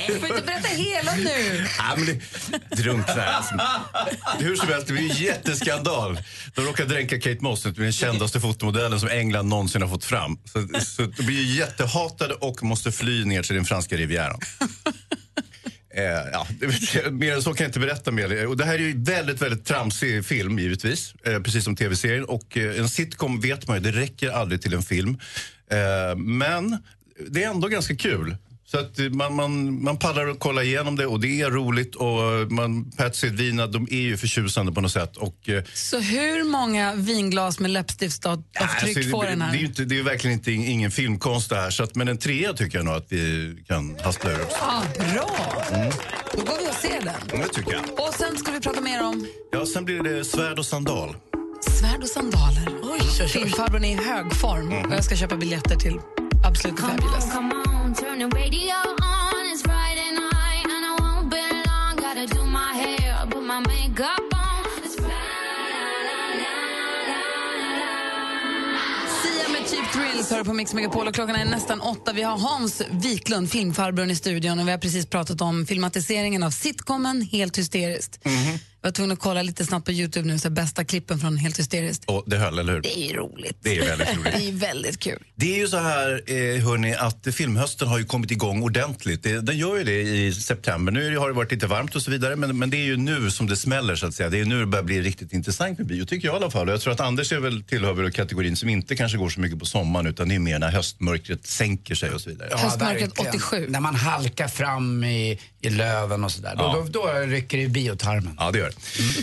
Speaker 2: Du får inte berätta hela nu.
Speaker 24: Ja, men det, drunknar. alltså. Hur som helst, det blir en jätteskandal. De råkar dränka Kate Moss, det blir den kändaste fotomodellen som England någonsin har fått fram. Så, så de blir ju jättehatade och måste fly ner till den franska rivieran. Eh, ja, det- mer än så kan jag inte berätta mer. Och det här är ju en väldigt, väldigt tramsig film givetvis, eh, precis som tv-serien. Och eh, en sitcom vet man ju, det räcker aldrig till en film. Eh, men det är ändå ganska kul. Så att eh, man, man, man pallar och kollar igenom det och det är roligt och eh, man, Patsy och Edwina, de är ju förtjusande på något sätt. Och, eh,
Speaker 2: Så hur många vinglas med läppstiftsavtryck
Speaker 24: alltså,
Speaker 2: får
Speaker 24: det,
Speaker 2: den
Speaker 24: det, är ju
Speaker 2: här?
Speaker 24: inte, det är ju verkligen inte, ingen filmkonst det här. Så att, men en trea tycker jag nog att vi kan hasta ur oss.
Speaker 2: Ah, bra! Då går vi och ser den.
Speaker 24: Mm, det tycker jag.
Speaker 2: Och sen ska vi prata mer om
Speaker 24: Ja, sen blir det svärd och sandal.
Speaker 2: svärd och sandaler. Filmfarbrorn är i hög form
Speaker 24: Mm.
Speaker 2: och jag ska köpa biljetter till Absolut Fabulous.
Speaker 8: Come on, turn the radio on. It's Friday night, and I won't be long. Gotta do my hair, put my makeup on. It's
Speaker 2: Sia med Cheap Thrills hör på Mix Megapol och klockan är nästan åtta. Vi har Hans Wiklund, filmfarbrorn i studion och vi har precis pratat om filmatiseringen av sitcomen Helt hysteriskt. Jag var tvungen att kolla lite snabbt på Youtube nu, så här, bästa klippen från Helt hysteriskt.
Speaker 24: Och det höll, eller hur?
Speaker 2: Det är ju roligt.
Speaker 24: Det är väldigt
Speaker 2: *laughs*
Speaker 24: roligt.
Speaker 2: Det är ju väldigt kul.
Speaker 24: Det är ju så här, eh, hörni, att filmhösten har ju kommit igång ordentligt. Det, den gör ju det i september. Nu är det- har det varit lite varmt och så vidare, men, men det är ju nu som det smäller så att säga. Det är ju nu det börjar bli riktigt intressant med bio, tycker jag i alla fall. Och Jag tror att Anders är väl tillhör väl kategorin som inte kanske går så mycket på sommaren, utan det är mer när höstmörkret sänker sig och så vidare.
Speaker 3: verkligen. När man halkar fram i, i löven och sådär.
Speaker 24: Ja.
Speaker 3: Då, då, då rycker det i biotarmen.
Speaker 24: Ja, det gör det.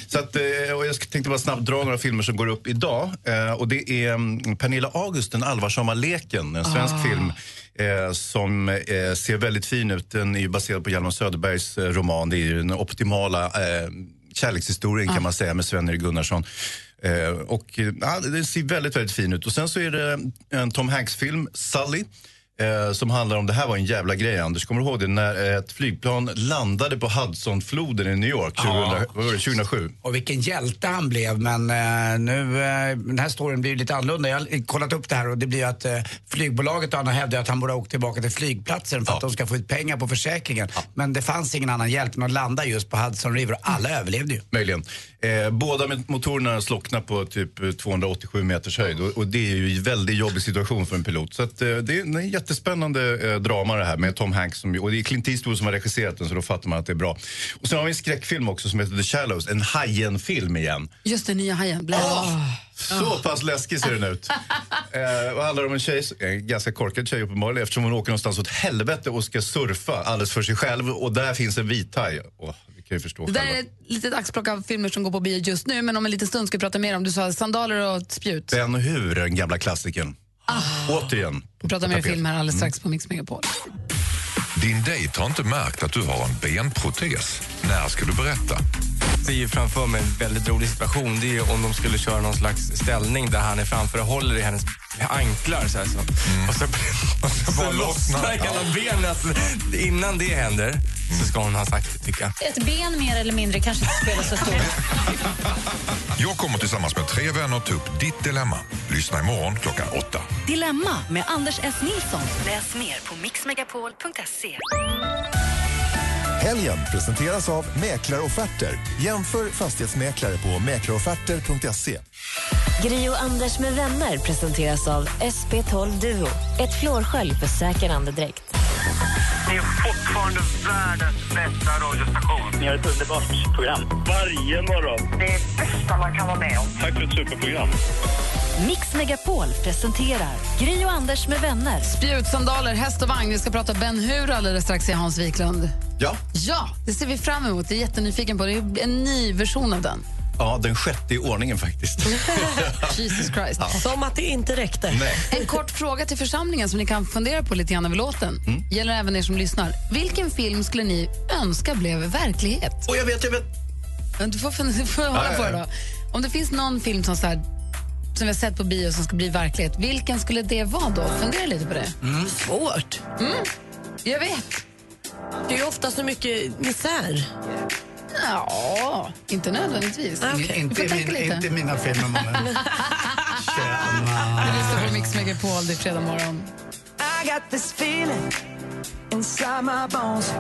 Speaker 24: Så att, eh, och jag ska- tänkte bara snabbt dra några filmer som går upp idag. Eh, Och det är mm, Pernilla August, Den allvarsamma leken, en svensk
Speaker 10: Ah.
Speaker 24: film eh, som eh, ser väldigt fin ut. Den är ju baserad på Hjalmar Söderbergs eh, roman. Det är ju den optimala eh, kärlekshistorien kan man säga med Sven-Erik Gunnarsson. Eh, och eh, ja, den ser väldigt, väldigt fin ut. Och sen så är det en Tom Hanks-film, Sully. Eh, eh, som handlar om, det här var en jävla grej Anders, kommer du ihåg det? När eh, ett flygplan landade på Hudsonfloden i New York 2000,
Speaker 3: Ja.
Speaker 24: vad var det, 2007.
Speaker 3: Och vilken hjälte han blev, men eh, nu, eh, den här storyn blir ju lite annorlunda. Jag har kollat upp det här och det blir ju att eh, flygbolaget och han hävdar att han borde ha åkt tillbaka till flygplatsen för att de ska få ut pengar på försäkringen. Men det fanns ingen annan hjälp än att landa just på Hudson River och alla överlevde ju.
Speaker 24: Möjligen. Eh, båda med- motorerna slocknade på typ eh, 287 meters höjd och, och det är ju en väldigt jobbig situation för en pilot. Så att, eh, det är en jättespännande eh, drama det här med Tom Hanks som, ju- och det är Clint Eastwood som har regisserat den så då fattar man att det är bra. Och sen har vi en skräckfilm också som heter The Shallows, en Hajen-film igen.
Speaker 2: Just den nya hajen. Blä.
Speaker 24: Så
Speaker 2: Ah.
Speaker 24: pass läskig ser den
Speaker 2: *laughs*
Speaker 24: ut. Eh, och handlar om en tjej, en ganska korkad tjej uppenbarligen eftersom hon åker någonstans åt helvete och ska surfa alldeles för sig själv och där finns en vit haj. Åh, vi kan ju förstå
Speaker 2: Det där
Speaker 24: själva.
Speaker 2: är ett litet axplock av filmer som går på bio just nu, men om en liten stund ska vi prata mer om. Du sa sandaler och spjut.
Speaker 24: Ben Hur, den gamla klassikern.
Speaker 2: Ah.
Speaker 24: Återigen.
Speaker 2: Vi pratar mer
Speaker 24: Tapet. Mm.
Speaker 2: film här alldeles strax på Mix Megapol.
Speaker 10: Din dejt har inte märkt att du har en benprotes. När ska du berätta?
Speaker 11: ser ju framför mig en väldigt rolig situation. Det är ju om de skulle köra någon slags ställning där han är framför och håller i hennes anklar. Så här, så. Och så, och Mm. så, bara lossnar hela benet. Innan det händer så ska hon ha sagt det, tycker jag.
Speaker 12: Ett ben mer eller mindre kanske inte spelar så stor
Speaker 10: Jag kommer tillsammans med tre vänner ta upp ditt dilemma. Lyssna imorgon klockan åtta.
Speaker 1: *laughs* Dilemma med Anders S. Nilsson. Läs mer på mixmegapol.se.
Speaker 16: Helgen presenteras av Mäklarofferter. Jämför fastighetsmäklare på mäklarofferter.se.
Speaker 21: Gri och Anders med vänner presenteras av SP12 Duo. Ett flårskölj för säker andedräkt.
Speaker 7: Ni är fortfarande världens bästa radiostation. Ni har ett underbart program. Varje morgon. Det är det bästa man kan vara med om. Tack för ett superprogram.
Speaker 1: Mix Megapol presenterar Gri och Anders med vänner.
Speaker 2: Spjut, sandaler, häst och vagn. Vi ska prata Ben Hur alldeles strax, i Hans Wiklund.
Speaker 24: Ja.
Speaker 2: Ja, det ser vi fram emot. Jag är jättenyfiken på det. Det är en ny version
Speaker 24: *laughs*
Speaker 2: av den.
Speaker 24: ja, den sjätte i ordningen faktiskt.
Speaker 2: Jesus Christ.
Speaker 24: Ja.
Speaker 4: Som att det inte räckte.
Speaker 2: En kort fråga till församlingen som ni kan fundera på lite grann över låten.
Speaker 24: Mm.
Speaker 2: Gäller även er som lyssnar. Vilken film skulle ni önska blev verklighet?
Speaker 24: Och jag vet, jag vet.
Speaker 2: Men Du får, *laughs* fun- du får hålla
Speaker 13: Ja, ja,
Speaker 2: på det
Speaker 13: ja.
Speaker 2: då. Om det finns någon film som, så här, som vi har sett på bio som ska bli verklighet, vilken skulle det vara då? Fundera lite på det.
Speaker 4: Mm. Svårt.
Speaker 2: Mm. Jag vet.
Speaker 4: Det är ju ofta så mycket misär.
Speaker 2: Ja, inte nödvändigtvis. Du får
Speaker 3: Inte,
Speaker 2: tänka
Speaker 3: min,
Speaker 2: lite.
Speaker 3: inte mina
Speaker 2: *laughs*
Speaker 3: filmer, mannen.
Speaker 2: Du lyssnar på Mix Megapol, det är fredag morgon.
Speaker 13: I got this feeling inside my bones.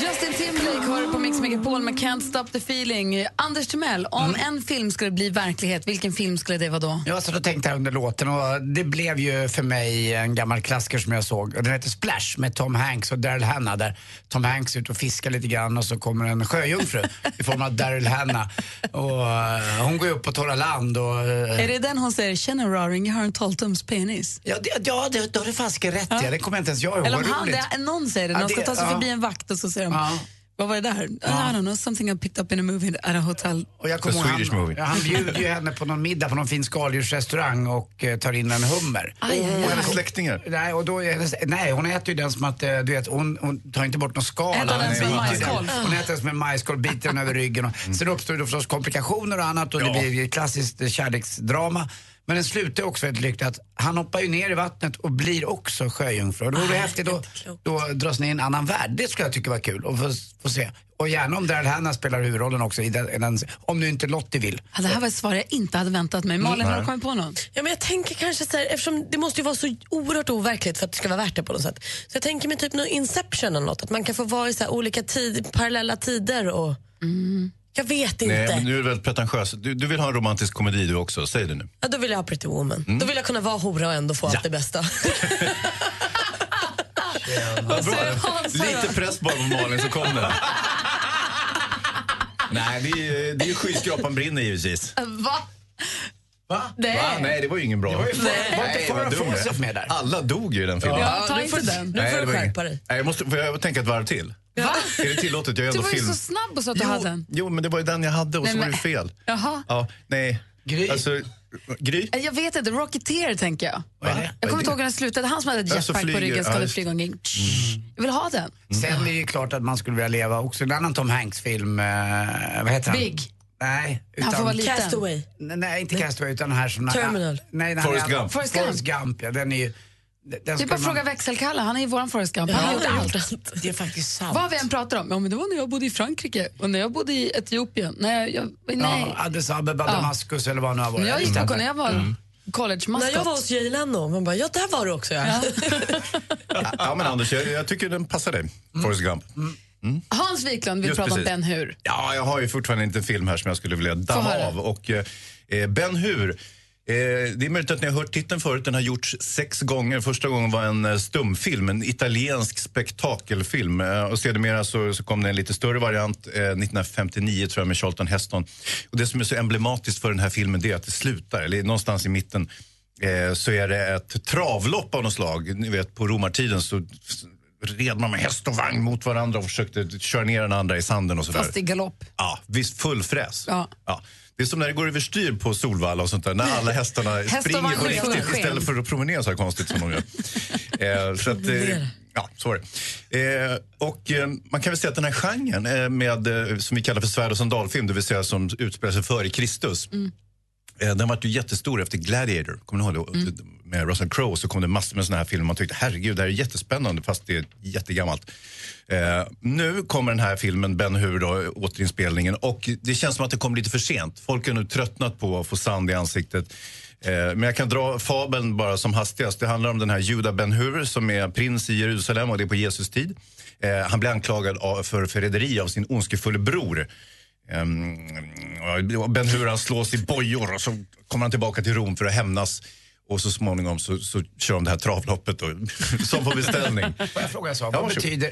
Speaker 2: Justin Timberlake hör på Mix Megapol med Can't Stop the Feeling. Anders Timell, om en film skulle bli verklighet, vilken film skulle det vara då?
Speaker 3: Mm. Jag satt och tänkte här under låten och det blev ju för mig en gammal klassiker som jag såg. Och Den heter Splash med Tom Hanks och Daryl Hannah där Tom Hanks är ute och fiskar lite grann och så kommer
Speaker 2: *laughs*
Speaker 3: en sjöjungfru i form av Daryl Hannah. Och eh, hon går upp på torra land och... eh,
Speaker 2: Är det den hon säger, känner raring, jag har en 12-tums penis?
Speaker 3: Ja, det, ja, det, det har du fasken rätt i. Det kommer inte ens jag ihåg.
Speaker 2: Eller om
Speaker 3: Vad
Speaker 2: han,
Speaker 3: roligt.
Speaker 2: det, någon säger det,
Speaker 3: Ja,
Speaker 2: någon ska
Speaker 3: det-
Speaker 2: ta sig
Speaker 3: ja.
Speaker 2: förbi en vakt och så säger de, vad var det där? I don't know, something I picked up in a movie at a hotel.
Speaker 3: Och jag kommer ihåg han, ja, han bjuder ju henne på någon middag på någon fin skaldjursrestaurang och eh, tar in en hummer.
Speaker 2: Aj, aj, aj.
Speaker 24: Och hennes släktingar?
Speaker 3: Nej, och då är hennes, nej, hon äter ju den som att, eh, du vet, hon, hon tar inte bort någon skal.
Speaker 2: Äter den
Speaker 3: Nej,
Speaker 2: som en
Speaker 3: nej,
Speaker 2: majskolv?
Speaker 3: nej. Hon äter den som en majskolv, biter den över ryggen. Och,
Speaker 24: Mm.
Speaker 3: Sen uppstår det förstås komplikationer och annat och det blir ju ett klassiskt eh, kärleksdrama. Men den slutar också väldigt lyckligt. Han hoppar ju ner i vattnet och blir också sjöjungfru. Och då vore det häftigt att då dras ner i en annan värld. Det skulle jag tycka var kul att få, få se. Och gärna om Daryl Hannah spelar huvudrollen också. I den, i den, om nu inte Lottie vill.
Speaker 2: Ja, det här var ett svar jag inte hade väntat mig. Malin, har du kommit på någon?
Speaker 4: Ja, men jag tänker kanske så här, eftersom det måste ju vara så oerhört overkligt för att det ska vara värt det på något sätt. Så jag tänker mig typ någon Inception eller något, att man kan få vara i så här olika tid, parallella tider och...
Speaker 2: Mm.
Speaker 4: Jag vet inte.
Speaker 24: Nej, men nu är det väldigt pretentiöst. Du, du vill ha en romantisk komedi du också, säg det nu.
Speaker 4: ja, då vill jag ha Pretty Woman.
Speaker 24: Mm.
Speaker 4: Då vill jag kunna vara hora och ändå få allt det bästa.
Speaker 24: Vad bra.
Speaker 4: säger Hans då?
Speaker 24: Lite press bara på Malin så
Speaker 2: *laughs*
Speaker 24: kommer den. Nej, det är, ju- det är ju skyskrapan brinner givetvis.
Speaker 2: Va?
Speaker 3: Va?
Speaker 2: Nej.
Speaker 24: Va? Nej, det var ju ingen bra.
Speaker 2: Det var ju- var inte
Speaker 24: vad
Speaker 2: Farah
Speaker 24: dum jag är.
Speaker 2: Forsyth
Speaker 3: med där?
Speaker 24: Alla dog ju i den filmen.
Speaker 2: Ja, ta inte den. Nu
Speaker 24: Nej,
Speaker 2: får
Speaker 24: det
Speaker 2: du
Speaker 24: var ingen-
Speaker 2: skärpa dig.
Speaker 24: Nej, jag måste, får jag tänka ett varv till?
Speaker 2: Va?
Speaker 24: Är det tillåtet? Jag är
Speaker 2: Du
Speaker 24: ändå
Speaker 2: var ju
Speaker 24: film.
Speaker 2: så snabb och sa att du
Speaker 24: Jo,
Speaker 2: hade en.
Speaker 24: Jo, men det var ju den jag hade och
Speaker 2: Nej,
Speaker 24: så var det
Speaker 2: men-
Speaker 24: ju fel.
Speaker 2: Jaha.
Speaker 24: Ja, nej. Gry. Alltså, gry?
Speaker 2: Jag vet inte, Rocketeer tänker jag.
Speaker 24: Vad är det?
Speaker 2: Jag kommer
Speaker 24: Vad är
Speaker 2: inte
Speaker 24: det?
Speaker 2: ihåg hur den slutade. Han som hade ett
Speaker 3: Ja, så
Speaker 2: jetpack på
Speaker 3: flyger-
Speaker 2: ryggen skulle
Speaker 3: ja, just- Mm.
Speaker 2: flyga omkring. Jag vill ha den.
Speaker 3: Sen är det ju klart att man skulle vilja leva också i en annan Tom Hanks-film. Eh, vad heter han?
Speaker 2: Big.
Speaker 3: Nej,
Speaker 2: Han får vara liten.
Speaker 4: Castaway.
Speaker 3: Nej, nej, inte Castaway utan den här som...
Speaker 2: Terminal.
Speaker 3: Nej, den
Speaker 2: Forrest
Speaker 3: här,
Speaker 2: Gump.
Speaker 3: Forrest
Speaker 2: Forrest
Speaker 3: Gump.
Speaker 2: Gump.
Speaker 3: ja den är ju... Den
Speaker 2: Det är
Speaker 3: skulle
Speaker 2: bara att
Speaker 3: man-
Speaker 2: fråga växelkalle, han är ju våran Forrest Gump. Han har gjort allt.
Speaker 3: Det är faktiskt sant.
Speaker 2: Vad vi än pratar om. Ja, men det var när jag bodde i Frankrike och när jag bodde i Etiopien. Nej, jag, nej.
Speaker 3: Ja, Addis Abeba,
Speaker 2: Ja.
Speaker 3: Damaskus eller vad det nu har varit.
Speaker 2: När jag gick på, när jag var
Speaker 3: Mm.
Speaker 2: college-maskot.
Speaker 4: När jag var hos Jay Leno, man bara, ja där var du också ja.
Speaker 24: Ja, men Anders, jag, jag tycker den passar dig, Forrest Gump.
Speaker 2: Hans Wiklund vill
Speaker 24: Just
Speaker 2: prata om
Speaker 24: precis.
Speaker 2: Ben Hur.
Speaker 24: Ja, jag har ju fortfarande inte en film här som jag skulle vilja damma
Speaker 2: höra.
Speaker 24: av. Och eh, Ben Hur. Eh, det är möjligt att ni har hört titeln förut. Den har gjorts sex gånger. Första gången var en eh, stumfilm, en italiensk spektakelfilm. Eh, och sedermera så, så kom det en lite större variant eh, 1959 tror jag med Charlton Heston. Och det som är så emblematiskt för den här filmen det är att det slutar, eller någonstans i mitten eh, så är det ett travlopp av något slag. Ni vet, på romartiden så red man med häst och vagn mot varandra och försökte köra ner den andra i sanden och sådär.
Speaker 2: Fast i galopp.
Speaker 24: Ja, visst full fräs.
Speaker 2: Ja.
Speaker 24: Det är som när det går överstyr på Solvalla och sånt där, när alla hästarna
Speaker 2: Häst och
Speaker 24: springer på
Speaker 2: vagn i
Speaker 24: riktigt
Speaker 2: fullsken.
Speaker 24: istället för att promenera så här konstigt som de gör. eh, så att, eh, ja, så var det. Eh, och eh, man kan väl säga att den här genren eh, med, eh, som vi kallar för svärd och sandalfilm, det vill säga som utspelar sig före Kristus, Eh, Den var ju jättestor efter Gladiator. Kommer ni ihåg det? Med Russell Crowe så kom det massor med såna här filmer. Man tyckte herregud, det här är jättespännande fast det är jättegammalt. Eh, nu kommer den här filmen, Ben Hur, då, återinspelningen. Och det känns som att det kom lite för sent. Folk har nu tröttnat på att få sand i ansiktet. Eh, Men jag kan dra fabeln bara som hastigast. Det handlar om den här Juda Ben Hur som är prins i Jerusalem och det är på Jesus tid. Eh, Han blir anklagad av- för förräderi av sin ondskefulle bror. Ehm, och Ben Hur han slås i bojor och så kommer han tillbaka till Rom för att hämnas. Och så småningom så, så kör de det här travloppet då, *laughs* som på beställning.
Speaker 3: Får jag fråga en sak?
Speaker 24: Ja,
Speaker 3: Vad
Speaker 24: varsågod.
Speaker 3: betyder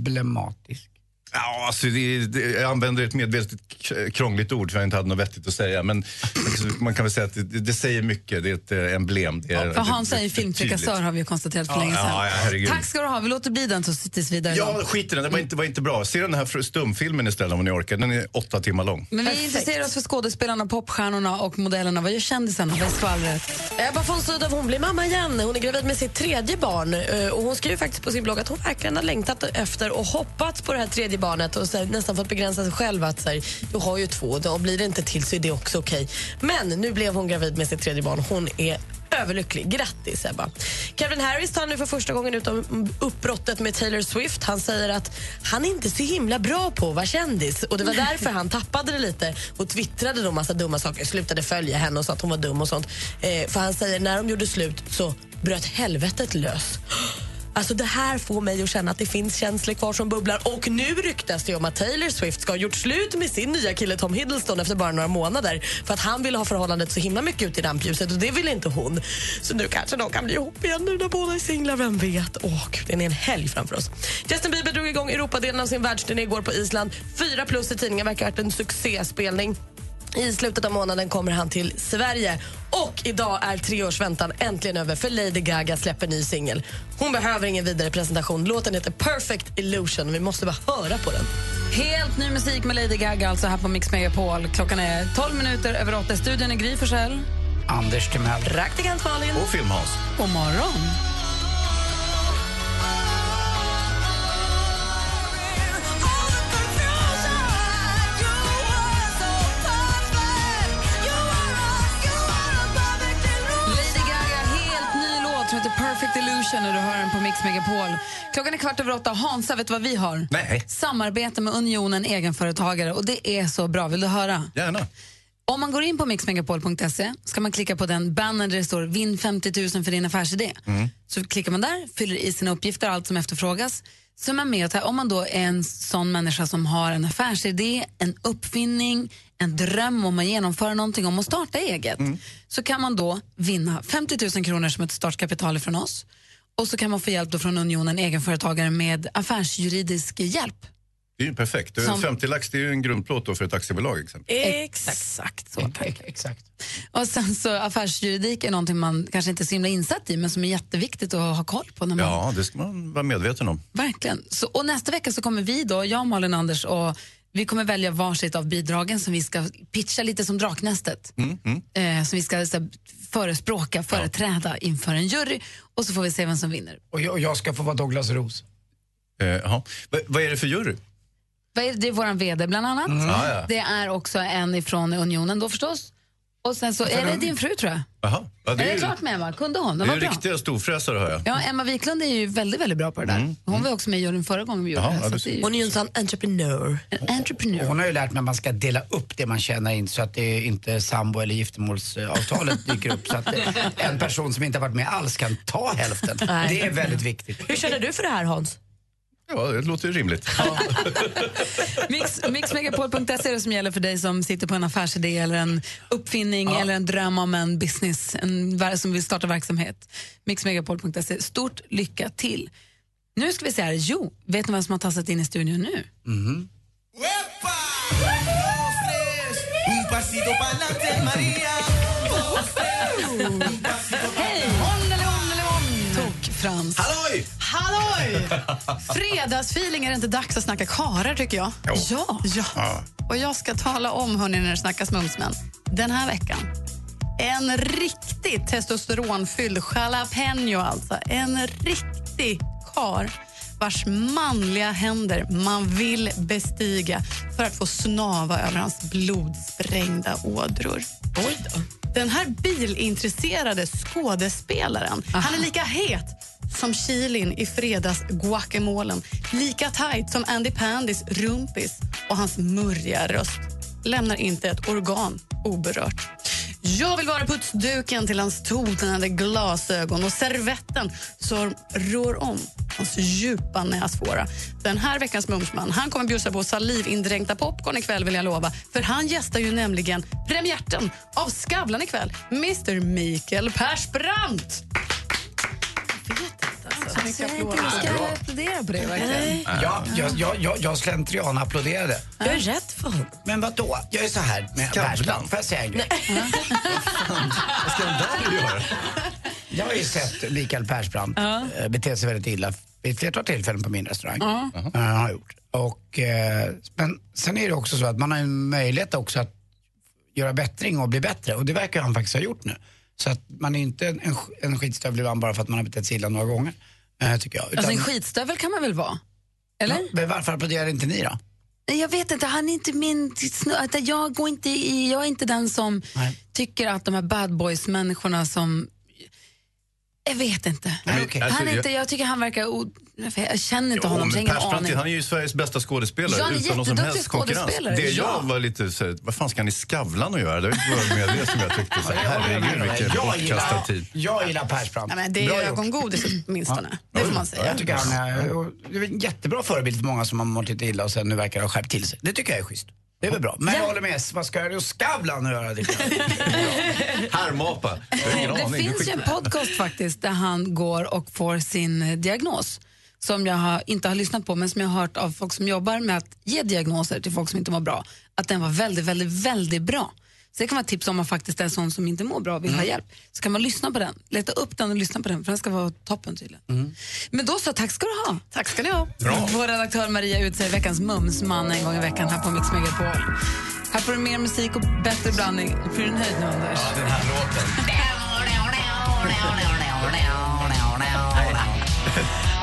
Speaker 3: emblematisk?
Speaker 24: Ja, alltså det, det, jag använder ett medvetet k- krångligt ord för jag inte hade något vettigt att säga. Men *laughs* man kan väl säga att det, det säger mycket. Det är ett eh, emblem. Det är,
Speaker 2: För Hans
Speaker 24: det-
Speaker 2: är ju
Speaker 24: det- det är
Speaker 2: filmfrikassör
Speaker 24: tydligt.
Speaker 2: har vi ju konstaterat för
Speaker 24: Ja,
Speaker 2: länge sedan.
Speaker 24: ja, ja, herregud.
Speaker 2: Tack ska du ha, vi låter bli den så tills vidare.
Speaker 24: Ja,
Speaker 2: idag.
Speaker 24: skit i den. Det var inte, var inte bra. Se den här fr- stumfilmen istället om ni orkar. Den är åtta timmar lång.
Speaker 2: Men vi intresserar oss för skådespelarna, popstjärnorna och modellerna. Vad gör kändisarna? Vad är skvallret?
Speaker 4: Ebba von Sydow hon blir mamma igen. Hon är gravid med *laughs* sitt tredje barn. Eh, Och Hon skriver faktiskt på sin blogg att hon verkligen har längtat efter och hoppats på det här tredje barnet och så här, nästan fått begränsa sig själv. Att, så här, du har ju två, då blir det inte till så är det också okej. Men nu blev hon gravid med sitt tredje barn. Hon är överlycklig. Grattis, Ebba. Kevin Harris tar nu för första gången ut om uppbrottet med Taylor Swift. Han säger att han är inte så himla bra på att vara kändis och det var därför han tappade det lite och twittrade då massa dumma saker, slutade följa henne och sa att hon var dum och sånt. Eh, för han säger när de gjorde slut så bröt helvetet lös. Alltså det här får mig att känna att det finns känslor kvar som bubblar och nu ryktas det om att Taylor Swift ska ha gjort slut med sin nya kille Tom Hiddleston efter bara några månader för att han ville ha förhållandet så himla mycket ut i rampljuset och det ville inte hon. Så nu kanske de kan bli ihop igen nu när båda är singlar, vem vet? Åh gud, det är en helg framför oss. Justin Bieber drog igång Europadelen av sin världsturné igår på Island. Fyra plus i tidningen verkar ha varit en succéspelning. I slutet av månaden kommer han till Sverige. Och idag är tre års väntan äntligen över för Lady Gaga släpper ny singel. Hon behöver ingen vidare presentation. Låten heter Perfect Illusion. Vi måste bara höra på den.
Speaker 2: Helt ny musik med Lady Gaga alltså här på Mix Megapol. Klockan är 12 minuter över 8. Studion är Gry Forssell.
Speaker 3: Anders Timell.
Speaker 4: Praktikant Malin.
Speaker 24: Och film-Hans.
Speaker 2: God morgon. Lady Gaga, helt ny låt som heter Perfect Illusion och du hör den på Mix Megapol. Klockan är kvart över åtta. Hansa, vet du vad vi har?
Speaker 24: Nej.
Speaker 2: Samarbete med Unionen egenföretagare och det är så bra. Vill du höra?
Speaker 24: Gärna.
Speaker 2: Om man går in på mixmegapol.se ska man klicka på den banner där det står vinn 50 000 för din affärsidé.
Speaker 11: Mm.
Speaker 2: Så klickar man där, fyller i sina uppgifter allt som efterfrågas. Så är man med och tar- om man då är en sån människa som har en affärsidé, en uppfinning, en dröm om att genomföra någonting, om att starta eget, så kan man då vinna 50 000 kronor som ett startkapital från oss. Och så kan man få hjälp då från Unionen Egenföretagare med affärsjuridisk hjälp.
Speaker 24: Det är ju perfekt.
Speaker 2: Som-
Speaker 24: 50 lax det är ju en grundplåt då för ett aktiebolag. Exempel. Mm.
Speaker 2: Exakt så.
Speaker 3: Ex- Exakt.
Speaker 2: Och sen så affärsjuridik är någonting man kanske inte är så himla insatt i men som är jätteviktigt att ha koll på. När man,
Speaker 24: Ja, det ska man vara medveten om.
Speaker 2: Verkligen. Så, och nästa vecka så kommer vi då, jag, Malin och Anders och vi kommer välja varsitt av bidragen som vi ska pitcha lite som Draknästet.
Speaker 24: Mm, mm.
Speaker 2: Eh, som vi ska så, här, förespråka, företräda inför en jury och så får vi se vem som vinner.
Speaker 3: Och jag, och jag ska få vara Douglas Ros.
Speaker 24: Eh, jaha. Va- vad är det för jury?
Speaker 2: Vad är det? det är vår VD bland annat.
Speaker 24: Mm. Ja, ja.
Speaker 2: Det är också en ifrån Unionen då förstås. Och sen så är det din fru tror jag.
Speaker 24: Jaha. Ja,
Speaker 2: det är,
Speaker 24: ju-
Speaker 2: det klart med Emma? Kunde hon?
Speaker 24: Det
Speaker 2: Det
Speaker 24: är
Speaker 2: var
Speaker 24: ju
Speaker 2: bra.
Speaker 24: riktiga storfräsare, hör jag.
Speaker 2: Ja, Emma Wiklund är ju väldigt, väldigt bra på det
Speaker 24: Mm.
Speaker 2: där. Hon var också med i juryn förra gången vi gjorde
Speaker 3: Jaha,
Speaker 2: det. här,
Speaker 3: ja,
Speaker 2: Så att
Speaker 3: precis.
Speaker 2: det är ju...
Speaker 3: Hon
Speaker 4: är ju en sån entreprenör.
Speaker 2: entreprenör.
Speaker 3: Hon har ju lärt mig att man ska dela upp det man tjänar in så att det inte sambo
Speaker 4: *laughs*
Speaker 3: eller giftermålsavtalet dyker upp. Så att eh, en person som inte har varit med alls kan ta hälften.
Speaker 4: Nej.
Speaker 3: Det är väldigt viktigt.
Speaker 4: Hur känner du för det här Hans?
Speaker 24: Ja, det låter ju
Speaker 2: *laughs*
Speaker 24: rimligt.
Speaker 2: Mix, mixmegapol.se är det som gäller för dig som sitter på en affärsidé eller en uppfinning eller en dröm om en business, en ver- som vill starta verksamhet. Mixmegapol.se. Stort lycka till! Nu ska vi se här, jo, vet ni vem som har tassat in i studion nu?
Speaker 3: Mhm.
Speaker 2: Hej! Hon eller hon eller hon! Tok-Frans.
Speaker 24: Halloj!
Speaker 14: Halloj! Fredagsfeeling, är det inte dags att snacka karar tycker jag? Ja. ja. Och jag ska tala om, hörni, när det snackas mumsmän, den här veckan. En riktigt testosteronfylld jalapeno alltså. En riktig kar vars manliga händer man vill bestiga för att få snava över hans blodsprängda ådror. Oj Den här bilintresserade skådespelaren, han är lika het som chilin i fredags guacamolen, lika tajt som Andy Pandys rumpis och hans murriga röst lämnar inte ett organ oberört. Jag vill vara putsduken till hans tonande glasögon och servetten som rår om hans djupa näsfåra. Den här veckans mumsman han kommer bjussa på salivindränkta popcorn ikväll vill jag lova. För han gästar ju nämligen premiärten av Skavlan ikväll, Mr Mikael Persbrandt. Jag vet inte. Alltså. Så mycket applåder.
Speaker 2: Ska jag applådera på det verkligen?
Speaker 3: Ja, jag, jag, jag, jag slentrian applåderade.
Speaker 4: Du är rätt för honom.
Speaker 3: Men vad då? Jag är så här med
Speaker 4: Skavlan.
Speaker 3: Persbrandt. Får jag säga en grej?
Speaker 24: Vad ska den där göra?
Speaker 3: Jag har ju sett Mikael Persbrandt eh, bete sig väldigt illa vid ett flertal tillfällen på min restaurang.
Speaker 7: Ja.
Speaker 3: Eh, har jag gjort. Och, eh, men sen är det också så att man har en möjlighet också att göra bättring och bli bättre. Och det verkar han faktiskt ha gjort nu. Så att man är inte en, en, sk- en skitstövel ibland bara för att man har betett sig illa några gånger. eh, tycker jag.
Speaker 2: Alltså en skitstövel kan man väl vara? Eller?
Speaker 3: Ja, men varför applåderar inte ni då?
Speaker 2: Nej, Jag vet inte, han är inte min... att Jag, går inte i, jag är inte den som tycker att de här bad boys-människorna som... Jag vet inte.
Speaker 24: Alltså,
Speaker 2: han är
Speaker 24: jag-
Speaker 2: inte jag tycker han verkar... O, jag känner inte
Speaker 24: Jo,
Speaker 2: honom, så jag
Speaker 24: men
Speaker 2: har ingen
Speaker 24: Persbrandt,
Speaker 2: aning.
Speaker 24: han är ju Sveriges bästa skådespelare
Speaker 2: Ja, han är
Speaker 24: utan någon som
Speaker 2: jätteduktig
Speaker 24: helst konkurrens.
Speaker 2: skådespelare,
Speaker 24: Det
Speaker 2: ja.
Speaker 24: jag var lite så här, vad fan ska han i Skavlan att göra? Det var mer det som jag tyckte. Så, här, herregud, vilken
Speaker 3: Jag gillar,
Speaker 24: bortkastad tid.
Speaker 3: jag gillar Persbrandt.
Speaker 14: Nej, men det
Speaker 3: Bra
Speaker 14: är
Speaker 3: gjort.
Speaker 14: ögongodis åtminstone. Det får man säga.
Speaker 3: Jag tycker han är, och det är en jättebra förebild för många som har mått lite illa och sen nu verkar ha skärpt till sig. Det tycker jag är schysst. Det är väl bra. Men jag håller med, vad ska jag och Skavlan
Speaker 2: *laughs*
Speaker 3: att göra? Det kan jag inte.
Speaker 24: Härmapa.
Speaker 2: Det finns ju en podcast faktiskt där han går och får sin eh, diagnos som jag har, inte har lyssnat på men som jag har hört av folk som jobbar med att ge diagnoser till folk som inte mår bra. Att den var väldigt, väldigt, väldigt bra. Så det kan vara ett tips om man faktiskt är en sån som inte mår bra och vill ha hjälp. Så kan man lyssna på den. Leta upp den och lyssna på den för den ska vara toppen tydligen. Men då så, tack ska du ha.
Speaker 14: Tack ska ni ha.
Speaker 2: Bra. Vår redaktör Maria utser veckans mumsman en gång i veckan här på Mix Megapol. Här får du mer musik och bättre blandning. Blir du nöjd nu Anders?
Speaker 7: Den här låten.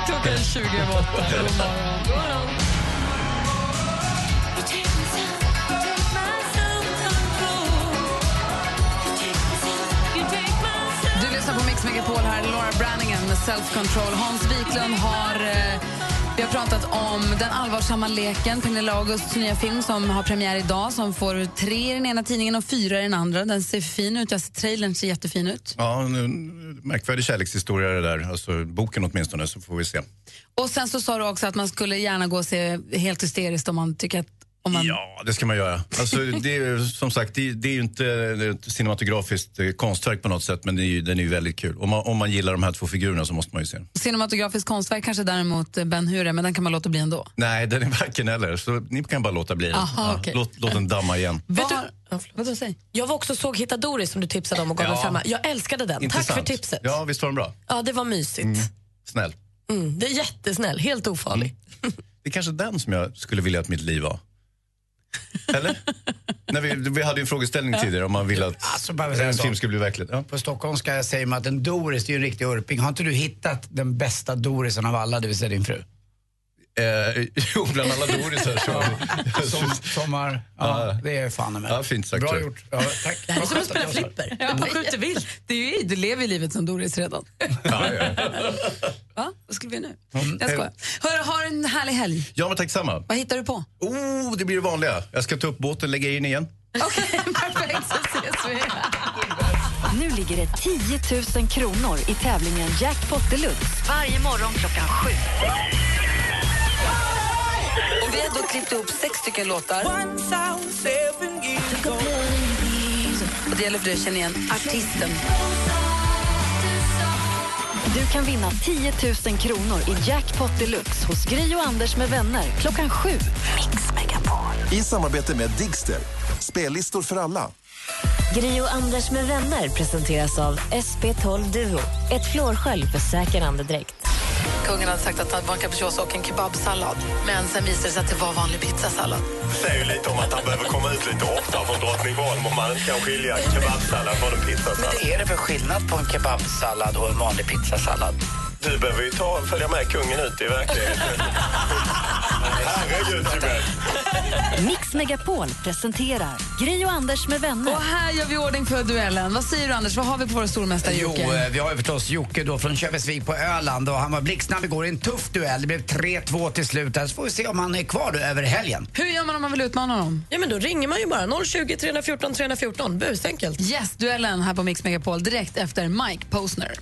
Speaker 2: Klockan 20 över åtta. God morgon. God morgon. Du lyssnar på Mix Megapol här, Laura Branningen med Self Control. Hans Wiklund har... Eh, vi har pratat om den allvarsamma leken, Pernilla Augusts nya film som har premiär idag som får tre i den ena tidningen och fyra i den andra. Den ser fin ut, jag ser trailern ser jättefin ut.
Speaker 24: Ja, en, en märkvärdig kärlekshistoria det där. Alltså boken åtminstone, så får vi se.
Speaker 2: Och sen så sa du också att man skulle gärna gå och se helt hysteriskt om man tycker att... Om man...
Speaker 24: Ja, det ska man göra. Alltså, det är, ju, som sagt, det, det är ju inte ett cinematografiskt eh, konstverk på något sätt, men det är ju, den är ju väldigt kul. Om man, om man gillar de här två figurerna så måste man ju se den.
Speaker 2: Cinematografiskt konstverk kanske däremot eh, Ben Hur är, men den kan man låta bli ändå.
Speaker 24: Nej, den är varken eller, så ni kan bara låta bli den.
Speaker 2: Aha, okej.
Speaker 24: låt, låt den damma igen.
Speaker 4: Vet du,
Speaker 2: vadå, säg?
Speaker 4: Jag var också och såg Hitta Doris som du tipsade om och gav
Speaker 24: Ja.
Speaker 4: mig femma. Jag älskade den. Tack för
Speaker 24: Intressant.
Speaker 4: tipset.
Speaker 24: Ja, visst var den bra?
Speaker 4: Ja, det var mysigt.
Speaker 24: Mm. Snäll.
Speaker 4: Mm, det är jättesnäll, helt ofarlig.
Speaker 24: Det är kanske den som jag skulle vilja att mitt liv var.
Speaker 2: *laughs*
Speaker 24: Eller? Nej, vi, vi hade ju en frågeställning tidigare om man ville att
Speaker 3: Alltså, bara säga
Speaker 24: en
Speaker 3: så.
Speaker 24: film skulle bli verklighet. Ja.
Speaker 3: På stockholmska säger man att
Speaker 24: *laughs*
Speaker 3: en Doris, det är ju en riktig urping. Har inte du hittat den bästa Dorisen av alla, det vill säga din fru?
Speaker 24: Eh, *laughs* jo, bland alla Dorisar så...
Speaker 3: Som, sommar... Ja, det är fan i mig.
Speaker 24: Ja, fint sagt.
Speaker 3: Bra
Speaker 24: tror jag.
Speaker 3: gjort. Ja, tack.
Speaker 2: Det här är som att spela flipper. Ja. Skjuter vilt. Det är ju, du lever ju livet som Doris redan.
Speaker 24: Ja, ja.
Speaker 2: *laughs* Va? Vad ska vi nu?
Speaker 24: Mm.
Speaker 2: Jag skojar. Hörru, ha en härlig *laughs* helg.
Speaker 24: Ja, men tack samma.
Speaker 2: Vad hittar du på?
Speaker 24: Oh, det blir det vanliga. Jag ska ta upp båten, lägga in igen.
Speaker 2: Perfekt, så ses vi.
Speaker 1: Nu ligger det 10 000 kronor i tävlingen Jackpot Deluxe varje morgon klockan sju.
Speaker 19: Och vi har då klippt ihop sex stycken låtar. Och det gäller för dig att känna igen artisten.
Speaker 1: Du kan vinna 10 000 kronor i Jackpot Deluxe hos Gry och Anders med vänner klockan sju.
Speaker 16: I samarbete med Digster. Spellistor för alla.
Speaker 21: Gri och Anders med vänner presenteras av SP12 Duo. Ett flårskölj för säker andedräkt.
Speaker 14: Kungen hade sagt att han var en capricciosa och en kebabsallad. Men sen visade det sig att det var vanlig pizzasallad.
Speaker 7: säger ju lite om att han behöver komma ut lite oftare från Drottningholm om man inte kan skilja kebabsallad från en pizzasallad.
Speaker 3: Vad är det för skillnad på en kebabsallad och en vanlig pizzasallad?
Speaker 7: Du behöver ju ta, följa med kungen ut i verkligheten. Herregud, Tibet.
Speaker 1: Mix Megapol presenterar Gri och Anders med vänner.
Speaker 2: Och här gör vi ordning för duellen. Vad säger du Anders? Vad har vi på vår stormästare
Speaker 3: Jo,
Speaker 2: Jocke?
Speaker 3: eh, vi har ju förstås Jocke då från Köpesvik på Öland och han var blixtsnabb igår i en tuff duell. Det blev 3-2 till slut här, så får vi se om han är kvar då över helgen.
Speaker 2: Hur gör man om man vill utmana honom?
Speaker 4: Ja, men då ringer man ju bara 020 314 314. Busenkelt.
Speaker 2: Yes, duellen här på Mix Megapol direkt efter Mike Posner.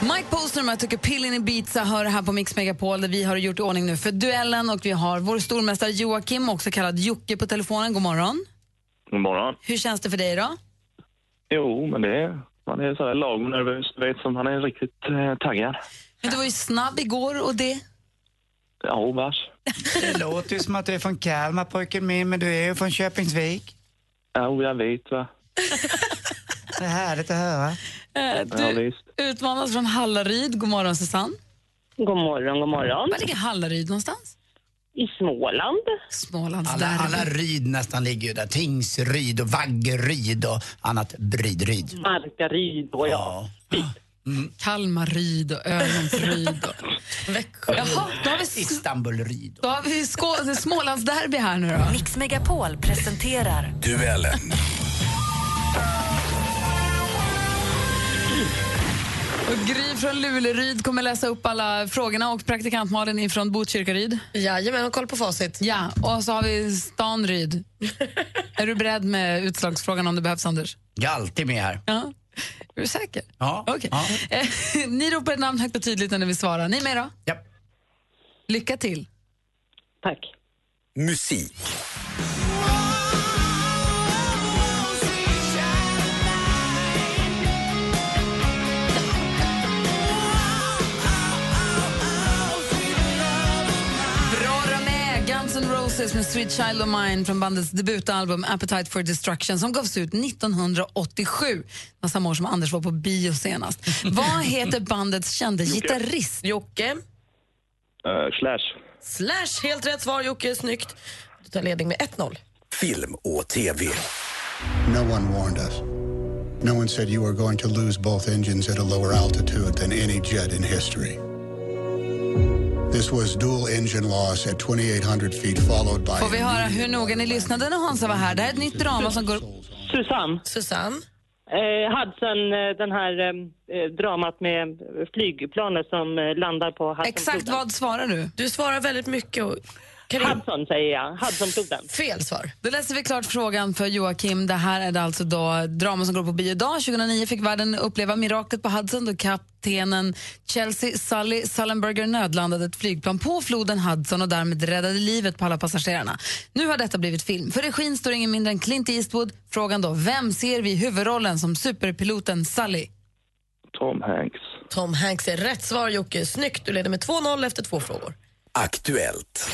Speaker 2: Mike Posner med tycker Pillin i Ibiza hör här på Mix Megapol där vi har gjort i ordning nu för duellen och vi har vår stormästare Joakim, också kallad Jocke, på telefonen. God morgon.
Speaker 15: God morgon.
Speaker 2: Hur känns det för dig idag?
Speaker 15: Jo, men det är, man är så här lagom nervös. Du vet, som man är riktigt eh, taggad.
Speaker 2: Men du var ju snabb igår och det...
Speaker 15: Ja, vars.
Speaker 3: Det låter ju som att du är från Kalmar pojken min, men du är ju från Köpingsvik.
Speaker 15: Ja, jag vet va.
Speaker 3: Det är härligt att höra.
Speaker 2: Eh,
Speaker 15: Ja,
Speaker 2: Du
Speaker 15: visst.
Speaker 2: utmanas från Hallaryd. God morgon, Susanne.
Speaker 17: God morgon, god morgon.
Speaker 2: Var ligger Hallaryd någonstans?
Speaker 17: I Småland.
Speaker 2: Smålandsderby.
Speaker 3: Alla, alla ryd nästan ligger ju där. Tingsryd och Vaggeryd och annat brydryd.
Speaker 17: Markaryd och Typ. ja.
Speaker 3: Mm.
Speaker 2: Kalmaryd och
Speaker 17: *laughs*
Speaker 2: Örnsköldsryd och Växjö. Jaha, då har vi
Speaker 3: Istanbulryd.
Speaker 2: Då har vi Skå- Smålandsderby här nu då.
Speaker 1: Mix Megapol presenterar
Speaker 6: Duellen.
Speaker 2: Och Gry från Luleryd kommer läsa upp alla frågorna och praktikant Malin ifrån Botkyrkaryd.
Speaker 4: Jajamän, och koll på facit.
Speaker 2: Ja, och så har vi Stanryd. är du beredd med utslagsfrågan om det behövs, Anders?
Speaker 3: Jag är alltid med här.
Speaker 2: Ja. Är du säker?
Speaker 3: Ja.
Speaker 2: Okej. Eh, Ni ropar ett namn högt och tydligt när ni vill svara. Ni är med då?
Speaker 3: Ja.
Speaker 2: Lycka till.
Speaker 17: Tack.
Speaker 6: Musik.
Speaker 2: Bra de är! Guns N' Roses med Sweet Child of Mine från bandets debutalbum Appetite for Destruction som gavs ut 1987. Det var samma år som Anders var på bio senast. Vad heter bandets kände
Speaker 15: Jocke.
Speaker 2: gitarrist?
Speaker 4: Jocke.
Speaker 15: Eh, slash.
Speaker 4: Slash, helt rätt svar Jocke, snyggt. Du tar ledning med 1-0.
Speaker 18: Film och TV. No one warned us. No one said you were going to lose both engines at a lower altitude than any jet in history. This was dual engine loss at 2,800 feet, followed by.
Speaker 2: Får vi höra hur noga ni lyssnade när Hansa var här? Det här är ett nytt drama som går...
Speaker 17: Susanne.
Speaker 4: Susanne.
Speaker 17: Eh, Hudson, eh, den här eh, dramat med flygplanet som eh, landar på Hudsonfloden.
Speaker 2: Exakt vad svarar du?
Speaker 4: Du svarar väldigt mycket. Och...
Speaker 17: Hudson säger jag, Hudsonfloden.
Speaker 4: Fel svar.
Speaker 2: Då läser vi klart frågan för Joakim. Det här är det alltså då drama som går på bio idag. 2009 fick världen uppleva miraklet på Hudson då kaptenen Chelsea Sully Sullenberger nödlandade ett flygplan på floden Hudson och därmed räddade livet på alla passagerarna. Nu har detta blivit film. För regin står ingen mindre än Clint Eastwood. Frågan då, vem ser vi i huvudrollen som superpiloten Sully?
Speaker 15: Tom Hanks.
Speaker 4: Tom Hanks är rätt svar Jocke, snyggt. Du leder med 2-0 efter två frågor.
Speaker 18: Aktuellt.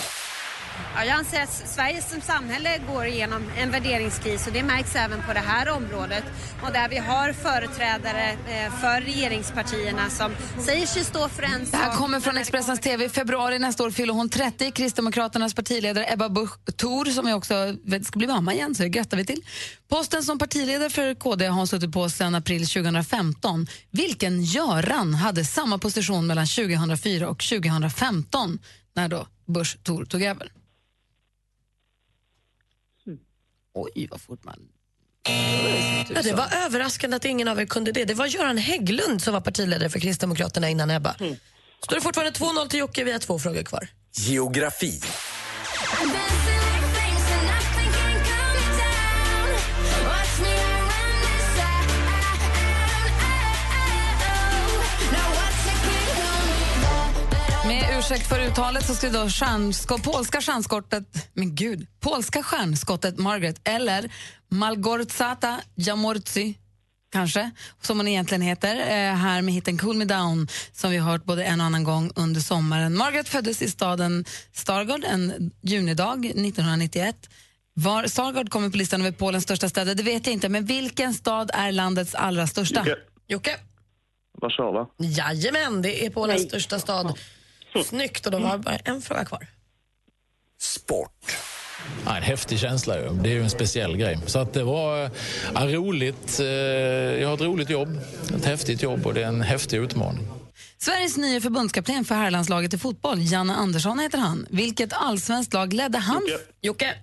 Speaker 25: Ja, jag anser att Sverige som samhälle går igenom en värderingskris och det märks även på det här området. Och där vi har företrädare eh, för regeringspartierna som säger sig stå för en
Speaker 2: Det här
Speaker 25: sak,
Speaker 2: kommer från
Speaker 25: men-
Speaker 2: Expressens TV. I februari nästa år fyller hon 30. Kristdemokraternas partiledare Ebba Busch Thor, som ju också ska bli mamma igen, så det grattar vi till. Posten som partiledare för KD har hon suttit på sedan april 2015. Vilken Göran hade samma position mellan 2004 och 2015 när då Busch Thor tog över? Oj, vad fort man...
Speaker 4: Ja, det var överraskande att ingen av er kunde det. Det var Göran Hägglund som var partiledare för Kristdemokraterna innan Ebba.
Speaker 17: Mm.
Speaker 4: Står det fortfarande 2-0 till Jocke? Vi har två frågor kvar.
Speaker 9: Geografi.
Speaker 2: Med ursäkt för uttalet så skulle då stjärnsko- polska stjärnskottet, men gud, polska stjärnskottet Margaret eller Malgorzata Jamorzi kanske, som hon egentligen heter, eh, här med hiten Cool Me Down som vi har hört både en och annan gång under sommaren. Margaret föddes i staden Stargard en junidag 1991. Var Stargard kommer på listan över Polens största städer, det vet jag inte, men vilken stad är landets allra största?
Speaker 15: Jocke.
Speaker 4: Jocke?
Speaker 15: Warszawa.
Speaker 4: Jajamän, det är Polens största stad. Snyggt, och då var bara en fråga kvar.
Speaker 9: Sport.
Speaker 20: Ja, en häftig känsla. ju. Det är ju en speciell grej. Så att det var ja, roligt. eh, Jag har ett roligt jobb, ett häftigt jobb och det är en häftig utmaning.
Speaker 2: Sveriges nya förbundskapten för herrlandslaget i fotboll, Janne Andersson heter han. Vilket allsvenskt lag ledde han?
Speaker 4: Jocke?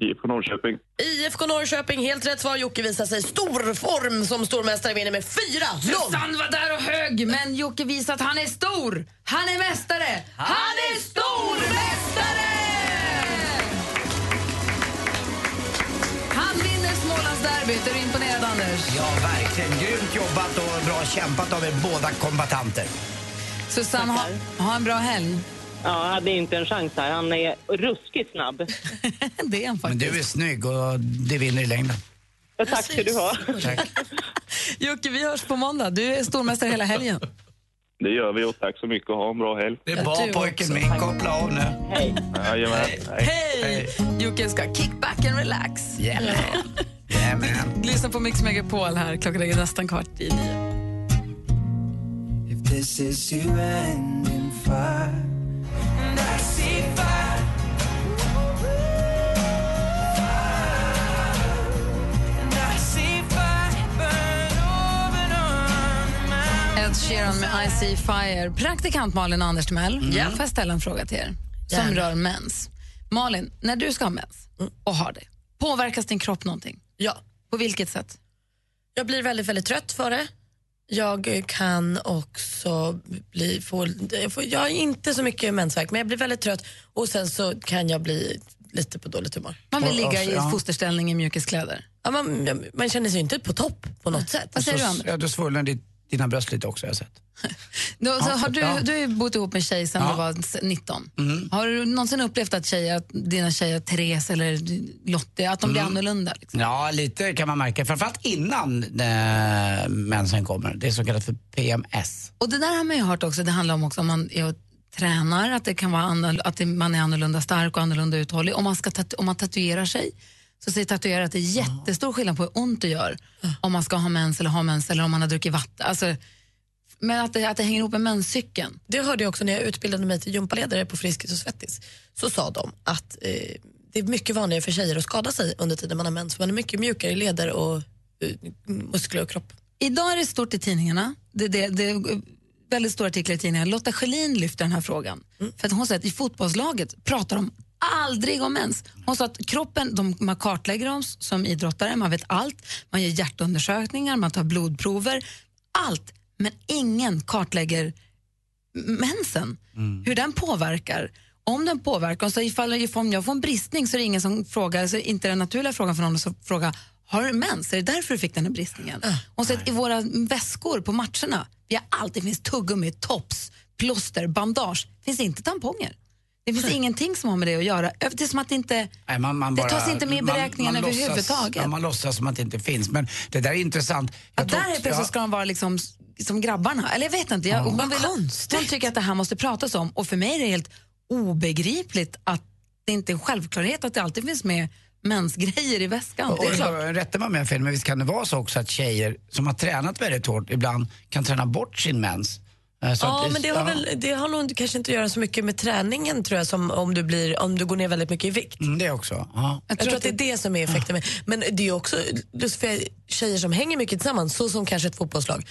Speaker 15: IFK Norrköping.
Speaker 4: IFK Norrköping, helt rätt svar. Jocke visar sig i stor form som stormästare vinner med 4-0.
Speaker 2: Susanne var där och hög, men Jocke visar att han är stor. Han är mästare. Han är stormästare! Han vinner Smålandsderbyt. Är du imponerad, Anders?
Speaker 3: Ja, verkligen. Grymt jobbat och bra kämpat av er båda kombatanter.
Speaker 2: Susanne, ha, ha en bra helg.
Speaker 17: Ja, hade inte en chans här. Han är ruskigt snabb.
Speaker 2: *laughs* det är han
Speaker 3: Men du är snygg och det vinner i längden.
Speaker 17: Tack ska du ha.
Speaker 2: *laughs* Jocke, vi hörs på måndag. Du är stormästare hela helgen.
Speaker 15: Det gör vi och tack så mycket och ha en bra helg.
Speaker 3: Det är bra pojken min. Koppla av nu.
Speaker 17: Hej.
Speaker 15: Jajamän.
Speaker 2: Hej! Jocke ska kick back and relax.
Speaker 3: Yeah.
Speaker 2: Lyssna på Mix Megapol här. Klockan är nästan kvart i nio.
Speaker 13: If this is you ending fire, and I see fire. And I see fire burn over and on my
Speaker 2: Ed Sheeran med I see fire. Praktikant Malin och Anders Timell, får jag ställa en fråga till er som
Speaker 4: Gärna.
Speaker 2: rör mens? Malin, när du ska ha mens och har det, påverkas din kropp någonting?
Speaker 4: Ja.
Speaker 2: På vilket sätt?
Speaker 4: Jag blir väldigt, väldigt trött för det. Jag eh, kan också bli... Få, jag får- jag har inte så mycket mensvärk, men jag blir väldigt trött och sen så kan jag bli lite på dåligt humör.
Speaker 2: Man vill ligga i
Speaker 4: Ja.
Speaker 2: fosterställning i mjukiskläder.
Speaker 4: Ja, man, man känner sig inte på topp på något sätt.
Speaker 2: Vad säger du, Anders?
Speaker 3: Ja, du svullnar ditt- dina bröst lite också har jag sett.
Speaker 2: Du, så
Speaker 3: Ja,
Speaker 2: har du,
Speaker 3: ja.
Speaker 2: du har ju bott ihop med tjej sedan du var s- 19.
Speaker 3: Mm.
Speaker 2: Har du någonsin upplevt att tjejer, att dina tjejer, Therese eller Lottie, att de blir
Speaker 3: Mm.
Speaker 2: annorlunda?
Speaker 3: Ja, lite kan man märka. Framförallt innan eh, mensen kommer. Det är så kallat för PMS.
Speaker 2: Och det där har man ju hört också, det handlar om också om man är och tränar, att, det kan vara annor, att det, man är annorlunda stark och annorlunda uthållig. Om man, ska tatu- om man tatuerar sig så säger tatuerare att det är jättestor skillnad på hur ont det gör om man ska ha mens eller ha mens eller om man har druckit vatten. Alltså, men att det, att det hänger ihop med menscykeln.
Speaker 4: Det hörde jag också när jag utbildade mig till gympaledare på Friskis och Svettis. Så sa de att eh, det är mycket vanligare för tjejer att skada sig under tiden man har mens. för Man är mycket mjukare i leder och eh, muskler och kropp.
Speaker 2: Idag är det stort i tidningarna. Det, det, det är väldigt stora artiklar i tidningarna. Lotta Schelin lyfter den här frågan.
Speaker 4: Mm.
Speaker 2: För att hon säger att i fotbollslaget pratar de aldrig om mens. Hon sa att kroppen, de, man kartlägger dem som idrottare, man vet allt. Man gör hjärtundersökningar, man tar blodprover. Allt, men ingen kartlägger m- mensen. Hur den påverkar. Om den påverkar, och så ifall ifall om jag får en bristning så är det ingen som frågar, så är inte den naturliga frågan för någon som frågar har du mens? Är det därför du fick den här bristningen? Och så att i våra väskor på matcherna, vi har alltid finns tuggummi, tops, plåster, bandage. finns inte tamponger. Det finns ingenting som har med det att göra. Ö- Det är som att det inte...
Speaker 3: Nej, man, man
Speaker 2: Det
Speaker 3: bara,
Speaker 2: tas inte med i beräkningen
Speaker 3: man låtsas-
Speaker 2: överhuvudtaget.
Speaker 3: Ja, man låtsas som att det inte finns. Men det där är intressant. Jag
Speaker 2: Där
Speaker 3: tror-
Speaker 2: helt plötsligt ska de vara liksom, som grabbarna. Eller jag vet inte. Jag, man vill, hon tycker att det här måste pratas om. Och för mig är det helt obegripligt att det inte är en självklarhet att det alltid finns med mensgrejer i väskan.
Speaker 3: Och,
Speaker 2: Det är klart.
Speaker 3: och, rätta mig om jag har fel, men visst kan det vara så också att tjejer som har tränat väldigt hårt ibland kan träna bort sin mens? Eh, så
Speaker 4: ja,
Speaker 3: att-
Speaker 4: men det har, väl, det har nog kanske inte att göra så mycket med träningen tror jag som om du, blir, om du går ner väldigt mycket i vikt.
Speaker 3: Mm, det också. Ja.
Speaker 4: Jag, tror att det är det som är effekten. Med. Men det är ju också, just för tjejer som hänger mycket tillsammans, så som kanske ett fotbollslag,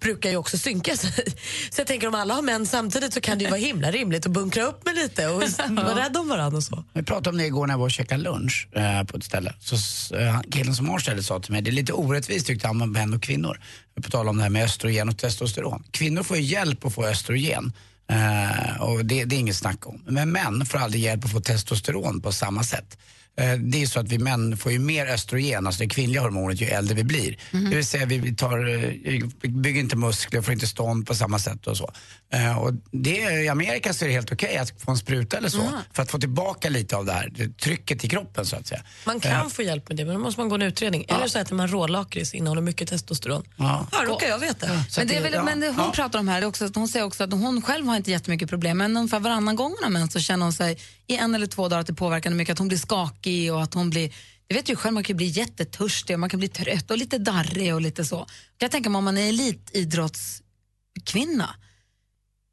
Speaker 4: brukar ju också synka sig. Så jag tänker om alla har män samtidigt så kan det ju vara himla rimligt att bunkra upp med lite *laughs* och s- vara rädd om varandra och så.
Speaker 3: Vi pratade om det igår när jag var och käkade lunch eh, på ett ställe. Så s- eh, han- killen som har stället sa till mig, det är lite orättvist tyckte han med män och kvinnor. På tal om det här med östrogen och testosteron. Kvinnor får ju hjälp att få östrogen. Eh, och det, det är inget snack om. Men män får aldrig hjälp att få testosteron på samma sätt. Eh, Det är ju så att vi män får ju mer östrogen, alltså det kvinnliga hormonet, ju äldre vi blir. Det vill säga vi tar, eh, vi bygger inte muskler, får inte stånd på samma sätt och så. Eh, Och det, är- I Amerika så är det helt okej att få en spruta eller så,
Speaker 4: Aha.
Speaker 3: för att få tillbaka lite av det här det trycket i kroppen så att säga.
Speaker 4: Man
Speaker 3: Eh,
Speaker 4: kan få hjälp med det, men då måste man gå en utredning. Eller så äter man rålakrits, innehåller mycket testosteron.
Speaker 3: Ja.
Speaker 4: Ja, råkar jag veta.
Speaker 2: Men, det är väl, men det hon pratar om här, det är också, att hon säger också att hon själv har inte jättemycket problem, men ungefär varannan gång hon har mens så känner hon sig i en eller två dagar att det påverkar henne mycket, att hon blir skakig och att hon blir, jag vet ju själv, man kan ju bli jättetörstig och man kan bli trött och lite darrig och lite så. Jag tänker mig om man är elitidrottskvinna,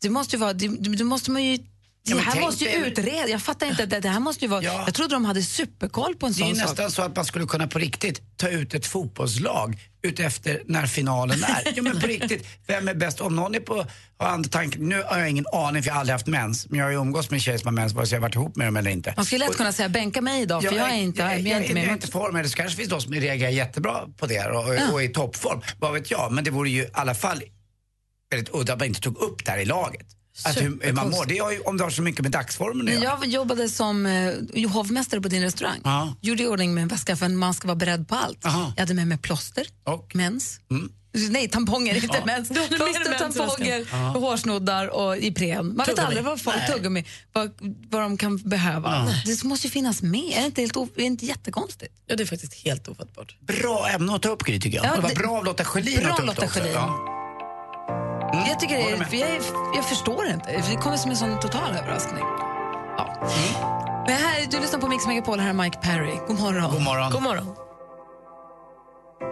Speaker 2: det måste ju vara, det, det måste man ju
Speaker 3: Ja,
Speaker 2: det
Speaker 3: men
Speaker 2: här
Speaker 3: tänk
Speaker 2: måste ju
Speaker 3: dig-
Speaker 2: utredas. Jag fattar inte. Det, det här måste ju vara... Jag trodde de hade superkoll på en
Speaker 3: Det är ju
Speaker 2: sån sak.
Speaker 3: nästan så att man skulle kunna på riktigt ta ut ett fotbollslag utefter när finalen är. Jo men på riktigt, vem är bäst? Om någon är på, har andra tanken, nu har jag ingen aning för jag har aldrig haft mens, men jag har ju umgåtts med tjejer som har mens vare sig jag har varit ihop med dem eller inte.
Speaker 2: Man skulle lätt kunna säga bänka mig idag för jag är inte, jag, är inte
Speaker 3: jag, jag är
Speaker 2: med.
Speaker 3: inte i form, eller så kanske finns de som reagerar jättebra på det och, och, är i toppform, vad vet jag. Men det vore ju i alla fall väldigt udda att man inte tog upp det här i laget. Att hur, hur man mår,
Speaker 2: Superkonstigt.
Speaker 3: det har ju, om det har så mycket med dagsformen att
Speaker 2: När
Speaker 3: göra.
Speaker 2: jag jobbade som eh, hovmästare på din restaurang
Speaker 3: Ja.
Speaker 2: gjorde i ordning med en väska för att man ska vara beredd på allt. Jag hade med mig plåster, mens, nej tamponger, inte
Speaker 1: Mm. Ja.
Speaker 4: *laughs*
Speaker 2: mens,
Speaker 1: Du hade med dig
Speaker 2: plåster,
Speaker 1: mens i
Speaker 2: tamponger,
Speaker 1: väskan. Ja.
Speaker 2: hårsnoddar och Ipren. Man vet
Speaker 1: Tuggummi.
Speaker 2: aldrig vad folk,
Speaker 1: Nej.
Speaker 2: tuggummi, vad, vad de kan behöva.
Speaker 3: Ja.
Speaker 2: Det måste ju finnas med, är det inte, helt, o- är det inte jättekonstigt?
Speaker 4: Ja, det är faktiskt helt ofattbart.
Speaker 3: Bra ämne att ta upp Gry tycker jag.
Speaker 2: Ja,
Speaker 3: det var
Speaker 2: det-
Speaker 3: bra av Lotta Schelin
Speaker 2: Bra
Speaker 3: att ta upp
Speaker 2: Lotta
Speaker 3: det också.
Speaker 2: Schelin.
Speaker 3: Ja.
Speaker 2: Jag, tycker det är, jag, är- jag förstår inte, det kommer som en sån total överraskning.
Speaker 3: Mm.
Speaker 2: Ja. Men här, du lyssnar på Mix Megapol, här är Mike Perry. God morgon.
Speaker 3: God morgon.
Speaker 2: God morgon.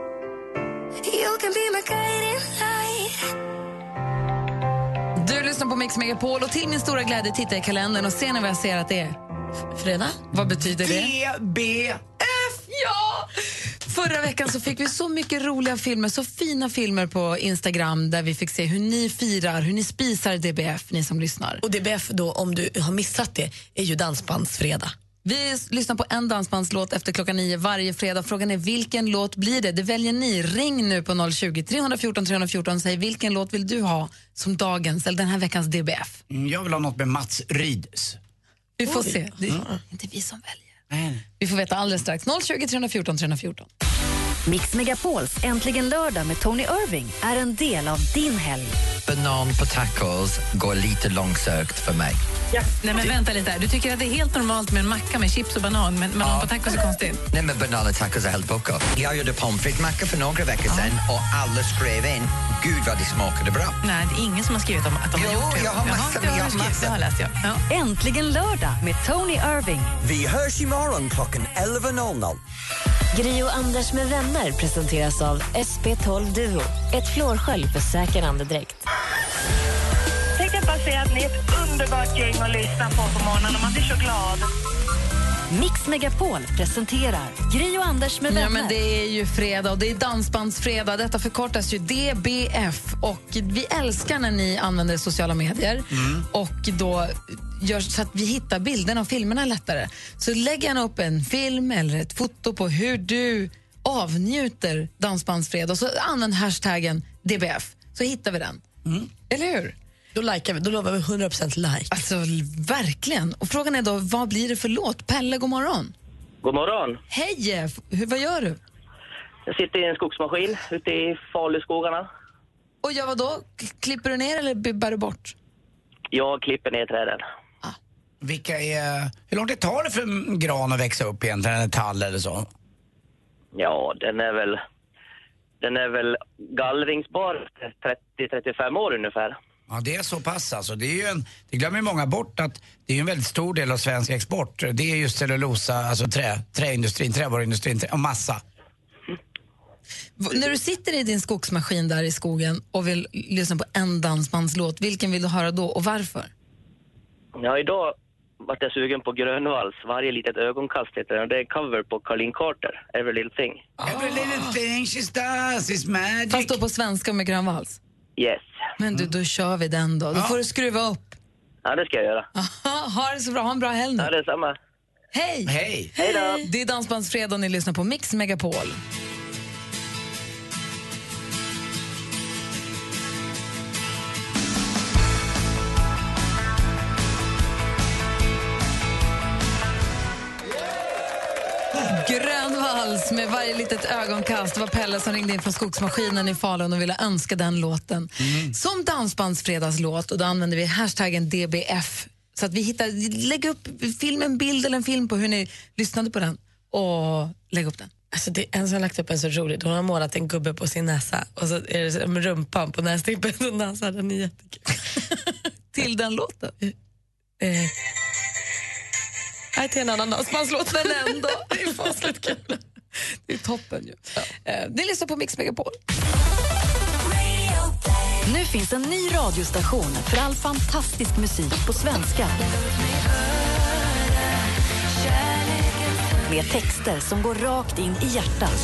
Speaker 13: You can be my guiding light.
Speaker 2: Du lyssnar på Mix Megapol och till min stora glädje tittar jag i kalendern och ser ni vad jag ser att det är?
Speaker 4: Fredag.
Speaker 2: Vad betyder det?
Speaker 3: B.
Speaker 2: Ja! Förra veckan så fick vi så mycket roliga filmer, så fina filmer på Instagram där vi fick se hur ni firar, hur ni spisar DBF, ni som lyssnar.
Speaker 4: Och DBF då, om du har missat det, är ju dansbandsfredag.
Speaker 2: Vi s- lyssnar på en dansbandslåt efter klockan nio varje fredag. Frågan är vilken låt blir det? Det väljer ni. Ring nu på 020 314 314 och säg vilken låt vill du ha som dagens eller den här veckans DBF?
Speaker 3: Mm, Jag vill ha något med Mats Ryds.
Speaker 2: Vi får
Speaker 3: Oj.
Speaker 2: se. Det
Speaker 3: Mm.
Speaker 2: är inte vi som väljer. Vi får veta alldeles strax. 020 314 314.
Speaker 1: Mix Megapols Äntligen lördag med Tony Irving är en del av din helg.
Speaker 5: Banan på tacos går lite långsökt för mig.
Speaker 12: Nej, men vänta lite. här. Du tycker att det är helt normalt med en macka med chips och banan, men banan på tacos är konstigt.
Speaker 5: Nej men banala tacos är helt bucko. Jag gjorde pommes frites-macka för några veckor
Speaker 12: Ah.
Speaker 5: sedan och alla skrev in, gud vad det smakade bra.
Speaker 12: Nej, det är ingen som har skrivit om att de har
Speaker 5: Jo,
Speaker 12: gjort det.
Speaker 5: jag har
Speaker 12: Jaha,
Speaker 5: massor
Speaker 12: det
Speaker 5: med- jag har
Speaker 12: skrivit,
Speaker 5: massor.
Speaker 12: Det har läst jag. Ja.
Speaker 1: Äntligen lördag med Tony Irving.
Speaker 5: Vi hörs imorgon klockan 11.00.
Speaker 21: Gri och Anders med vänner presenteras av SP12 Duo. Ett flårskölj för säker andedräkt.
Speaker 13: Tänkte jag bara säga att ni är ett underbart gäng att lyssna på på morgonen och man blir så glad.
Speaker 1: Mix Megapol presenterar Gri och Anders med vänner.
Speaker 2: Ja, men det är ju fredag och det är dansbandsfredag. Detta förkortas ju DBF. Och vi älskar när ni använder sociala medier och då gör så att vi hittar bilderna och filmerna lättare. Så lägg gärna upp en film eller ett foto på hur du avnjuter dansbandsfredag och så använd hashtaggen DBF, så hittar vi den.
Speaker 4: Mm.
Speaker 2: Eller hur?
Speaker 4: Då likar vi, då lovar vi 100% like.
Speaker 2: Alltså, verkligen. Och frågan är då, vad blir det för låt? Pelle, god morgon.
Speaker 8: God morgon.
Speaker 2: Hej! Jeff. Hur, vad gör du?
Speaker 8: Jag sitter i en skogsmaskin ute i Faluskogarna.
Speaker 2: Och jag vad då? Klipper du ner eller bibbar du bort?
Speaker 8: Jag klipper ner träden.
Speaker 3: Vilka är, hur långt det tar det för en gran att växa upp egentligen, en tall eller så?
Speaker 8: Ja, den är väl... Den är väl gallringsbar efter 30-35 år ungefär.
Speaker 3: Ja, det är så pass alltså. Det, är ju en, det glömmer ju många bort att det är ju en väldigt stor del av svensk export. Det är just cellulosa, alltså trä, träindustrin, trävaruindustrin trä, och massa.
Speaker 2: V- När du sitter i din skogsmaskin där i skogen och vill lyssna på en dansbandslåt, vilken vill du höra då och varför?
Speaker 8: Ja, idag vart jag sugen på Grönvalls Varje litet ögonkast heter den. Det är en cover på Colleen Carter, Every Little Thing.
Speaker 3: Ah. Every little thing she does is magic.
Speaker 2: Fast då på svenska med grön vals.
Speaker 8: Yes.
Speaker 2: Men du, då kör vi den då. Då får du skruva upp.
Speaker 8: Ja, det ska jag göra.
Speaker 2: ha det så bra, ha en bra helg nu.
Speaker 8: Ja, detsamma.
Speaker 2: Hej!
Speaker 3: Hej!
Speaker 2: Hej det är Dansbandsfredag och ni lyssnar på Mix Megapol. Grön vals med varje litet ögonkast. Det var Pelle som ringde in från skogsmaskinen i Falun och ville önska den låten som dansbandsfredagslåt. Och då använder vi hashtaggen DBF. Så att vi hittar, lägg upp film, en bild eller en film på hur ni lyssnade på den och lägg upp den.
Speaker 4: Alltså det är en som har lagt upp en så roligt. Hon har målat en gubbe på sin näsa och så är det som rumpan på nästippen som dansar. Den är jättekul.
Speaker 2: Till den låten?
Speaker 4: Eh. Nej, till en annan dansbandslåt.
Speaker 2: Men ändå. det är fasligt kul. Det är toppen ju. Eh, Ni lyssnar på Mix Megapol.
Speaker 1: Nu finns en ny radiostation för all fantastisk musik på svenska. Med texter som går rakt in i hjärtat.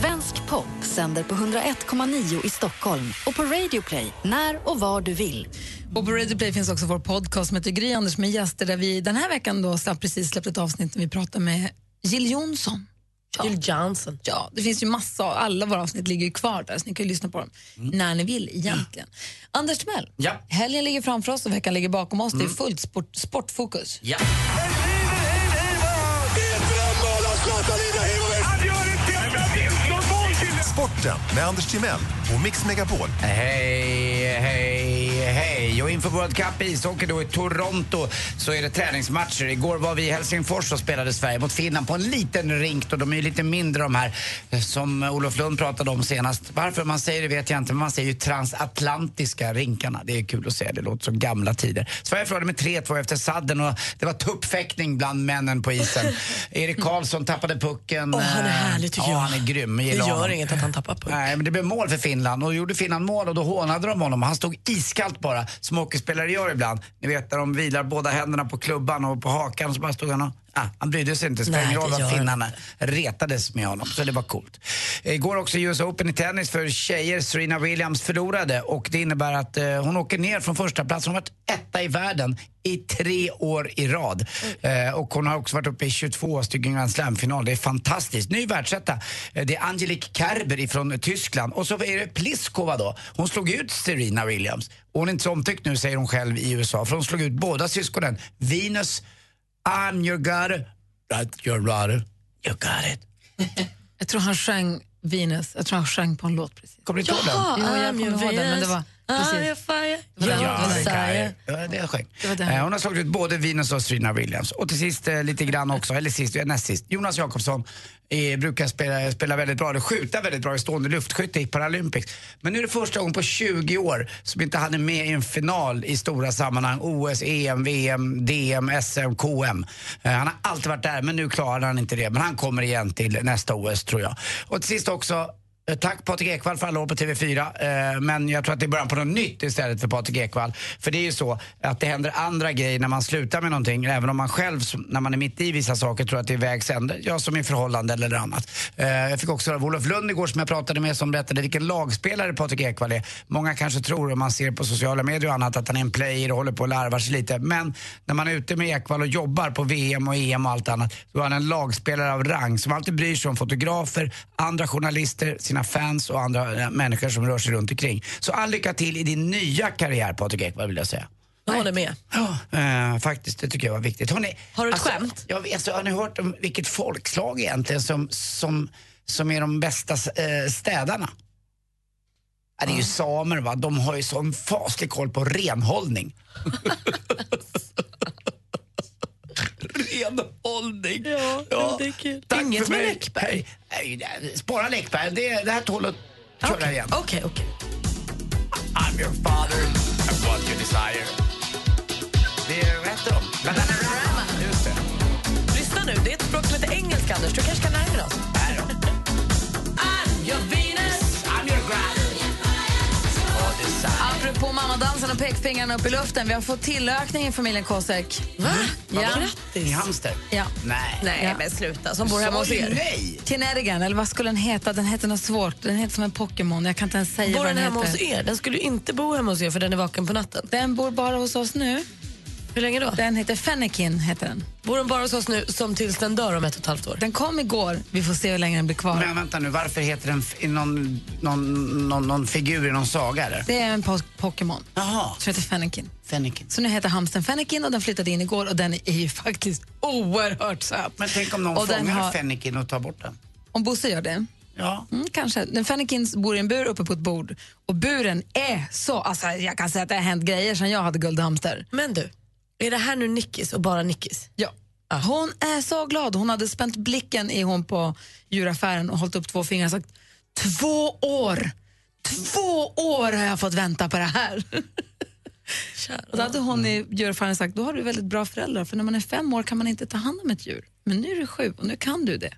Speaker 1: Svensk pop sänder på 101,9 i Stockholm och på Radio Play när och var du vill.
Speaker 2: Och på Radio Play finns också vår podcast som heter Gry Anders med gäster där vi den här veckan då slapp- precis släppt ett avsnitt där vi pratar med Jill Johnson.
Speaker 4: Jill Johnson.
Speaker 2: Ja, det finns ju massa. Alla våra avsnitt ligger ju kvar där så ni kan ju lyssna på dem när ni vill egentligen. Anders Timell,
Speaker 3: Mm. Ja. Mm.
Speaker 2: helgen ligger framför oss och veckan ligger bakom oss. Det är fullt sport, sportfokus.
Speaker 3: Ja.
Speaker 16: Sporten med Anders Timell och Mix Megapol.
Speaker 3: Hej, hej, hej. Och inför World Cup i ishockey då i Toronto så är det träningsmatcher. Igår var vi i Helsingfors och spelade Sverige mot Finland på en liten rink. Och de är ju lite mindre de här eh, som Olof Lund pratade om senast. Varför man säger det vet jag inte, men man säger ju transatlantiska rinkarna. Det är kul att säga, det låter som gamla tider. Sverige förlorade med 3-2 efter sadden och det var tuppfäktning bland männen på *laughs* isen. Erik Karlsson tappade pucken. Oh, han är härlig tycker jag. han är grym. Jag
Speaker 4: Det
Speaker 3: gillar honom.
Speaker 4: gör inget att han tappar puck.
Speaker 3: Nej, men det blev mål för Finland och gjorde Finland mål och då hånade de honom. Han stod iskallt bara, som hockeyspelare gör ibland. Ni vet när de vilar båda händerna på klubban och på hakan så bara stod han och... Ah, han brydde sig inte,
Speaker 4: Nej,
Speaker 3: spelade ingen roll
Speaker 4: det
Speaker 3: vad
Speaker 4: gör
Speaker 3: finnarna retades med honom. Så det var coolt. Igår också US Open i tennis för tjejer. Serena Williams förlorade och det innebär att eh, hon åker ner från första plats. Hon har varit etta i världen i tre år i rad. Eh, och hon har också varit uppe i 22 stycken Grand Slam-final. Det är fantastiskt. Ny världsetta. Eh, det är Angelique Kerber ifrån Tyskland. Och så är det Pliskova då. Hon slog ut Serena Williams. Och hon är inte så omtyckt nu säger hon själv i USA. För hon slog ut båda syskonen. Venus, I'm your god, that your daughter, you got it.
Speaker 2: Jag tror han sjöng Venus, jag tror han sjöng på en låt precis.
Speaker 3: Kommer du inte ihåg den?
Speaker 2: Jaha, Jo, jag kommer ihåg den men det var precis.
Speaker 3: Ja, det kan
Speaker 2: Messiah.
Speaker 3: jag. Ja, det är skönt.
Speaker 2: Det var den.
Speaker 3: Eh, Hon har slagit ut både Venus och Serena Williams. Och till sist eh, lite grann också, eller sist, eh, näst sist, Jonas Jakobsson eh, brukar spela, spela väldigt bra, eller skjuta väldigt bra i stående luftskytte i Paralympics. Men nu är det första gången på 20 år som inte han är med i en final i stora sammanhang. E OS, EM, VM, DM, SM, KM. Eh, Han har alltid varit där, men nu klarar han inte det. Men han kommer igen till nästa OS tror jag. Och till sist också, Eh, Tack Patrik Ekwall för alla år på TV4. eh, Men jag tror att det är början på något nytt istället för Patrik Ekwall. För det är ju så att det händer andra grejer när man slutar med någonting. Även om man själv, som- när man är mitt i vissa saker, tror att det är vägs ände. Jag som i förhållande eller annat. Eh, Jag fick också höra av Olof Lund igår som jag pratade med som berättade vilken lagspelare Patrik Ekwall är. Många kanske tror, om man ser på sociala medier och annat, att han är en player och håller på och larvar sig lite. Men när man är ute med Ekwall och jobbar på VM och EM och allt annat, då är han en lagspelare av rang som alltid bryr sig om fotografer, andra journalister, sina fans och andra eh, människor som rör sig runt omkring. Så all lycka till i din nya karriär Patrik Ekwall vill jag säga.
Speaker 4: Jag håller med.
Speaker 3: Eh, faktiskt, det tycker jag var viktigt. Hörrni,
Speaker 4: Har du ett
Speaker 3: alltså,
Speaker 4: skämt?
Speaker 3: Jag, vet- alltså, har ni hört om vilket folkslag egentligen som, som, som är de bästa eh, städarna? Ja, det är ju samer, va? de har ju sån faslig koll på *laughs* renhållning. renhållning! underhållning. Ja, det är kul. Tack Inget för mig. med Läckberg. Nej, nej, Spara Läckberg, det, det här tål att köra igen. Okej,
Speaker 4: okej.
Speaker 3: I'm your father, and what you desire. Det är rätt om. Bananarama. Just det.
Speaker 4: Lyssna nu, det är ett språk som heter engelska, Anders. Du kanske kan lära dig något.
Speaker 3: I'm your Venus, I'm your ground. What desire.
Speaker 2: Apropå mammadansen och pekfingrarna upp i luften, vi har fått tillökning i familjen Kosek. Va? Ja.
Speaker 3: Grattis. I Halmstad?
Speaker 2: Ja.
Speaker 3: Nej.
Speaker 4: Nej,
Speaker 2: Ja.
Speaker 4: men sluta. Som bor hemma hos er.
Speaker 2: Kinerigan, eller vad skulle den heta? Den heter något svårt. Den heter som en Pokémon. Jag kan inte ens säga
Speaker 4: Bor
Speaker 2: vad
Speaker 4: den
Speaker 2: den
Speaker 4: hemma
Speaker 2: heter.
Speaker 4: hos er? Den skulle ju inte bo hemma hos er för den är vaken på natten.
Speaker 2: Den bor bara hos oss nu.
Speaker 4: Hur länge då?
Speaker 2: Den heter Fennekin. Heter den.
Speaker 4: Bor den bara hos oss nu som tills den dör om ett och ett halvt år?
Speaker 2: Den kom igår. Vi får se hur länge den blir kvar.
Speaker 3: Men vänta nu, varför heter den f- någon, någon, någon, någon figur i någon saga? Eller?
Speaker 2: Det är en po- Pokémon. Jaha. Som heter Fennekin.
Speaker 3: Fennekin.
Speaker 2: Så nu heter hamsten Fennekin och den flyttade in igår och den är ju faktiskt oerhört söt.
Speaker 3: Men tänk om någon
Speaker 2: Och den
Speaker 3: fångar
Speaker 2: har-
Speaker 3: Fennekin och tar bort den.
Speaker 2: Om Bosse gör det?
Speaker 3: Ja.
Speaker 2: Mm, kanske. Den Fennekin bor i en bur uppe på ett bord och buren är så... Alltså, jag kan säga att det har hänt grejer sedan jag hade guldhamster.
Speaker 4: Men du, är det här nu Nickis och bara Nickis?
Speaker 2: Ja. Hon är så glad. Hon hade spänt blicken i hon på djuraffären och hållit upp två fingrar och sagt två år! Två år har jag fått vänta på det
Speaker 4: *laughs*
Speaker 2: här. Och då hade hon i djuraffären sagt då har du väldigt bra föräldrar för när man är fem år kan man inte ta hand om ett djur. Men nu är du sju och nu kan du det.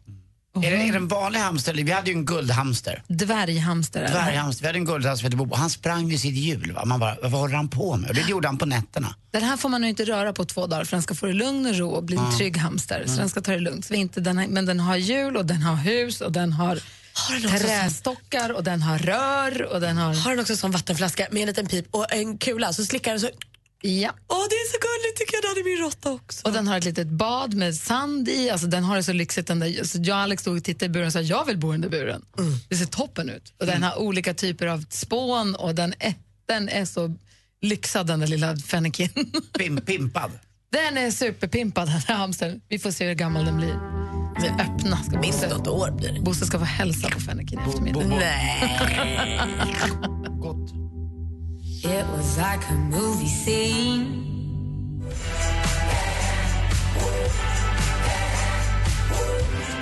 Speaker 3: Mm. Är, det, är det en vanlig hamster? eller- Vi hade ju en guldhamster.
Speaker 2: Dvärghamster. är det.
Speaker 3: Dvärghamster. Vi hade en guldhamster som hette Bobo. Han sprang ju sitt hjul. Va? Man bara, vad håller han på med? Och det gjorde han på nätterna.
Speaker 2: Den här får man nu inte röra på två dagar för den ska få det lugn och ro och bli
Speaker 4: Ah.
Speaker 2: en trygg hamster.
Speaker 4: Mm.
Speaker 2: Så den ska ta det lugnt. Så vi inte, den, men den har hjul och den har hus och den har,
Speaker 4: den också
Speaker 2: trästockar och den har rör och den har...
Speaker 4: Har den också en sån vattenflaska med en liten pip och en kula så slickar den så...
Speaker 2: Ja.
Speaker 4: Åh, det är så gulligt tycker jag. Det hade min råtta också.
Speaker 2: Och den har ett litet bad med sand i. Alltså den har det så lyxigt. Den där. Så jag och Alex stod och tittade i buren och sa jag vill bo i den där buren.
Speaker 4: Mm.
Speaker 2: Det ser toppen ut. Och den har olika typer av spån och den är, den är så lyxad den där lilla fenniken. *laughs*
Speaker 3: Pim, pimpad.
Speaker 2: Den är superpimpad den här hamstern. Vi får se hur gammal den blir. Vi öppna ska Minst
Speaker 4: något år blir det.
Speaker 2: Bosse ska få hälsa på fenniken i eftermiddag.
Speaker 13: It was like a movie scene.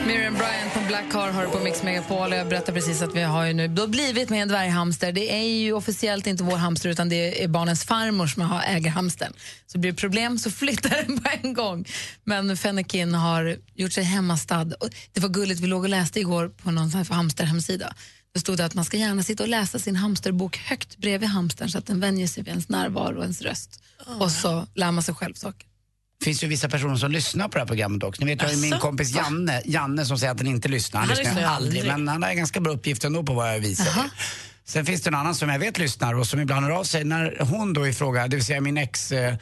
Speaker 2: Miriam Bryant från Black Car har du på Mix Megapol. Och Jag berättar precis att vi har ju nu då blivit med en dvärghamster. Det är ju officiellt inte vår hamster utan det är barnens farmor som har äger hamstern. Så blir det problem så flyttar den på en gång. Men Fennekin har gjort sig hemmastad. Och Det var gulligt, vi låg och läste igår på någon sån här hamsterhemsida. Det stod det att man ska gärna sitta och läsa sin hamsterbok högt bredvid hamstern så att den vänjer sig vid ens närvaro och ens röst. Och så lär man sig själv saker.
Speaker 3: Det finns ju vissa personer som lyssnar på det här programmet också. Ni vet, jag har ju min
Speaker 2: Asså?
Speaker 3: kompis Janne, Janne som säger att han inte lyssnar. Han,
Speaker 2: Han
Speaker 3: lyssnar ju
Speaker 2: lyssnar ju
Speaker 3: aldrig,
Speaker 2: aldrig.
Speaker 3: men han har ganska bra uppgift ändå på vad jag visar. Sen finns det en annan som jag vet lyssnar och som ibland hör av sig när hon då ifrågar, det vill säga min ex eh,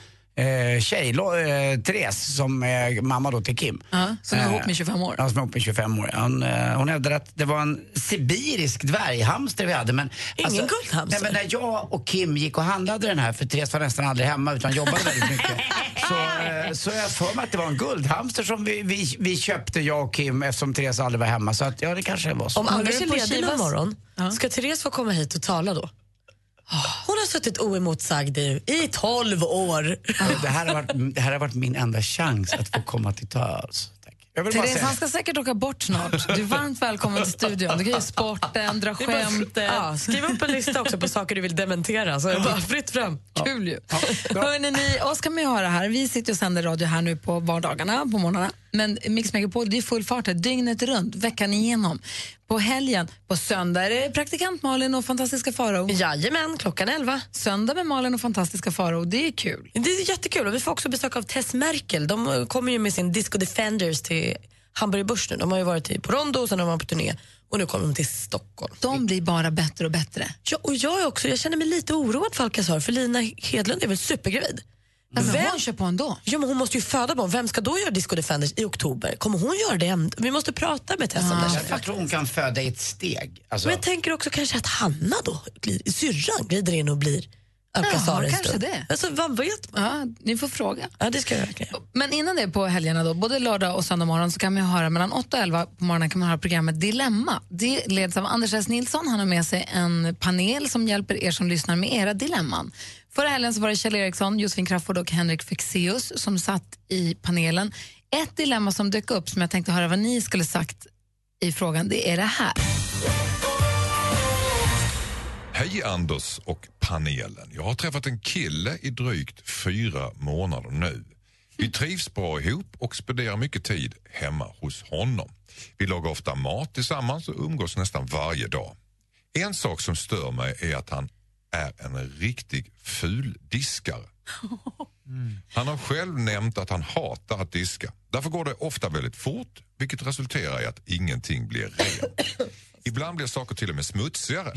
Speaker 3: eh, tjej, Lo- eh, Therese, som är mamma då till Kim.
Speaker 2: Ja, som är
Speaker 3: Eh,
Speaker 2: ihop med 25 år.
Speaker 3: Ja, som är ihop med 25 år. Hon, eh, hon hävdade att det var en sibirisk dvärghamster vi hade. Men, alltså-
Speaker 4: Ingen guldhamster.
Speaker 3: Nej, men när jag och Kim gick och handlade den här, för Therese var nästan aldrig hemma utan jobbade
Speaker 4: *laughs*
Speaker 3: väldigt mycket. Så, eh, så jag har för mig att det var en guldhamster som vi, vi, vi köpte, jag och Kim, eftersom Therese aldrig var hemma. Så att, ja, det kanske var så.
Speaker 4: Om Anders är ledig imorgon, ska Therese få komma hit och tala då? Hon har suttit oemotsagd i, i 12 år.
Speaker 3: Det här, har varit, det här har varit min enda chans att få komma till tals. Tack. Jag vill bara
Speaker 2: Therese,
Speaker 3: säga-
Speaker 2: han ska säkert åka bort snart. Du är varmt välkommen till studion. Du kan ju sporten,
Speaker 3: *laughs*
Speaker 2: dra
Speaker 4: Det är bara-
Speaker 2: skämt.
Speaker 4: Ja, skriv upp en lista också på saker du vill dementera. Så är det bara fritt fram.
Speaker 2: Kul ju. Hörrni, ni, oss kan man ju höra här. Vi sitter och sänder radio här nu på vardagarna, på morgnarna. Men Mix Megapol, det är full fart här, dygnet runt, veckan igenom. På helgen, på söndag är det praktikant Malin och fantastiska Farao.
Speaker 4: Jajamän, klockan 11.
Speaker 2: Söndag med Malin och fantastiska Farao, det är kul.
Speaker 4: Det är jättekul och vi får också besök av Tess Merkel. De eh, kommer ju med sin Disco Defenders till Hamburg Börs nu. De har ju varit i- på Rondo och sen har de varit på turné och nu kommer de till Stockholm.
Speaker 2: De blir bara bättre och bättre.
Speaker 4: Ja, och jag är också, jag känner mig lite oroad för Alcazar för Lina Hedlund är väl supergravid?
Speaker 2: men hon kör på ändå.
Speaker 4: Ja, men hon måste ju föda barn. Vem ska då göra Disco Defenders i oktober? Kommer hon göra det? ändå? Vi måste prata med Tess om det. här.
Speaker 3: jag, jag tror hon kan föda i ett steg. Alltså,
Speaker 4: Men jag tänker också kanske att Hanna då, glider, syrran, glider in och blir Alcazar
Speaker 2: Ja,
Speaker 4: en
Speaker 2: kanske
Speaker 4: stund.
Speaker 2: det.
Speaker 4: Alltså, vad vet man?
Speaker 2: Ja, ni får fråga.
Speaker 4: Ja, det ska jag verkligen.
Speaker 2: Men innan det på helgerna, då, både lördag och söndag morgon, så kan man ju höra mellan 8 och 11 på morgonen kan man höra programmet Dilemma. Det leds av Anders S. Nilsson. Han har med sig en panel som hjälper er som lyssnar med era dilemman. Förra helgen så var det Kjell Eriksson, Josefin Crafoord och Henrik Fexeus som satt i panelen. Ett dilemma som dök upp som jag tänkte höra vad ni skulle sagt i frågan, det är det här.
Speaker 10: Hej Anders och panelen. Jag har träffat en kille i drygt fyra månader nu. Vi trivs bra ihop och spenderar mycket tid hemma hos honom. Vi lagar ofta mat tillsammans och umgås nästan varje dag. En sak som stör mig är att han är en riktig fuldiskare. Han har själv nämnt att han hatar att diska. Därför går det ofta väldigt fort, vilket resulterar i att ingenting blir rent. Ibland blir saker till och med smutsigare.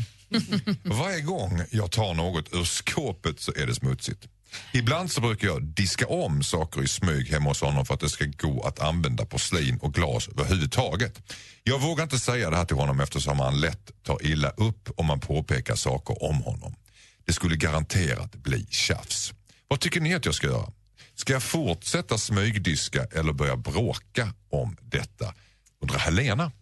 Speaker 10: Varje gång jag tar något ur skåpet så är det smutsigt. Ibland så brukar jag diska om saker i smyg hemma hos honom för att det ska gå att använda porslin och glas överhuvudtaget. Jag vågar inte säga det här till honom eftersom han lätt tar illa upp om man påpekar saker om honom. Det skulle garanterat bli tjafs. Vad tycker ni att jag ska göra? Ska jag fortsätta smygdiska eller börja bråka om detta? Undrar Helena.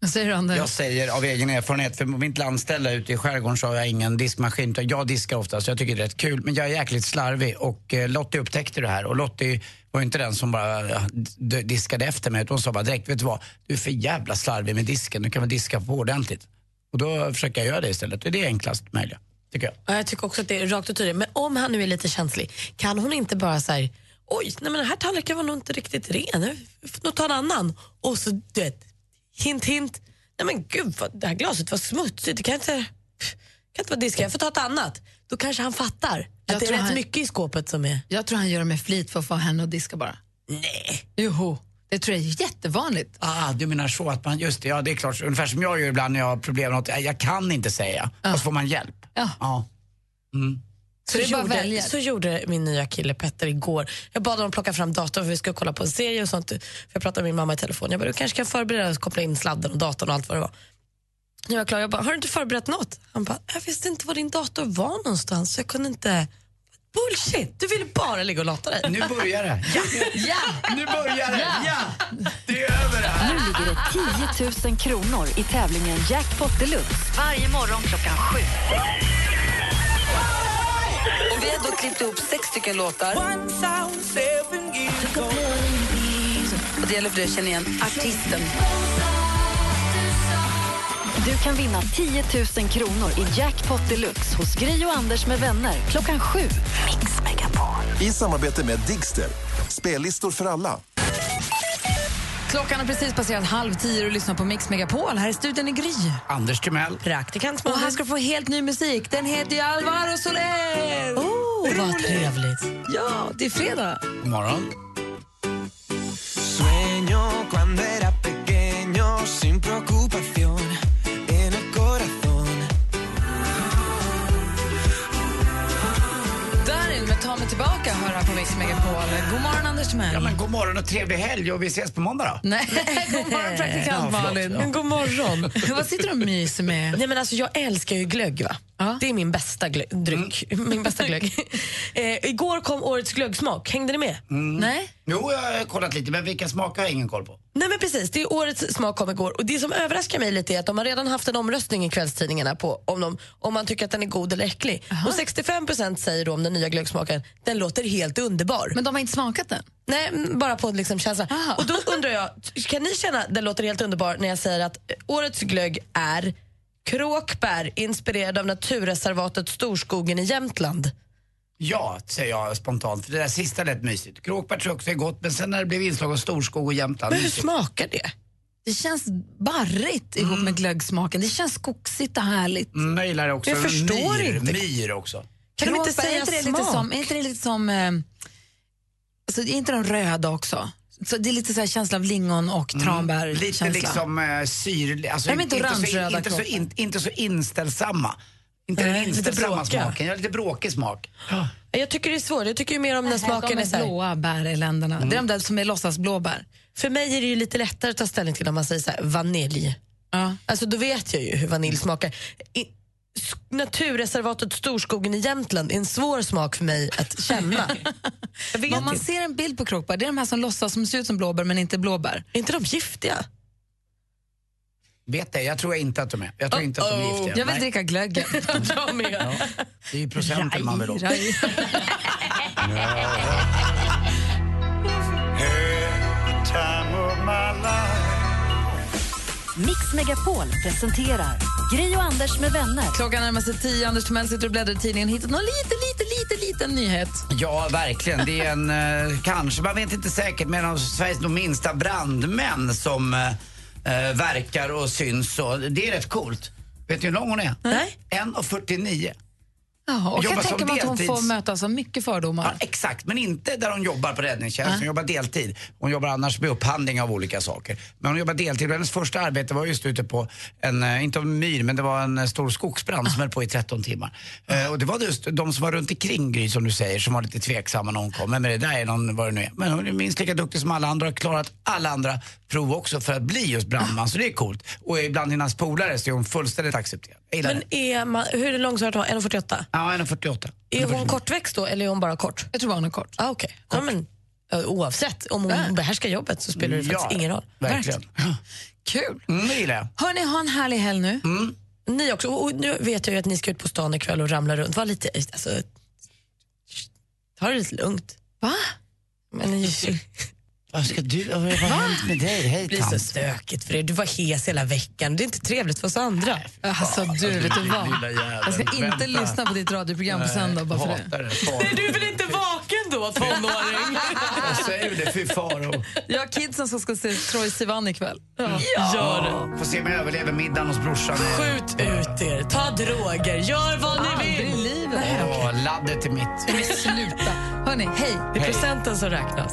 Speaker 2: Vad säger du Anders?
Speaker 3: Jag säger av egen erfarenhet, för på mitt landställe ute i skärgården så har jag ingen diskmaskin. utan Jag diskar ofta så jag tycker det är rätt kul. Men jag är jäkligt slarvig och eh, Lottie upptäckte det här. Och Lottie var ju inte den som bara ja, d- diskade efter mig. utan Hon sa bara direkt, vet du vad? Du är för jävla slarvig med disken. Du kan väl diska på ordentligt. Och då försöker jag göra det istället. Det är det enklast möjliga, tycker jag.
Speaker 4: Ja, jag tycker också att det är rakt och tydligt. Men om han nu är lite känslig, kan hon inte bara så här, oj, nej men den här tallriken var nog inte riktigt ren, vi får nog ta en annan. Och så, du vet, hint hint, nej men gud, vad, det här glaset var smutsigt, det kan inte, pff, kan inte vara diskat, jag får ta ett annat. Då kanske han fattar att
Speaker 2: Jag
Speaker 4: det är
Speaker 2: tror
Speaker 4: rätt
Speaker 2: han-
Speaker 4: mycket i skåpet som är...
Speaker 2: Jag tror han gör det med flit för att få henne att diska bara.
Speaker 4: Nej.
Speaker 2: Joho, det tror jag är jättevanligt.
Speaker 3: Ah, du menar så att man, just det, ja det är klart. Ungefär som jag gör ibland när jag har problem med något. "Nej, Jag kan inte säga. Och så får man hjälp.
Speaker 2: Ja.
Speaker 3: Mm.
Speaker 4: Så, gjorde, så gjorde min nya kille Petter igår. Jag bad honom plocka fram datorn för vi skulle kolla på en serie och sånt. För jag pratade med min mamma i telefon. Jag bara, du kanske kan förbereda dig och koppla in sladden och datorn och allt vad det var. När jag var klar, jag bara, har du inte förberett något? Han bara, jag visste inte var din dator var någonstans. så Jag kunde inte... Bullshit! Du ville bara ligga och lata dig.
Speaker 3: Nu börjar det. Ja! Nu börjar det. Ja! Det är över det
Speaker 1: Nu ligger det 10 000 kronor i tävlingen Jackpot Deluxe varje morgon klockan sju.
Speaker 26: Och vi har då klippt ihop sex stycken låtar. Och det gäller för dig att känna igen artisten.
Speaker 1: Du kan vinna 10 000 kronor i Jackpot Deluxe hos Gry och Anders med vänner klockan sju. Mix Megapol.
Speaker 16: I samarbete med Digster. Spellistor för alla.
Speaker 2: Klockan har precis passerat halv tio och lyssnar på Mix Megapol. Här i studion i Gry.
Speaker 3: Anders Timell.
Speaker 4: Praktikant
Speaker 2: Och här ska du få helt ny musik. Den heter ju Alvaro Soler. Oh,
Speaker 4: vad *laughs* trevligt.
Speaker 2: Ja, det är fredag.
Speaker 3: God morgon.
Speaker 7: *laughs* Sueño cuando era pequeño sin preocupación en el corazón.
Speaker 2: Darin med Ta mig tillbaka hör här på Mix Megapol. God morgon Anders Timell.
Speaker 3: Ja, men god morgon och trevlig helg och vi ses på måndag då.
Speaker 4: *laughs*
Speaker 2: Nej, god *laughs* morgon praktikant Malin.
Speaker 4: Men God
Speaker 3: *laughs*
Speaker 4: morgon.
Speaker 2: Vad sitter du och myser med?
Speaker 4: Nej, men alltså, jag älskar ju glögg. Va? Det är min bästa glögg, dryck.
Speaker 3: Mm.
Speaker 4: Min bästa
Speaker 3: *laughs*
Speaker 4: glögg. eh, igår kom årets glöggsmak. Hängde ni med?
Speaker 2: Mm. Nej?
Speaker 3: Jo, jag har kollat lite, men vilka smaker har jag ingen koll på.
Speaker 4: Nej men precis, det är årets smak kom igår och det som överraskar mig lite är att de har redan haft en omröstning i kvällstidningarna på om, de, om man tycker att den är god eller äcklig. Och 65% säger då om den nya glöggsmaken, den låter helt underbar.
Speaker 2: Men de har inte smakat den?
Speaker 4: Nej, m- bara på liksom känslan. Och då undrar jag, kan ni känna den låter helt underbar när jag säger att eh, årets glögg är kråkbär inspirerad av naturreservatet Storskogen i Jämtland?
Speaker 3: Ja, säger jag spontant, för det där sista lät mysigt. Kråkbär tror jag också är gott, men sen när det blev inslag av storskog och Jämtland.
Speaker 4: Men hur
Speaker 3: mysigt.
Speaker 4: smakar det?
Speaker 2: Det känns barrigt ihop
Speaker 4: Mm.
Speaker 2: med glöggsmaken. Det känns skogsigt och härligt.
Speaker 3: Mm, jag gillar det också.
Speaker 2: Jag förstår
Speaker 3: myr,
Speaker 2: inte.
Speaker 3: Myr också. Mm.
Speaker 2: Kan
Speaker 4: de inte
Speaker 2: är
Speaker 4: säga
Speaker 2: inte det lite
Speaker 4: smak?
Speaker 2: som, är inte det lite som eh, alltså, är inte de röda också? Så det är lite så här känsla av lingon och
Speaker 4: Mm.
Speaker 2: tranbär.
Speaker 3: Lite
Speaker 2: känsla.
Speaker 3: liksom eh, syrlig, alltså,
Speaker 2: Nej, men inte
Speaker 3: så,
Speaker 2: orangeröda
Speaker 3: inte, så,
Speaker 2: kroppar.
Speaker 3: in, inte så inställsamma. Inte den
Speaker 4: Nej, lite
Speaker 3: inställsamma
Speaker 4: bråkiga.
Speaker 3: smaken, ja, lite bråkig smak.
Speaker 4: Jag tycker det är svårt, jag tycker ju mer om när
Speaker 2: Nej,
Speaker 4: smaken
Speaker 2: de
Speaker 4: är så här-
Speaker 2: blåa bär i länderna. Mm. Det är de där som är låtsasblåbär.
Speaker 4: Mm. För mig är det ju lite lättare att ta ställning till om man säger så här, vanilj.
Speaker 2: Ja.
Speaker 4: Alltså då vet jag ju hur vanilj smakar. I, s- naturreservatet Storskogen i Jämtland är en svår smak för mig att *laughs* känna. jag vet
Speaker 2: Om man
Speaker 4: inte.
Speaker 2: ser en bild på kråkbär, det är de här som låtsas som ser ut som blåbär men inte är blåbär.
Speaker 4: Är inte de giftiga?
Speaker 3: Vet det, jag tror inte att de är. Jag tror inte att de är giftiga.
Speaker 2: Oh, Jag vill
Speaker 3: Nej,
Speaker 2: dricka
Speaker 3: *laughs*
Speaker 2: glöggen.
Speaker 4: Jag
Speaker 2: *laughs*
Speaker 4: med.
Speaker 3: Det är ju procenten man vill åt.
Speaker 2: Raj.
Speaker 7: Head
Speaker 27: Mix Megapol presenterar Gri och Anders med vänner.
Speaker 2: Klockan närmar sig tio. Anders Timell sitter och bläddrar i tidningen och hittar någon liten, liten, liten, liten nyhet.
Speaker 3: Ja, verkligen. Det är en, eh, kanske, man vet inte säkert, men en av Sveriges nog minsta brandmän som eh, eh, verkar och syns. Så det är rätt coolt. Vet ni hur lång hon är? Nej. 1,49.
Speaker 2: Jaha, och
Speaker 3: Jobbar
Speaker 2: jag tänker
Speaker 3: som
Speaker 2: mig att hon
Speaker 3: deltids-
Speaker 2: får möta så mycket fördomar.
Speaker 3: Exakt, men inte där hon jobbar på räddningstjänst. Hon jobbar deltid. Hon jobbar annars med upphandling av olika saker. Men hon jobbar deltid. Hennes första arbete var just ute på en, eh, inte en myr, men det var en eh, stor skogsbrand som höll på i 13 timmar. Eh, och det var just de som var runt omkring Gry, som du säger, som var lite tveksamma när hon kom. Men det där är någon, vad det nu är. Men hon är minst lika duktig som alla andra och har klarat alla andra prov också för att bli just brandman. Så det är coolt. Och ibland hennes polare så är hon fullständigt accepterad. Jag gillar
Speaker 4: Men är man, hur lång har hon? 1,48?
Speaker 3: Ja, 1,48.
Speaker 4: Är hon kortväxt då eller är hon bara kort?
Speaker 2: Jag tror bara hon är kort.
Speaker 4: Ah, okay. ja, men, ö, oavsett, om hon behärskar jobbet så spelar det
Speaker 3: Ja,
Speaker 4: faktiskt ingen roll.
Speaker 3: Verkligen.
Speaker 2: Kul!
Speaker 3: Mm, det gillar jag.
Speaker 2: Hörni, ha en härlig helg nu.
Speaker 3: Mm.
Speaker 4: Ni också. Och nu vet jag ju att ni ska ut på stan ikväll och ramla runt. Var lite, alltså, ta det lite lugnt.
Speaker 2: Va?
Speaker 4: Men,
Speaker 3: Vad ska du, vad har hänt med dig? Hej
Speaker 4: Det blir så stökigt för er. Du var hes hela veckan. Det är inte trevligt för oss andra.
Speaker 2: Alltså du, vet du vad?
Speaker 4: Alltså,
Speaker 2: Jag ska inte lyssna på ditt radioprogram på söndag bara för det.
Speaker 4: Är du väl inte vaken då,
Speaker 2: *laughs*
Speaker 4: tonåring?
Speaker 3: Jag säger det, fy faro.
Speaker 2: Jag har kidsen som ska se Troye Sivan ikväll.
Speaker 4: Gör det.
Speaker 3: Får se om jag överlever middagen hos brorsan.
Speaker 4: Skjut ut er, ta droger, gör vad ni
Speaker 2: Aldrig
Speaker 4: vill.
Speaker 2: i livet.
Speaker 3: Åh, laddet är mitt.
Speaker 2: Men sluta. Hörni, hej.
Speaker 4: Det är procenten som
Speaker 3: *laughs*
Speaker 4: räknas.